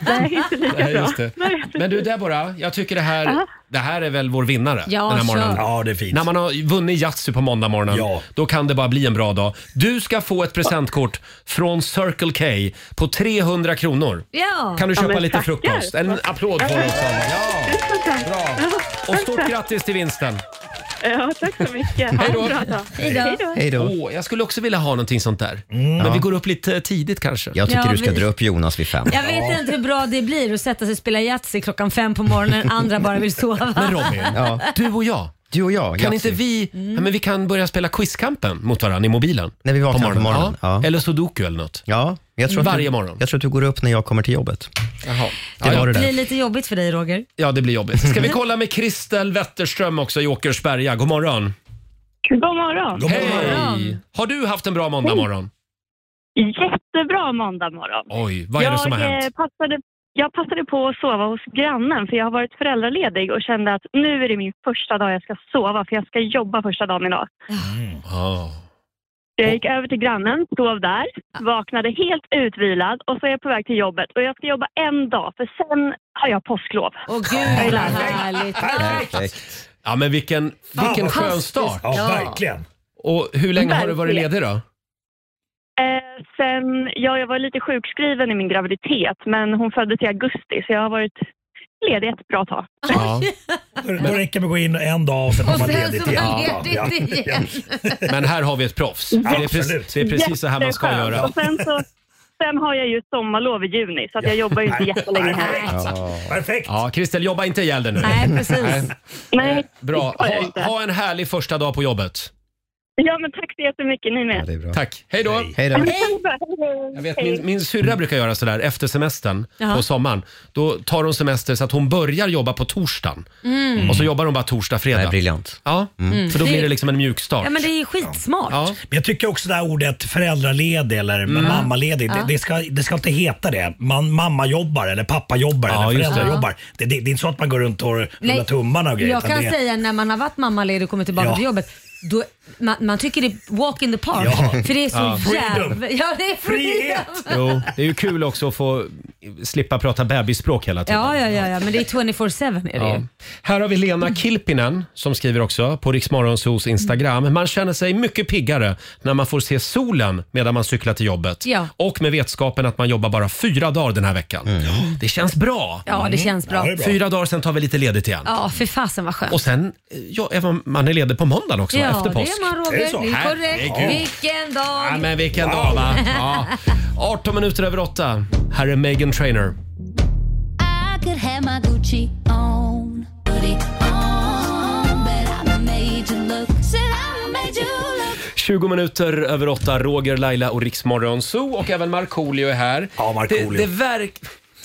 [SPEAKER 16] Nej, inte
[SPEAKER 1] Nej, just det. Men du Deborah, jag tycker det här, det här är väl vår vinnare
[SPEAKER 6] Ja,
[SPEAKER 1] den här morgonen.
[SPEAKER 6] kör.
[SPEAKER 1] Ja, det är fint. När man har vunnit Yatzy på måndagmorgonen, då kan det bara bli en bra dag. Du ska få ett presentkort från Circle K på 300 kronor.
[SPEAKER 6] Ja.
[SPEAKER 1] Kan du
[SPEAKER 6] Ja,
[SPEAKER 1] köpa
[SPEAKER 6] men
[SPEAKER 1] lite
[SPEAKER 6] tackar.
[SPEAKER 1] frukost? En applåd får du också. Och stort grattis till vinsten!
[SPEAKER 16] Ja, tack så mycket.
[SPEAKER 1] Hej då.
[SPEAKER 16] Ha en bra dag.
[SPEAKER 3] Hej då. Mm.
[SPEAKER 1] Åh, jag skulle också vilja ha någonting sånt där. Men
[SPEAKER 3] Ja.
[SPEAKER 1] vi går upp lite tidigt kanske.
[SPEAKER 3] Jag tycker
[SPEAKER 6] Ja,
[SPEAKER 3] du ska
[SPEAKER 6] vi-
[SPEAKER 3] dra upp Jonas vid fem.
[SPEAKER 6] Jag vet inte hur bra det blir att sätta sig och spela Yatzy klockan fem på morgonen andra bara vill sova.
[SPEAKER 1] Men Robin, du och jag.
[SPEAKER 3] Du och jag,
[SPEAKER 1] Kan
[SPEAKER 3] Yatzy.
[SPEAKER 1] inte vi, ja, men vi kan börja spela Quizkampen mot varandra i mobilen? När vi
[SPEAKER 3] vaknar på morgonen,
[SPEAKER 1] Ja. Eller Sudoku eller något.
[SPEAKER 3] Ja, jag tror att
[SPEAKER 1] Varje
[SPEAKER 3] du,
[SPEAKER 1] morgon.
[SPEAKER 3] Jag tror att du går upp när jag kommer till jobbet.
[SPEAKER 1] Jaha.
[SPEAKER 3] Det var det
[SPEAKER 6] blir
[SPEAKER 3] där.
[SPEAKER 6] lite jobbigt för dig Roger.
[SPEAKER 1] Ja, det blir jobbigt. Ska vi kolla med Kristel Wetterström också i Åkersberga? God morgon.
[SPEAKER 17] God morgon.
[SPEAKER 1] Hej! Har du haft en bra måndagmorgon?
[SPEAKER 17] Jättebra måndag morgon.
[SPEAKER 1] Oj, vad är det som har
[SPEAKER 17] jag, eh,
[SPEAKER 1] hänt?
[SPEAKER 17] Passade, jag passade på att sova hos grannen för jag har varit föräldraledig och kände att nu är det min första dag jag ska sova för jag ska jobba första dagen idag.
[SPEAKER 6] Ah.
[SPEAKER 1] Ja.
[SPEAKER 17] Jag gick över till grannen, sov där,
[SPEAKER 6] Ah.
[SPEAKER 17] vaknade helt utvilad och så är jag på väg till jobbet och jag ska jobba en dag för sen har jag påsklov.
[SPEAKER 6] Åh gud vad härligt.
[SPEAKER 1] Ja, men vilken, vilken skön
[SPEAKER 17] fantastiskt.
[SPEAKER 1] start.
[SPEAKER 17] Ja, verkligen.
[SPEAKER 1] Och hur länge har du varit
[SPEAKER 17] Verkligen.
[SPEAKER 1] ledig då?
[SPEAKER 17] Eh, sen, ja, jag var lite sjukskriven i min graviditet men hon föddes i augusti så jag har varit ledig ett bra tag.
[SPEAKER 1] Ja.
[SPEAKER 10] Då då räcker det med att gå in en dag och sen har man ledigt igen. Ja.
[SPEAKER 1] Men här har vi ett proffs. Det är, precis, det är precis så här man ska
[SPEAKER 17] Jätteskönt.
[SPEAKER 1] göra.
[SPEAKER 17] Och sen, så, sen har jag ju sommarlov i juni så att jag jobbar ju inte jättelänge heller.
[SPEAKER 1] Perfekt! Ja, Kristel, jobba inte ihjäl dig nu.
[SPEAKER 17] Nej, precis. Nej,
[SPEAKER 1] Bra.
[SPEAKER 17] det får jag
[SPEAKER 1] Ha, ha en härlig första dag på jobbet.
[SPEAKER 17] Ja, men tack så jättemycket ni med.
[SPEAKER 1] Tack. Hej då!
[SPEAKER 3] Hej
[SPEAKER 1] Jag vet, min, min syrra brukar göra sådär efter semestern
[SPEAKER 6] Jaha.
[SPEAKER 1] på sommaren. Då tar hon semester så att hon börjar jobba på torsdagen.
[SPEAKER 10] Mm.
[SPEAKER 1] Och så jobbar hon bara torsdag, fredag.
[SPEAKER 3] Nej, briljant.
[SPEAKER 1] Ja,
[SPEAKER 6] Mm.
[SPEAKER 1] för då blir
[SPEAKER 6] Det-
[SPEAKER 1] det liksom en mjuk start.
[SPEAKER 6] Ja men det är skitsmart.
[SPEAKER 10] Men jag tycker också det här ordet föräldraled eller
[SPEAKER 1] Mm.
[SPEAKER 10] mammaledig,
[SPEAKER 6] Ja.
[SPEAKER 10] det, det, ska, det ska inte heta det. Man mamma jobbar eller pappa jobbar
[SPEAKER 1] Ja,
[SPEAKER 10] eller
[SPEAKER 1] just det.
[SPEAKER 10] föräldrar jobbar. Det, det, det är inte så att man går runt och rullar tummarna och grejer.
[SPEAKER 6] jag
[SPEAKER 10] utan
[SPEAKER 6] kan
[SPEAKER 10] det,
[SPEAKER 6] säga när man har varit mammaledig och kommit tillbaka
[SPEAKER 10] Ja.
[SPEAKER 6] till jobbet. då, man, man tycker det är walk in the park.
[SPEAKER 1] Ja.
[SPEAKER 6] För det är så
[SPEAKER 1] Ja. Freedom.
[SPEAKER 6] jävla... Ja, det är freedom!
[SPEAKER 1] Jo, det är ju kul också att få slippa prata bebisspråk hela tiden.
[SPEAKER 6] Ja, ja, ja, ja, men det är 24-7 är det Mm.
[SPEAKER 1] Ja.
[SPEAKER 6] ju.
[SPEAKER 1] Här har vi Lena Kilpinen som skriver också på Riksmorgonsos Instagram. Man känner sig mycket piggare när man får se solen medan man cyklar till jobbet.
[SPEAKER 6] Ja.
[SPEAKER 1] Och med vetskapen att man jobbar bara fyra dagar den här veckan. Det känns bra. Mm.
[SPEAKER 6] Ja, det känns bra. Mm. Ja, det är bra.
[SPEAKER 1] Fyra dagar, sen tar vi lite ledigt igen.
[SPEAKER 6] Ja, för fasen vad skönt.
[SPEAKER 1] Och sen ja, är man- man är ledig på måndagen också,
[SPEAKER 6] ja,
[SPEAKER 1] efter påsk.
[SPEAKER 6] det är man Roger. Det är, korrekt.
[SPEAKER 1] Herregud.
[SPEAKER 6] Vilken dag!
[SPEAKER 1] Ja, men vilken dag va? Ja. 18 minuter över 8. Här är Megan Trainer.
[SPEAKER 15] I could have my Gucci on, put it on, but I made you look. Said I made you look.
[SPEAKER 1] 20 minuter över 8. Roger, Laila och Riksmorgon Zoo och även Markoolio är här. Ja, Markoolio. Det, det verk...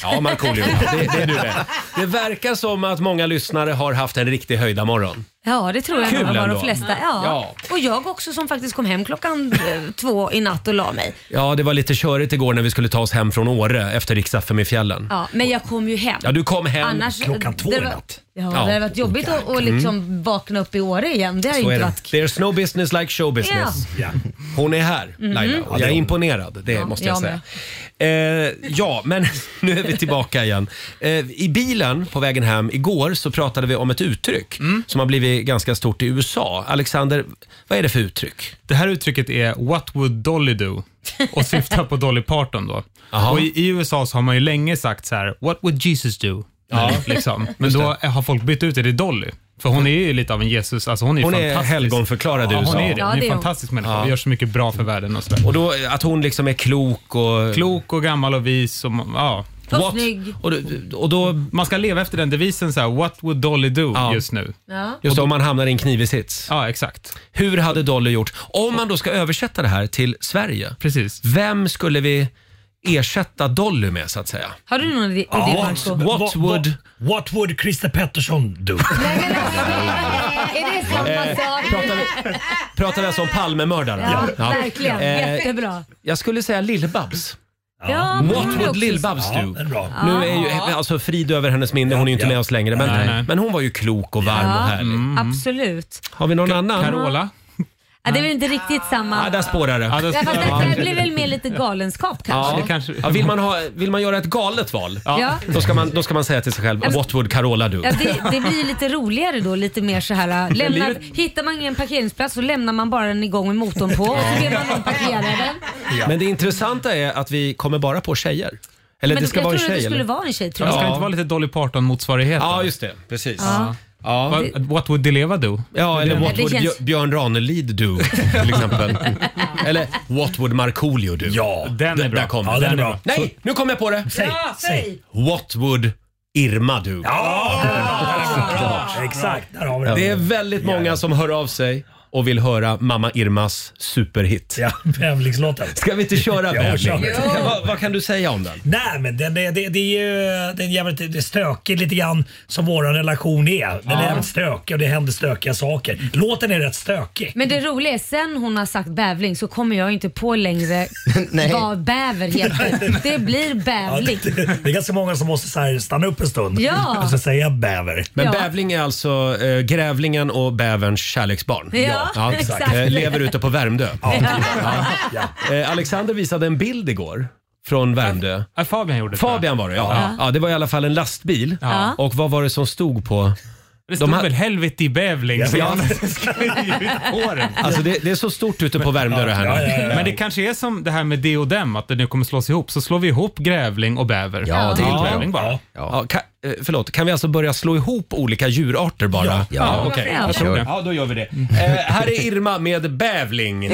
[SPEAKER 1] Ja, Markoolio. Det, det är du det. Det verkar som att många lyssnare har haft en riktig höjda morgon.
[SPEAKER 6] Ja, det tror jag
[SPEAKER 1] Kul
[SPEAKER 6] nog var
[SPEAKER 1] ändå.
[SPEAKER 6] de flesta. Ja.
[SPEAKER 1] Ja.
[SPEAKER 6] Och jag också som faktiskt kom hem klockan eh, två i natt och la mig.
[SPEAKER 1] Ja, det var lite körigt igår när vi skulle ta oss hem från Åre efter Rix FM i fjällen.
[SPEAKER 6] Ja, men jag kom ju hem.
[SPEAKER 1] Ja, du kom hem klockan två i
[SPEAKER 6] det var-
[SPEAKER 1] natt.
[SPEAKER 6] Ja,
[SPEAKER 1] Ja. Mm.
[SPEAKER 6] det hade varit jobbigt att, att liksom vakna upp i Åre igen. Det hade
[SPEAKER 1] Så
[SPEAKER 6] inte
[SPEAKER 1] är det.
[SPEAKER 6] varit
[SPEAKER 1] There's no business like show business.
[SPEAKER 6] Ja.
[SPEAKER 1] Hon är här,
[SPEAKER 6] Mhm.
[SPEAKER 1] Laila.
[SPEAKER 6] Ja, det
[SPEAKER 1] Och jag
[SPEAKER 6] är
[SPEAKER 1] är
[SPEAKER 6] hon.
[SPEAKER 1] imponerad, det
[SPEAKER 6] Ja,
[SPEAKER 1] måste jag
[SPEAKER 6] jag
[SPEAKER 1] säga. Eh, ja, men nu är vi tillbaka igen. Eh, I bilen på vägen hem igår så pratade vi om ett uttryck
[SPEAKER 6] Mm.
[SPEAKER 1] som har blivit ganska stort i USA. Alexander, vad är det för uttryck?
[SPEAKER 4] Det här uttrycket är “What would Dolly do?” och syftar på Dolly Parton. Då.
[SPEAKER 1] Aha.
[SPEAKER 4] Och i, I USA så har man ju länge sagt så här “What would Jesus do?”
[SPEAKER 1] Ja.
[SPEAKER 4] liksom. Men
[SPEAKER 1] Just
[SPEAKER 4] då har folk bytt ut det till Dolly. För hon är ju lite av en Jesus. Alltså hon är, ju
[SPEAKER 1] Hon är
[SPEAKER 4] fantastisk.
[SPEAKER 1] helgonförklarad i
[SPEAKER 4] ja, Hon
[SPEAKER 1] USA.
[SPEAKER 4] är, det.
[SPEAKER 1] Ja,
[SPEAKER 4] Hon är
[SPEAKER 1] det är
[SPEAKER 4] en
[SPEAKER 1] hon.
[SPEAKER 4] fantastisk människa.
[SPEAKER 1] Ja.
[SPEAKER 4] Vi gör så mycket bra för världen och sådär.
[SPEAKER 1] Och då, att hon liksom är klok och...
[SPEAKER 4] Klok och gammal och vis och ja.
[SPEAKER 6] Och snygg.
[SPEAKER 1] Och, då...
[SPEAKER 4] Man ska leva efter den devisen så här, “What would Dolly do?”
[SPEAKER 1] Ja.
[SPEAKER 4] just nu.
[SPEAKER 6] Ja.
[SPEAKER 1] Just om man hamnar i en knivig sits.
[SPEAKER 4] Ja, exakt.
[SPEAKER 1] Hur hade Dolly gjort? Om man då ska översätta det här till Sverige,
[SPEAKER 4] Precis.
[SPEAKER 1] vem skulle vi ersätta Dolly med så att säga?
[SPEAKER 6] Har du någon idé,
[SPEAKER 10] Ja,
[SPEAKER 6] Marco?
[SPEAKER 1] what, what would...
[SPEAKER 10] What would Christer Pettersson do?
[SPEAKER 6] Är det samma
[SPEAKER 1] Eh,
[SPEAKER 6] sak?
[SPEAKER 1] Pratar vi alltså om Palmemördaren?
[SPEAKER 6] Eh, Ja, verkligen.
[SPEAKER 1] Eh,
[SPEAKER 6] Jättebra.
[SPEAKER 1] Jag skulle säga Lill-Babs.
[SPEAKER 6] Ja, men det
[SPEAKER 1] What
[SPEAKER 6] är
[SPEAKER 1] would
[SPEAKER 6] också-
[SPEAKER 1] Lill-Babs
[SPEAKER 6] Ja,
[SPEAKER 1] do?
[SPEAKER 6] den är bra.
[SPEAKER 1] Nu är ju alltså, frid över hennes minne, hon är ju inte med oss längre. Men,
[SPEAKER 4] Nej, nej.
[SPEAKER 1] men hon var ju klok och varm och
[SPEAKER 6] Ja,
[SPEAKER 1] härlig.
[SPEAKER 6] Absolut.
[SPEAKER 1] Har vi någon annan?
[SPEAKER 4] Carola?
[SPEAKER 6] Ja, det är väl inte riktigt samma.
[SPEAKER 1] Ja, där spårar det.
[SPEAKER 6] Därför att det här blir väl mer lite galenskap kanske?
[SPEAKER 1] Ja. Ja, vill, man ha, vill man göra ett galet val,
[SPEAKER 6] Ja.
[SPEAKER 1] då, ska man, då ska man säga till sig själv
[SPEAKER 6] Ja, men-
[SPEAKER 1] “What would Carola do?”
[SPEAKER 6] Ja, det, det blir lite roligare då, lite mer så här. äh, Lämnar,
[SPEAKER 1] Livet-
[SPEAKER 6] hittar man ingen parkeringsplats så lämnar man bara den igång med motorn på och så ber man någon parkera den.
[SPEAKER 1] Men det intressanta är att vi kommer bara på tjejer. Eller
[SPEAKER 6] Men
[SPEAKER 1] det ska
[SPEAKER 6] jag
[SPEAKER 1] vara en
[SPEAKER 6] trodde
[SPEAKER 1] tjej.
[SPEAKER 6] att det skulle
[SPEAKER 1] eller?
[SPEAKER 6] vara en tjej tror
[SPEAKER 4] Ja.
[SPEAKER 6] jag.
[SPEAKER 4] Ska det inte vara lite Dolly Parton-motsvarighet?
[SPEAKER 1] Ja, just det. Precis.
[SPEAKER 6] Ja.
[SPEAKER 1] Ja.
[SPEAKER 4] What, what would Dileva do?
[SPEAKER 1] Ja, eller
[SPEAKER 4] Det-
[SPEAKER 1] what
[SPEAKER 4] det
[SPEAKER 1] would
[SPEAKER 4] känns-
[SPEAKER 1] Björ- Björn Ranelid do? Till exempel. eller what would Markoolio do? Ja,
[SPEAKER 4] den är bra.
[SPEAKER 1] Där kom
[SPEAKER 4] Ja, den är bra.
[SPEAKER 1] Nej, nu kom jag på det.
[SPEAKER 10] Säg, Ja, säg.
[SPEAKER 1] What would Irma do?
[SPEAKER 10] Exakt, där har vi
[SPEAKER 1] Det är väldigt många som hör av sig och vill höra mamma Irmas superhit.
[SPEAKER 10] Ja, Bävlingslåten.
[SPEAKER 1] Ska vi inte köra
[SPEAKER 10] Ja, kör
[SPEAKER 1] Bävling?
[SPEAKER 10] vi.
[SPEAKER 1] Vad, vad kan du säga om den?
[SPEAKER 10] Nej, men den är, det, det är ju den är jävligt det är stökig lite grann som vår relation är. Den
[SPEAKER 6] Ja.
[SPEAKER 10] är jävligt stökig och det händer stökiga saker. Låten är rätt stökig.
[SPEAKER 6] Men det roliga är sen hon har sagt bävling så kommer jag inte på längre
[SPEAKER 10] Nej.
[SPEAKER 6] vad bäver heter. Det blir
[SPEAKER 10] Ja,
[SPEAKER 6] bävling.
[SPEAKER 10] det, det är ganska många som måste så här stanna upp en stund
[SPEAKER 6] Ja.
[SPEAKER 10] och så säga bäver.
[SPEAKER 1] Men bävling är alltså eh, grävlingen och bäverns kärleksbarn.
[SPEAKER 10] Ja, exakt.
[SPEAKER 1] Eh, lever ute på Värmdö.
[SPEAKER 10] Ja.
[SPEAKER 1] Eh, Alexander visade en bild igår från Värmdö.
[SPEAKER 4] Fabian gjorde det.
[SPEAKER 1] Fabian var det, ja. ja. Det var i alla fall en lastbil.
[SPEAKER 4] Ja.
[SPEAKER 1] Och vad var det som stod på?
[SPEAKER 4] Det stod
[SPEAKER 1] ha-
[SPEAKER 4] väl helvete i bävling.
[SPEAKER 1] Ja.
[SPEAKER 4] så jag skrev ju på den.
[SPEAKER 1] Alltså det, det är så stort ute på Värmdö det här nu.
[SPEAKER 4] Men det kanske är som det här med det och dem, att det nu kommer slås ihop. Så slår vi ihop grävling och bäver.
[SPEAKER 1] Ja, det är
[SPEAKER 4] till
[SPEAKER 1] bra.
[SPEAKER 4] bävling bara.
[SPEAKER 1] Ja, ka, eh, förlåt, kan vi alltså börja slå ihop olika djurarter bara?
[SPEAKER 4] Ja.
[SPEAKER 1] ja
[SPEAKER 4] Ja,
[SPEAKER 1] okej.
[SPEAKER 4] ja.
[SPEAKER 1] Jag tror det.
[SPEAKER 4] Kör.
[SPEAKER 1] Ja, då gör vi det. Eh, här är Irma med bävling.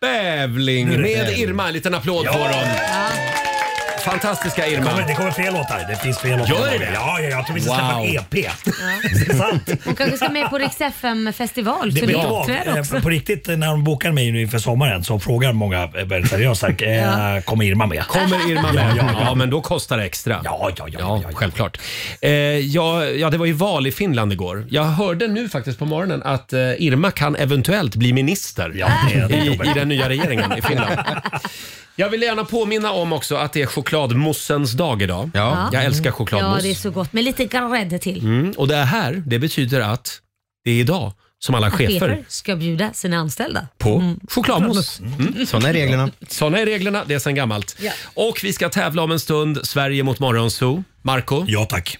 [SPEAKER 1] Bävling
[SPEAKER 10] Nu är det
[SPEAKER 1] med
[SPEAKER 10] bävling.
[SPEAKER 1] Irma. En liten applåd på dem. Fantastiska
[SPEAKER 10] Det
[SPEAKER 1] Irma.
[SPEAKER 10] kommer, det kommer fler låtar. Det finns fler låtar.
[SPEAKER 1] Gör det det?
[SPEAKER 10] Ja, ja, jag tror vi ska släppa E
[SPEAKER 1] Wow.
[SPEAKER 10] en EP. Det är sant.
[SPEAKER 6] Hon kanske ska med på Rix FM-festival,
[SPEAKER 10] Det, vet du vad?
[SPEAKER 6] turnéuppträde också.
[SPEAKER 10] Eh, på riktigt, eh, när de bokar mig nu inför sommaren så frågar många eh, väldigt seriöst eh,
[SPEAKER 1] Ja.
[SPEAKER 10] kommer Irma med?
[SPEAKER 1] Kommer Irma
[SPEAKER 10] Ja,
[SPEAKER 1] med?
[SPEAKER 10] ja, ja.
[SPEAKER 1] men då kostar det extra.
[SPEAKER 10] Ja, ja, ja. ja,
[SPEAKER 1] Självklart. Eh, ja, ja, det var ju val i Finland igår. Jag hörde nu faktiskt på morgonen att eh, Irma kan eventuellt bli minister
[SPEAKER 10] det är- det är
[SPEAKER 1] i,
[SPEAKER 10] jobbigt.
[SPEAKER 1] i den nya regeringen i Finland. Jag vill gärna påminna om också att det är chokladmossens dag idag.
[SPEAKER 6] Ja.
[SPEAKER 1] Jag älskar
[SPEAKER 6] Ja,
[SPEAKER 1] chokladmousse.
[SPEAKER 6] det är så gott. Med lite grädde till.
[SPEAKER 1] Mm, och det här, det betyder att det är idag som alla chefer
[SPEAKER 6] ska bjuda sina anställda.
[SPEAKER 1] på chokladmousse. Mm.
[SPEAKER 3] Såna är reglerna.
[SPEAKER 1] Såna är reglerna, det är sedan gammalt.
[SPEAKER 6] Ja.
[SPEAKER 1] Och vi ska tävla om en stund, Sverige mot Morgonzoo. Marco?
[SPEAKER 10] Ja tack.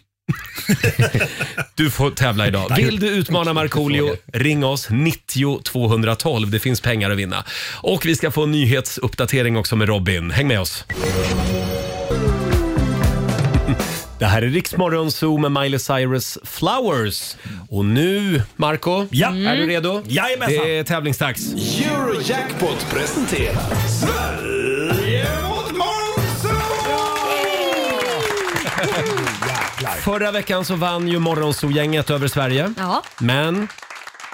[SPEAKER 1] du får tävla idag.
[SPEAKER 10] Tack.
[SPEAKER 1] Vill du utmana Markoolio, ring oss 90 212. Det finns pengar att vinna. Och vi ska få en nyhetsuppdatering också med Robin. Häng med oss. Det här är Riksmorgon Zoo med Miley Cyrus Flowers. Och nu, Marco,
[SPEAKER 10] ja.
[SPEAKER 1] är du redo?
[SPEAKER 7] Jajamensan.
[SPEAKER 1] Det är tävlingsdags.
[SPEAKER 7] Eurojackpot presenterar Sverige mot
[SPEAKER 1] Förra veckan så vann ju Morgonzoo-gänget över Sverige.
[SPEAKER 6] Ja.
[SPEAKER 1] Men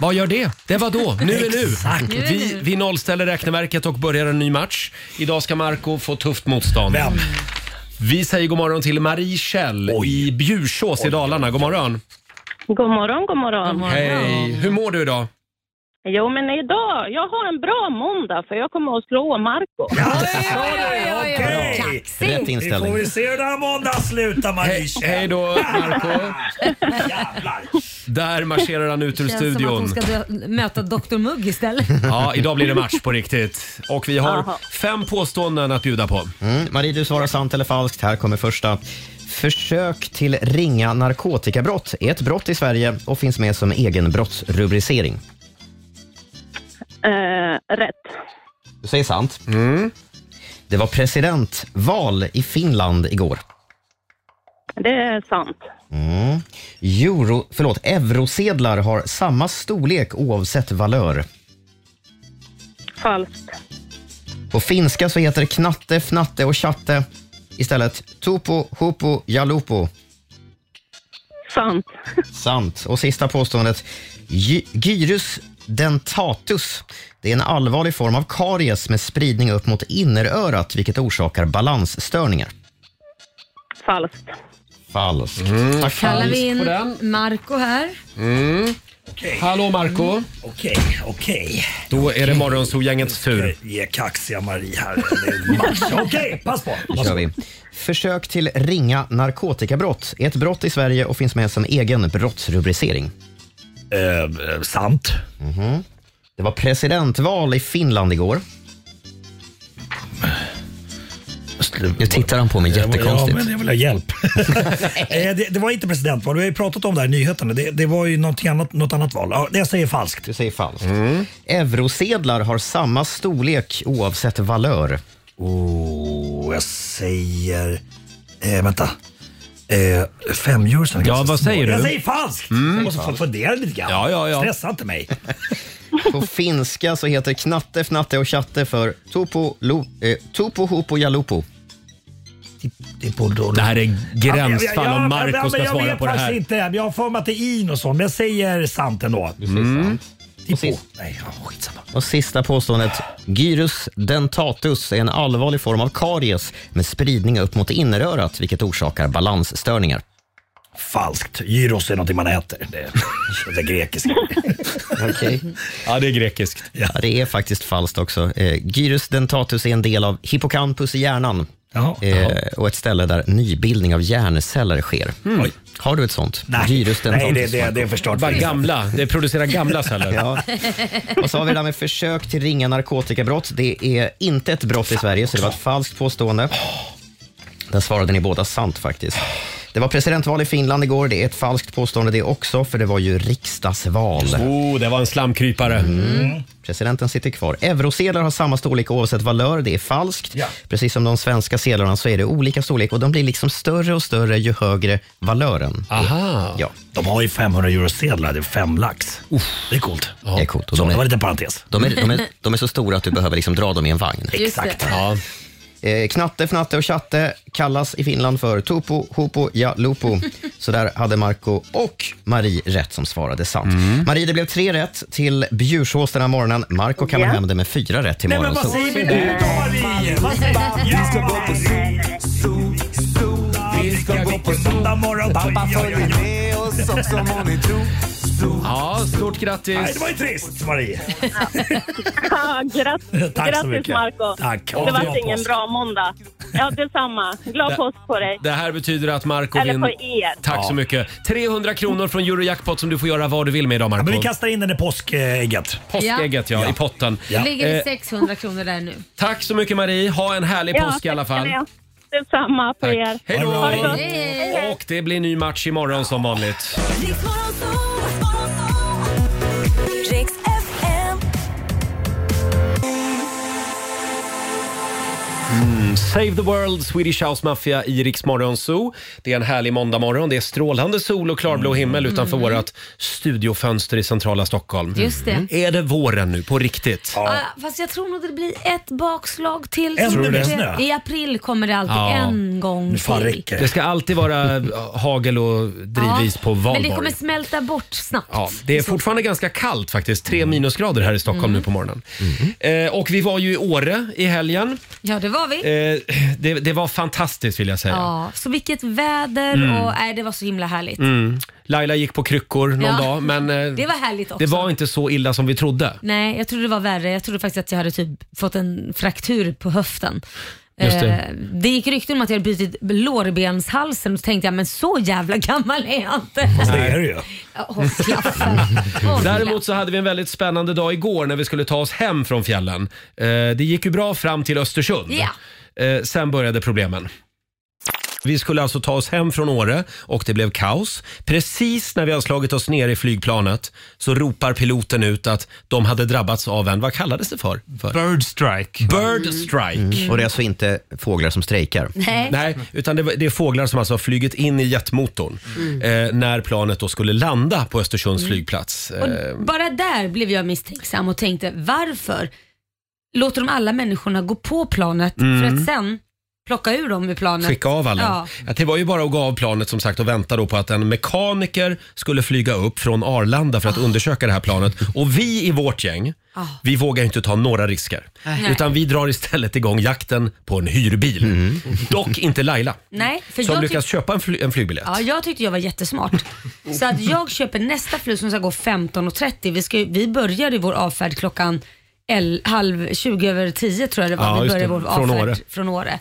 [SPEAKER 1] vad gör det? Det var då. Nu är nu.
[SPEAKER 10] Exakt. Nu är
[SPEAKER 1] Vi,
[SPEAKER 10] nu.
[SPEAKER 1] vi nollställer räkneverket och börjar en ny match. Idag ska Marco få tufft motstånd.
[SPEAKER 10] Vem?
[SPEAKER 1] Vi säger god morgon till Marie Kjell i Bjursås i Dalarna. God morgon.
[SPEAKER 18] God morgon, god morgon.
[SPEAKER 1] Hej. Hur mår du idag?
[SPEAKER 18] Jo, men idag, jag har en bra måndag för jag kommer att slå Marco.
[SPEAKER 10] Okej!
[SPEAKER 3] Rätt
[SPEAKER 10] Vi får
[SPEAKER 3] inställning.
[SPEAKER 10] vi se hur den här måndagen slutar Marie
[SPEAKER 1] Hej då Marco. Där marscherar han ut ur
[SPEAKER 6] Känns som att hon
[SPEAKER 1] studion.
[SPEAKER 6] ska dö- möta Dr Mugg istället.
[SPEAKER 1] Ja, idag blir det match på riktigt. Och vi har
[SPEAKER 6] Jaha.
[SPEAKER 1] fem påståenden att bjuda på.
[SPEAKER 3] Mm. Marie, du svarar sant eller falskt. Här kommer första. Försök till ringa narkotikabrott är ett brott i Sverige och finns med som egen brottsrubricering.
[SPEAKER 18] Eh, rätt.
[SPEAKER 3] Du säger sant. Det var presidentval i Finland igår.
[SPEAKER 18] Det är sant.
[SPEAKER 3] Mm. Euro, förlåt, eurosedlar har samma storlek oavsett valör.
[SPEAKER 18] Falskt.
[SPEAKER 3] På finska så heter knatte, fnatte och tjatte istället topo, hopo, jalupo.
[SPEAKER 18] Sant.
[SPEAKER 3] Sant. Och sista påståendet. Gy- Gyrus dentatus. Det är en allvarlig form av karies med spridning upp mot innerörat vilket orsakar balansstörningar.
[SPEAKER 18] Falskt.
[SPEAKER 3] Falskt. Tack.
[SPEAKER 6] Mm. Kallar vi
[SPEAKER 1] På
[SPEAKER 6] in
[SPEAKER 1] den.
[SPEAKER 6] Marco här.
[SPEAKER 1] Mm. Hallå Marco.
[SPEAKER 10] Mm, Okej, okej.
[SPEAKER 1] Då är det Morgonzoo-gängets tur.
[SPEAKER 10] Ge kaxiga Marie här en match. Okej, pass på.
[SPEAKER 3] Nu kör vi. Försök till ringa narkotikabrott är ett brott i Sverige och finns med som egen brottsrubricering.
[SPEAKER 10] Eh,
[SPEAKER 3] Mhm.
[SPEAKER 10] sant.
[SPEAKER 3] Det var presidentval i Finland igår. Nu tittar han på mig
[SPEAKER 10] Ja, men jag vill ha hjälp. Eh, det, det var inte presidentval. Vi har ju pratat om det här i nyheterna. Det, det var ju något annat, något annat val. Ja, jag säger falskt. Mm.
[SPEAKER 3] Du säger falskt. Eurosedlar har samma storlek oavsett valör.
[SPEAKER 10] Oh, jag säger... Eh, vänta. Eh, fem euro sedan.
[SPEAKER 3] Ja, vad säger
[SPEAKER 10] Jag
[SPEAKER 3] du?
[SPEAKER 10] säger falskt.
[SPEAKER 3] Mm.
[SPEAKER 10] Jag måste få fundera lite grann.
[SPEAKER 3] Ja, ja, ja.
[SPEAKER 10] Stressa inte mig.
[SPEAKER 3] På finska så heter knatte, fnatte och tjatte för topo, lo, eh, topo hopo, jalupo.
[SPEAKER 1] Det här är
[SPEAKER 10] Ja,
[SPEAKER 1] gränsfall
[SPEAKER 10] ja,
[SPEAKER 1] om
[SPEAKER 10] ja,
[SPEAKER 1] Marco
[SPEAKER 10] men
[SPEAKER 1] ska
[SPEAKER 10] Jag
[SPEAKER 1] svara
[SPEAKER 10] vet
[SPEAKER 1] på det
[SPEAKER 10] faktiskt
[SPEAKER 1] här.
[SPEAKER 10] inte. Jag har för mig att det är in och sånt, men jag säger sant ändå.
[SPEAKER 3] Mm.
[SPEAKER 10] Tipo. Nej, ja, skitsamma.
[SPEAKER 3] Och sista påståendet. Gyrus dentatus är en allvarlig form av karies med spridning upp mot innerörat vilket orsakar balansstörningar.
[SPEAKER 10] Falskt. Gyros är någonting man äter. Det är, det är grekiskt.
[SPEAKER 3] Okej.
[SPEAKER 1] Ja, det är grekiskt.
[SPEAKER 3] Ja. Det är faktiskt falskt också. Eh, gyrus dentatus är en del av hippocampus i hjärnan. Eh, och ett ställe där nybildning av hjärnceller sker. Har du ett sånt?
[SPEAKER 1] Mm. Nej.
[SPEAKER 3] Gyrus dentatus.
[SPEAKER 1] Nej, det- det- det är förstört. Bara gamla. Det producerar gamla celler.
[SPEAKER 3] ja. Och så har vi det där med försök till ringa narkotikabrott. Det är inte ett brott i Sverige, så det var ett falskt påstående. Där svarade ni båda sant faktiskt. Det var presidentval i Finland igår. Det är ett falskt påstående det också, för det var ju riksdagsval.
[SPEAKER 1] Oh, det var en slamkrypare.
[SPEAKER 3] Mm.
[SPEAKER 10] Mm.
[SPEAKER 3] Presidenten sitter kvar. Eurosedlar har samma storlek oavsett valör. Det är falskt.
[SPEAKER 1] Ja.
[SPEAKER 3] Precis som de svenska sedlarna så är det olika storlek och de blir liksom större och större ju högre valören är.
[SPEAKER 1] Aha.
[SPEAKER 3] Ja.
[SPEAKER 10] De har ju 500 eurosedlar, det är fem lax. Det är coolt.
[SPEAKER 3] Det är coolt. Och
[SPEAKER 10] Så,
[SPEAKER 3] de
[SPEAKER 10] det
[SPEAKER 3] är-
[SPEAKER 10] var en liten parentes.
[SPEAKER 3] De är, de, är, de är så stora att du behöver liksom dra dem i en vagn.
[SPEAKER 10] Just det. Exakt.
[SPEAKER 3] Ja. Eh, knatte, fnatte och tjatte kallas i Finland för topo, hopo, ja, lupo. Så där hade Marco och Marie rätt som svarade sant.
[SPEAKER 10] Mm.
[SPEAKER 3] Marie, det blev tre rätt till Bjursås den här morgonen. Marco kammar hem det med fyra rätt till
[SPEAKER 10] Nej, men vad säger vi nu då, Marie? Vad säger vi? Vi ska gå på zoo, zoo, Vi ska gå på söndag morgon. Pappa följer med oss också må ni tro.
[SPEAKER 1] Ja, stort grattis.
[SPEAKER 10] Nej, det var ju trist, Marie.
[SPEAKER 18] Ja, grattis,
[SPEAKER 1] Tack så
[SPEAKER 18] grattis
[SPEAKER 1] mycket.
[SPEAKER 18] Marco
[SPEAKER 1] Tack.
[SPEAKER 18] Det
[SPEAKER 1] Glad
[SPEAKER 18] var ingen
[SPEAKER 1] påsk.
[SPEAKER 18] bra måndag. Ja, detsamma. Glad
[SPEAKER 1] Det-
[SPEAKER 18] påsk på dig.
[SPEAKER 1] Det här betyder att Marco
[SPEAKER 18] Eller på
[SPEAKER 1] vinner...
[SPEAKER 18] er.
[SPEAKER 1] Tack så mycket. 300 kronor från Eurojackpot som du får göra vad du vill med idag Marco.
[SPEAKER 19] men vi kastar in den i påskägget.
[SPEAKER 1] Påskägget ja, i potten.
[SPEAKER 6] Det ligger
[SPEAKER 1] Eh,
[SPEAKER 6] det 600 kronor där nu.
[SPEAKER 1] tack så mycket Marie. Ha en härlig påsk i alla fall.
[SPEAKER 18] Detsamma på
[SPEAKER 1] Tack.
[SPEAKER 18] er.
[SPEAKER 1] Hej då.
[SPEAKER 18] Ha det gott.
[SPEAKER 1] Och det blir ny match imorgon som vanligt.
[SPEAKER 10] Riks FM.
[SPEAKER 1] Mm. Save the world, Swedish House Mafia i Rix Morgon Zoo. Det är en härlig måndagmorgon. Det är strålande sol och klarblå himmel utanför
[SPEAKER 6] Mm.
[SPEAKER 1] vårt studiofönster i centrala Stockholm.
[SPEAKER 6] Just det.
[SPEAKER 1] Mm. Är det våren nu på riktigt?
[SPEAKER 6] Ah, fast jag tror nog det blir ett bakslag till.
[SPEAKER 1] Jag
[SPEAKER 6] som
[SPEAKER 1] tror det.
[SPEAKER 6] inte-
[SPEAKER 1] Snö.
[SPEAKER 6] I april kommer det alltid
[SPEAKER 1] Ja.
[SPEAKER 6] en gång till.
[SPEAKER 1] Det ska alltid vara eh, hagel och drivis på
[SPEAKER 6] Men det
[SPEAKER 1] valborg.
[SPEAKER 6] kommer liksom- smälta bort snabbt.
[SPEAKER 1] Ja, det är fortfarande ganska kallt faktiskt.
[SPEAKER 6] Mm.
[SPEAKER 1] Tre minusgrader här i Stockholm nu på morgonen. Eh, och vi var ju i Åre i helgen.
[SPEAKER 6] Ja, det var vi.
[SPEAKER 1] Eh, det, det var fantastiskt vill jag säga.
[SPEAKER 6] Ja, så vilket väder
[SPEAKER 1] Mm.
[SPEAKER 6] och nej, det var så himla härligt.
[SPEAKER 1] Mm. Laila gick på kryckor någon
[SPEAKER 6] Ja.
[SPEAKER 1] dag men eh,
[SPEAKER 6] Det var härligt också.
[SPEAKER 1] det var inte så illa som vi trodde.
[SPEAKER 6] Nej, jag trodde det var värre. Jag trodde faktiskt att jag hade typ fått en fraktur på höften.
[SPEAKER 1] Just det.
[SPEAKER 6] Eh, det gick rykten om att jag hade brutit lårbenshalsen och så tänkte jag men så jävla gammal är jag inte. Ja, håll klaffen. Håll
[SPEAKER 1] Däremot så hade vi en väldigt spännande dag igår när vi skulle ta oss hem från fjällen. Eh, det gick ju bra fram till Östersund.
[SPEAKER 6] Ja.
[SPEAKER 1] Eh, sen började problemen. Vi skulle alltså ta oss hem från Åre och det blev kaos. Precis när vi har slagit oss ner i flygplanet så ropar piloten ut att de hade drabbats av en, vad kallades det för? för?
[SPEAKER 4] Bird strike.
[SPEAKER 1] Bird strike.
[SPEAKER 3] Mm. Och det är alltså inte fåglar som strejkar.
[SPEAKER 6] Nej.
[SPEAKER 1] utan det, var- det är fåglar som alltså har flugit in i jetmotorn
[SPEAKER 6] Mm.
[SPEAKER 1] eh, när planet då skulle landa på Östersunds
[SPEAKER 6] Mm.
[SPEAKER 1] flygplats.
[SPEAKER 6] Och
[SPEAKER 1] Eh,
[SPEAKER 6] bara där blev jag misstänksam och tänkte varför låter de alla människorna gå på planet för
[SPEAKER 1] Mm.
[SPEAKER 6] att sen plocka ur dem ur planet?
[SPEAKER 1] Skicka av alla.
[SPEAKER 6] Ja.
[SPEAKER 1] Att det var ju bara att gå av planet som sagt och vänta då på att en mekaniker skulle flyga upp från Arlanda
[SPEAKER 6] Ah.
[SPEAKER 1] för att undersöka det här planet. Och vi i vårt gäng,
[SPEAKER 10] Ah.
[SPEAKER 1] vi vågar ju inte ta några risker.
[SPEAKER 6] Nej.
[SPEAKER 1] Utan vi drar istället igång jakten på en hyrbil. Dock inte Laila,
[SPEAKER 6] Nej, för
[SPEAKER 1] som
[SPEAKER 6] jag
[SPEAKER 1] lyckas
[SPEAKER 6] tyck-
[SPEAKER 1] köpa en, fly- en flygbiljett.
[SPEAKER 6] Ja, jag tyckte jag var jättesmart. Så att jag köper nästa flyg som ska gå 15.30. Vi, ska, ju- vi börjar i vår avfärd klockan el, halv 20 över 10 tror jag det var.
[SPEAKER 10] Ja,
[SPEAKER 6] vi
[SPEAKER 10] just
[SPEAKER 6] börjar
[SPEAKER 10] det.
[SPEAKER 6] vår
[SPEAKER 10] Från
[SPEAKER 6] avfärd
[SPEAKER 10] Åre.
[SPEAKER 6] från Åre.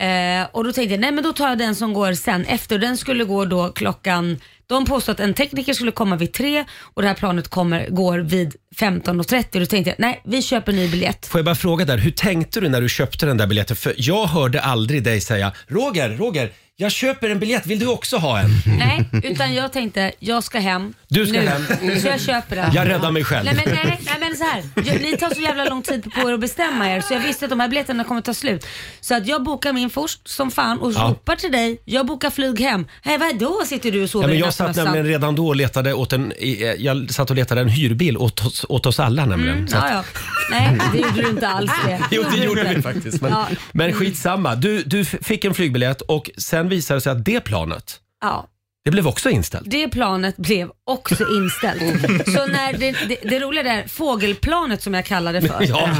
[SPEAKER 6] Eh, och då tänkte jag, nej men då tar jag den som går sen efter. Den skulle gå då klockan, de påstod att en tekniker skulle komma vid tre och det här planet kommer, går vid 15.30. Då tänkte jag, nej vi köper ny biljett.
[SPEAKER 1] Får jag bara fråga där, hur tänkte du när du köpte den där biljetten? För jag hörde aldrig dig säga “Roger, Roger, jag köper en biljett, vill du också ha en?”
[SPEAKER 6] Nej, utan jag tänkte, jag ska hem
[SPEAKER 1] Du ska
[SPEAKER 6] nu.
[SPEAKER 1] hem.
[SPEAKER 6] Så jag köper den.
[SPEAKER 1] Jag räddar mig själv.
[SPEAKER 6] Nej men, nej, nej, men så här. Jag- Ni tar så jävla lång tid på er att bestämma er så jag visste att de här biljetterna kommer ta slut. Så att jag bokar min först som fan och
[SPEAKER 1] Ja.
[SPEAKER 6] ropar till dig, jag bokar flyg hem. Hej vadå sitter du och sover
[SPEAKER 1] Ja, men
[SPEAKER 6] i
[SPEAKER 1] jag satt
[SPEAKER 6] nattmössan?
[SPEAKER 1] nämligen redan då och letade åt en, i- eh, jag satt och letade en hyrbil åt, oss- åt oss alla nämligen.
[SPEAKER 6] Mm,
[SPEAKER 1] Så att-
[SPEAKER 6] ja, ja. Nej, det gjorde du inte alls det.
[SPEAKER 1] Jo, det gjorde
[SPEAKER 6] du
[SPEAKER 1] vi
[SPEAKER 6] inte.
[SPEAKER 1] faktiskt. Men,
[SPEAKER 6] Ja.
[SPEAKER 1] men skitsamma. Du, du f- fick en flygbiljett och sen visade det sig att det planet,
[SPEAKER 6] Ja.
[SPEAKER 1] det blev också inställt.
[SPEAKER 6] Det planet blev också inställt. Så när det, det, det roliga där, fågelplanet som jag kallar det för.
[SPEAKER 10] Ja.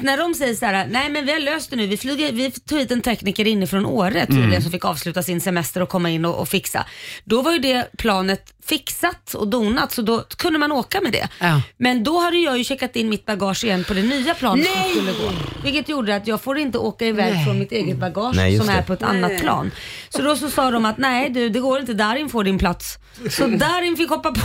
[SPEAKER 6] När de säger så här, nej men vi har löst det nu, vi, flyger, vi tog hit en tekniker inifrån Åre tydligen
[SPEAKER 10] Mm.
[SPEAKER 6] som fick avsluta sin semester och komma in och, och fixa. Då var ju det planet fixat och donat så då kunde man åka med det. Men då hade jag ju checkat in mitt bagage igen på det nya planet
[SPEAKER 10] Nej!
[SPEAKER 6] som skulle gå. Vilket gjorde att jag får inte åka iväg
[SPEAKER 10] Nej.
[SPEAKER 6] från mitt eget bagage
[SPEAKER 10] Nej, just
[SPEAKER 6] som är
[SPEAKER 10] det.
[SPEAKER 6] på ett
[SPEAKER 10] Nej.
[SPEAKER 6] annat plan. Så då så sa de att nej du, det går inte, Darin får din plats. Så Darin fick hoppa på.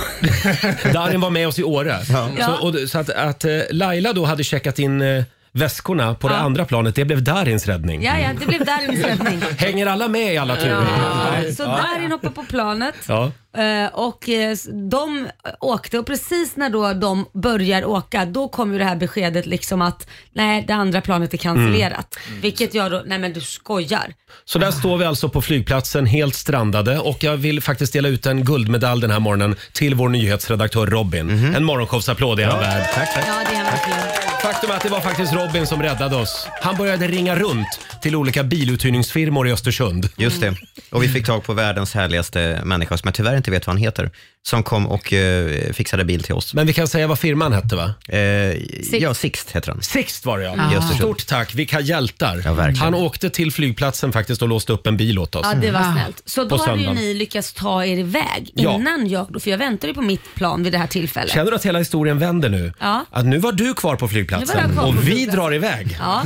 [SPEAKER 1] Darin var med oss i Åre. Så,
[SPEAKER 6] Ja.
[SPEAKER 1] och, det- så att, att eh, Laila då hade checkat in eh, väskorna på det
[SPEAKER 6] Ja.
[SPEAKER 1] andra planet, det blev Darins
[SPEAKER 10] Mm.
[SPEAKER 1] räddning.
[SPEAKER 6] Ja, ja, det blev Darins räddning.
[SPEAKER 1] Hänger alla med i alla turer?
[SPEAKER 6] Ja, så Darin hoppade på planet.
[SPEAKER 1] Ja.
[SPEAKER 6] eh, Och eh, s- de åkte och precis när då de börjar åka då kom ju det här beskedet liksom att nej det andra planet är cancellerat.
[SPEAKER 1] Mm.
[SPEAKER 6] Vilket jag då, nej men du skojar.
[SPEAKER 1] Så där står vi alltså på flygplatsen helt strandade och jag vill faktiskt dela ut en guldmedalj den här morgonen till vår nyhetsredaktör Robin. En morgonshowsapplåd är han värd.
[SPEAKER 6] Ja det är verkligen.
[SPEAKER 1] Faktum är att det var faktiskt Robin som räddade oss. Han började ringa runt till olika biluthyrningsfirmor i Östersund.
[SPEAKER 3] Just det. Och vi fick tag på världens härligaste människa, som jag tyvärr inte vet vad han heter, som kom och eh, fixade bil till oss. Eh,
[SPEAKER 1] Men vi kan säga vad firman hette va?
[SPEAKER 3] Ja, Sixt heter han.
[SPEAKER 1] Sixt var det
[SPEAKER 3] Ah.
[SPEAKER 1] ja.
[SPEAKER 3] Just det.
[SPEAKER 1] Stort tack, vilka hjältar. Han åkte till flygplatsen faktiskt och låste upp en bil åt oss. Mm.
[SPEAKER 6] Ja, det var snällt. Så då
[SPEAKER 1] På
[SPEAKER 6] hade ju
[SPEAKER 1] söndagen.
[SPEAKER 6] ni lyckats ta er iväg
[SPEAKER 1] Ja.
[SPEAKER 6] innan jag, för jag väntade ju på mitt plan vid det här tillfället.
[SPEAKER 1] Känner du att hela historien vänder nu?
[SPEAKER 6] Ja.
[SPEAKER 1] Att nu var du kvar på
[SPEAKER 6] Nu var
[SPEAKER 1] flygplatsen
[SPEAKER 6] jag kvar på
[SPEAKER 1] och vi
[SPEAKER 6] flygplatsen.
[SPEAKER 1] drar iväg.
[SPEAKER 6] Ja,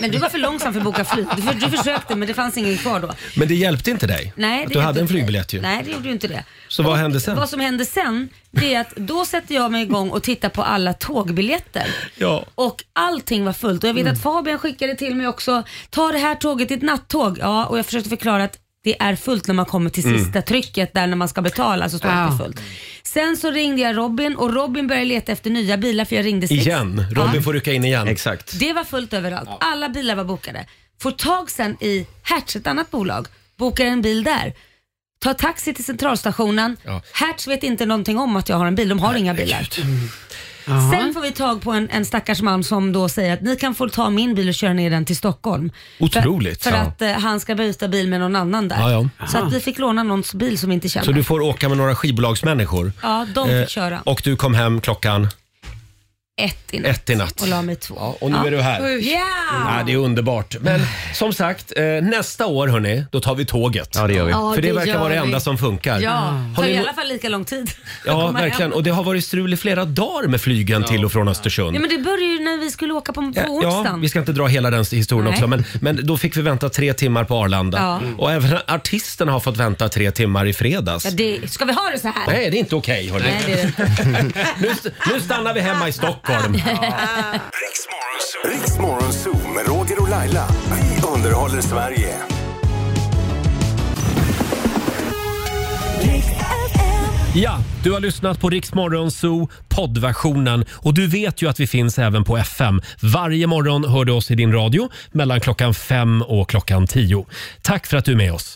[SPEAKER 6] men du var för långsam för att boka flyg. Du, för, du försökte men det fanns ingen kvar då.
[SPEAKER 1] Men det hjälpte inte dig?
[SPEAKER 6] Nej,
[SPEAKER 1] att
[SPEAKER 6] det
[SPEAKER 1] du hade
[SPEAKER 6] gjorde
[SPEAKER 1] en
[SPEAKER 6] inte
[SPEAKER 1] flygbiljett
[SPEAKER 6] det.
[SPEAKER 1] ju.
[SPEAKER 6] Nej, det gjorde ju inte det.
[SPEAKER 1] Så vad hände Typ. sen?
[SPEAKER 6] Vad som hände sen, det är att då sätter jag mig igång och tittar på alla tågbiljetter.
[SPEAKER 1] Ja.
[SPEAKER 6] Och allting var fullt och jag vet
[SPEAKER 1] Mm.
[SPEAKER 6] att Fabian skickade till mig också, ta det här tåget, det är ett nattåg. Ja, och jag försökte förklara att det är fullt när man kommer till
[SPEAKER 15] Mm.
[SPEAKER 6] sista trycket där när man ska betala så står det
[SPEAKER 15] Ja.
[SPEAKER 6] inte fullt. Sen så ringde jag Robin och Robin började leta efter nya bilar för jag ringde Six.
[SPEAKER 1] Igen. Robin
[SPEAKER 6] Ja.
[SPEAKER 1] får rycka in igen. Exakt.
[SPEAKER 6] Det var fullt överallt. Alla bilar var bokade. Får tag sen i Hertz, ett annat bolag, bokar en bil där. Tar taxi till centralstationen.
[SPEAKER 1] Ja.
[SPEAKER 6] Hertz vet inte någonting om att jag har en bil. De har inga bilar. Sen får vi tag på en, en stackars man som då säger att ni kan få ta min bil och köra ner den till Stockholm.
[SPEAKER 1] Otroligt.
[SPEAKER 6] För, för
[SPEAKER 1] Ja.
[SPEAKER 6] att eh, han ska byta bil med någon annan där.
[SPEAKER 1] Ja, ja.
[SPEAKER 6] Så att vi fick låna någons bil som vi inte känner.
[SPEAKER 1] Så du får åka med några skivbolagsmänniskor.
[SPEAKER 6] Ja, de fick
[SPEAKER 1] Eh,
[SPEAKER 6] köra.
[SPEAKER 1] Och du kom hem klockan?
[SPEAKER 6] Ett i natt.
[SPEAKER 1] Ett i natt.
[SPEAKER 6] Och la mig två. Ja,
[SPEAKER 1] och nu är du här. Ah,
[SPEAKER 6] Ja!
[SPEAKER 1] Ja, det är underbart. Men som sagt, eh, nästa år hörni, då tar vi tåget. Ja, det gör
[SPEAKER 6] vi. Ja,
[SPEAKER 1] För det,
[SPEAKER 6] det
[SPEAKER 1] verkar
[SPEAKER 6] gör
[SPEAKER 1] vara det
[SPEAKER 6] vi.
[SPEAKER 1] enda som funkar.
[SPEAKER 6] Ja,
[SPEAKER 1] Har
[SPEAKER 6] tar
[SPEAKER 1] ni
[SPEAKER 6] i
[SPEAKER 1] nå-
[SPEAKER 6] alla fall lika lång tid. att
[SPEAKER 1] Ja,
[SPEAKER 6] komma hem.
[SPEAKER 1] verkligen. Och det har varit strul i flera dagar med flygen till och från Östersund.
[SPEAKER 6] Ja men det började ju när vi skulle åka på, på
[SPEAKER 1] Eh, Ja,
[SPEAKER 6] onsdagen.
[SPEAKER 1] vi ska inte dra hela den historien
[SPEAKER 6] Nej.
[SPEAKER 1] också, men, men då fick vi vänta tre timmar på Arlanda. Mm.
[SPEAKER 6] Ja.
[SPEAKER 1] Och även artisterna har fått vänta tre timmar i fredags.
[SPEAKER 6] Ja, det, ska vi ha det så här?
[SPEAKER 1] Nej, det är inte okej. hörni.
[SPEAKER 6] Nej, det är det
[SPEAKER 1] nu, st- nu stannar vi hemma i Stockholm.
[SPEAKER 7] Riksmorgon Zoo med Roger och Laila. Vi underhåller Sverige.
[SPEAKER 1] Ja, du har lyssnat på Riksmorgon Zoo poddversionen och du vet ju att vi finns även på FM. Varje morgon hör du oss i din radio mellan klockan fem och klockan tio. Tack för att du är med oss.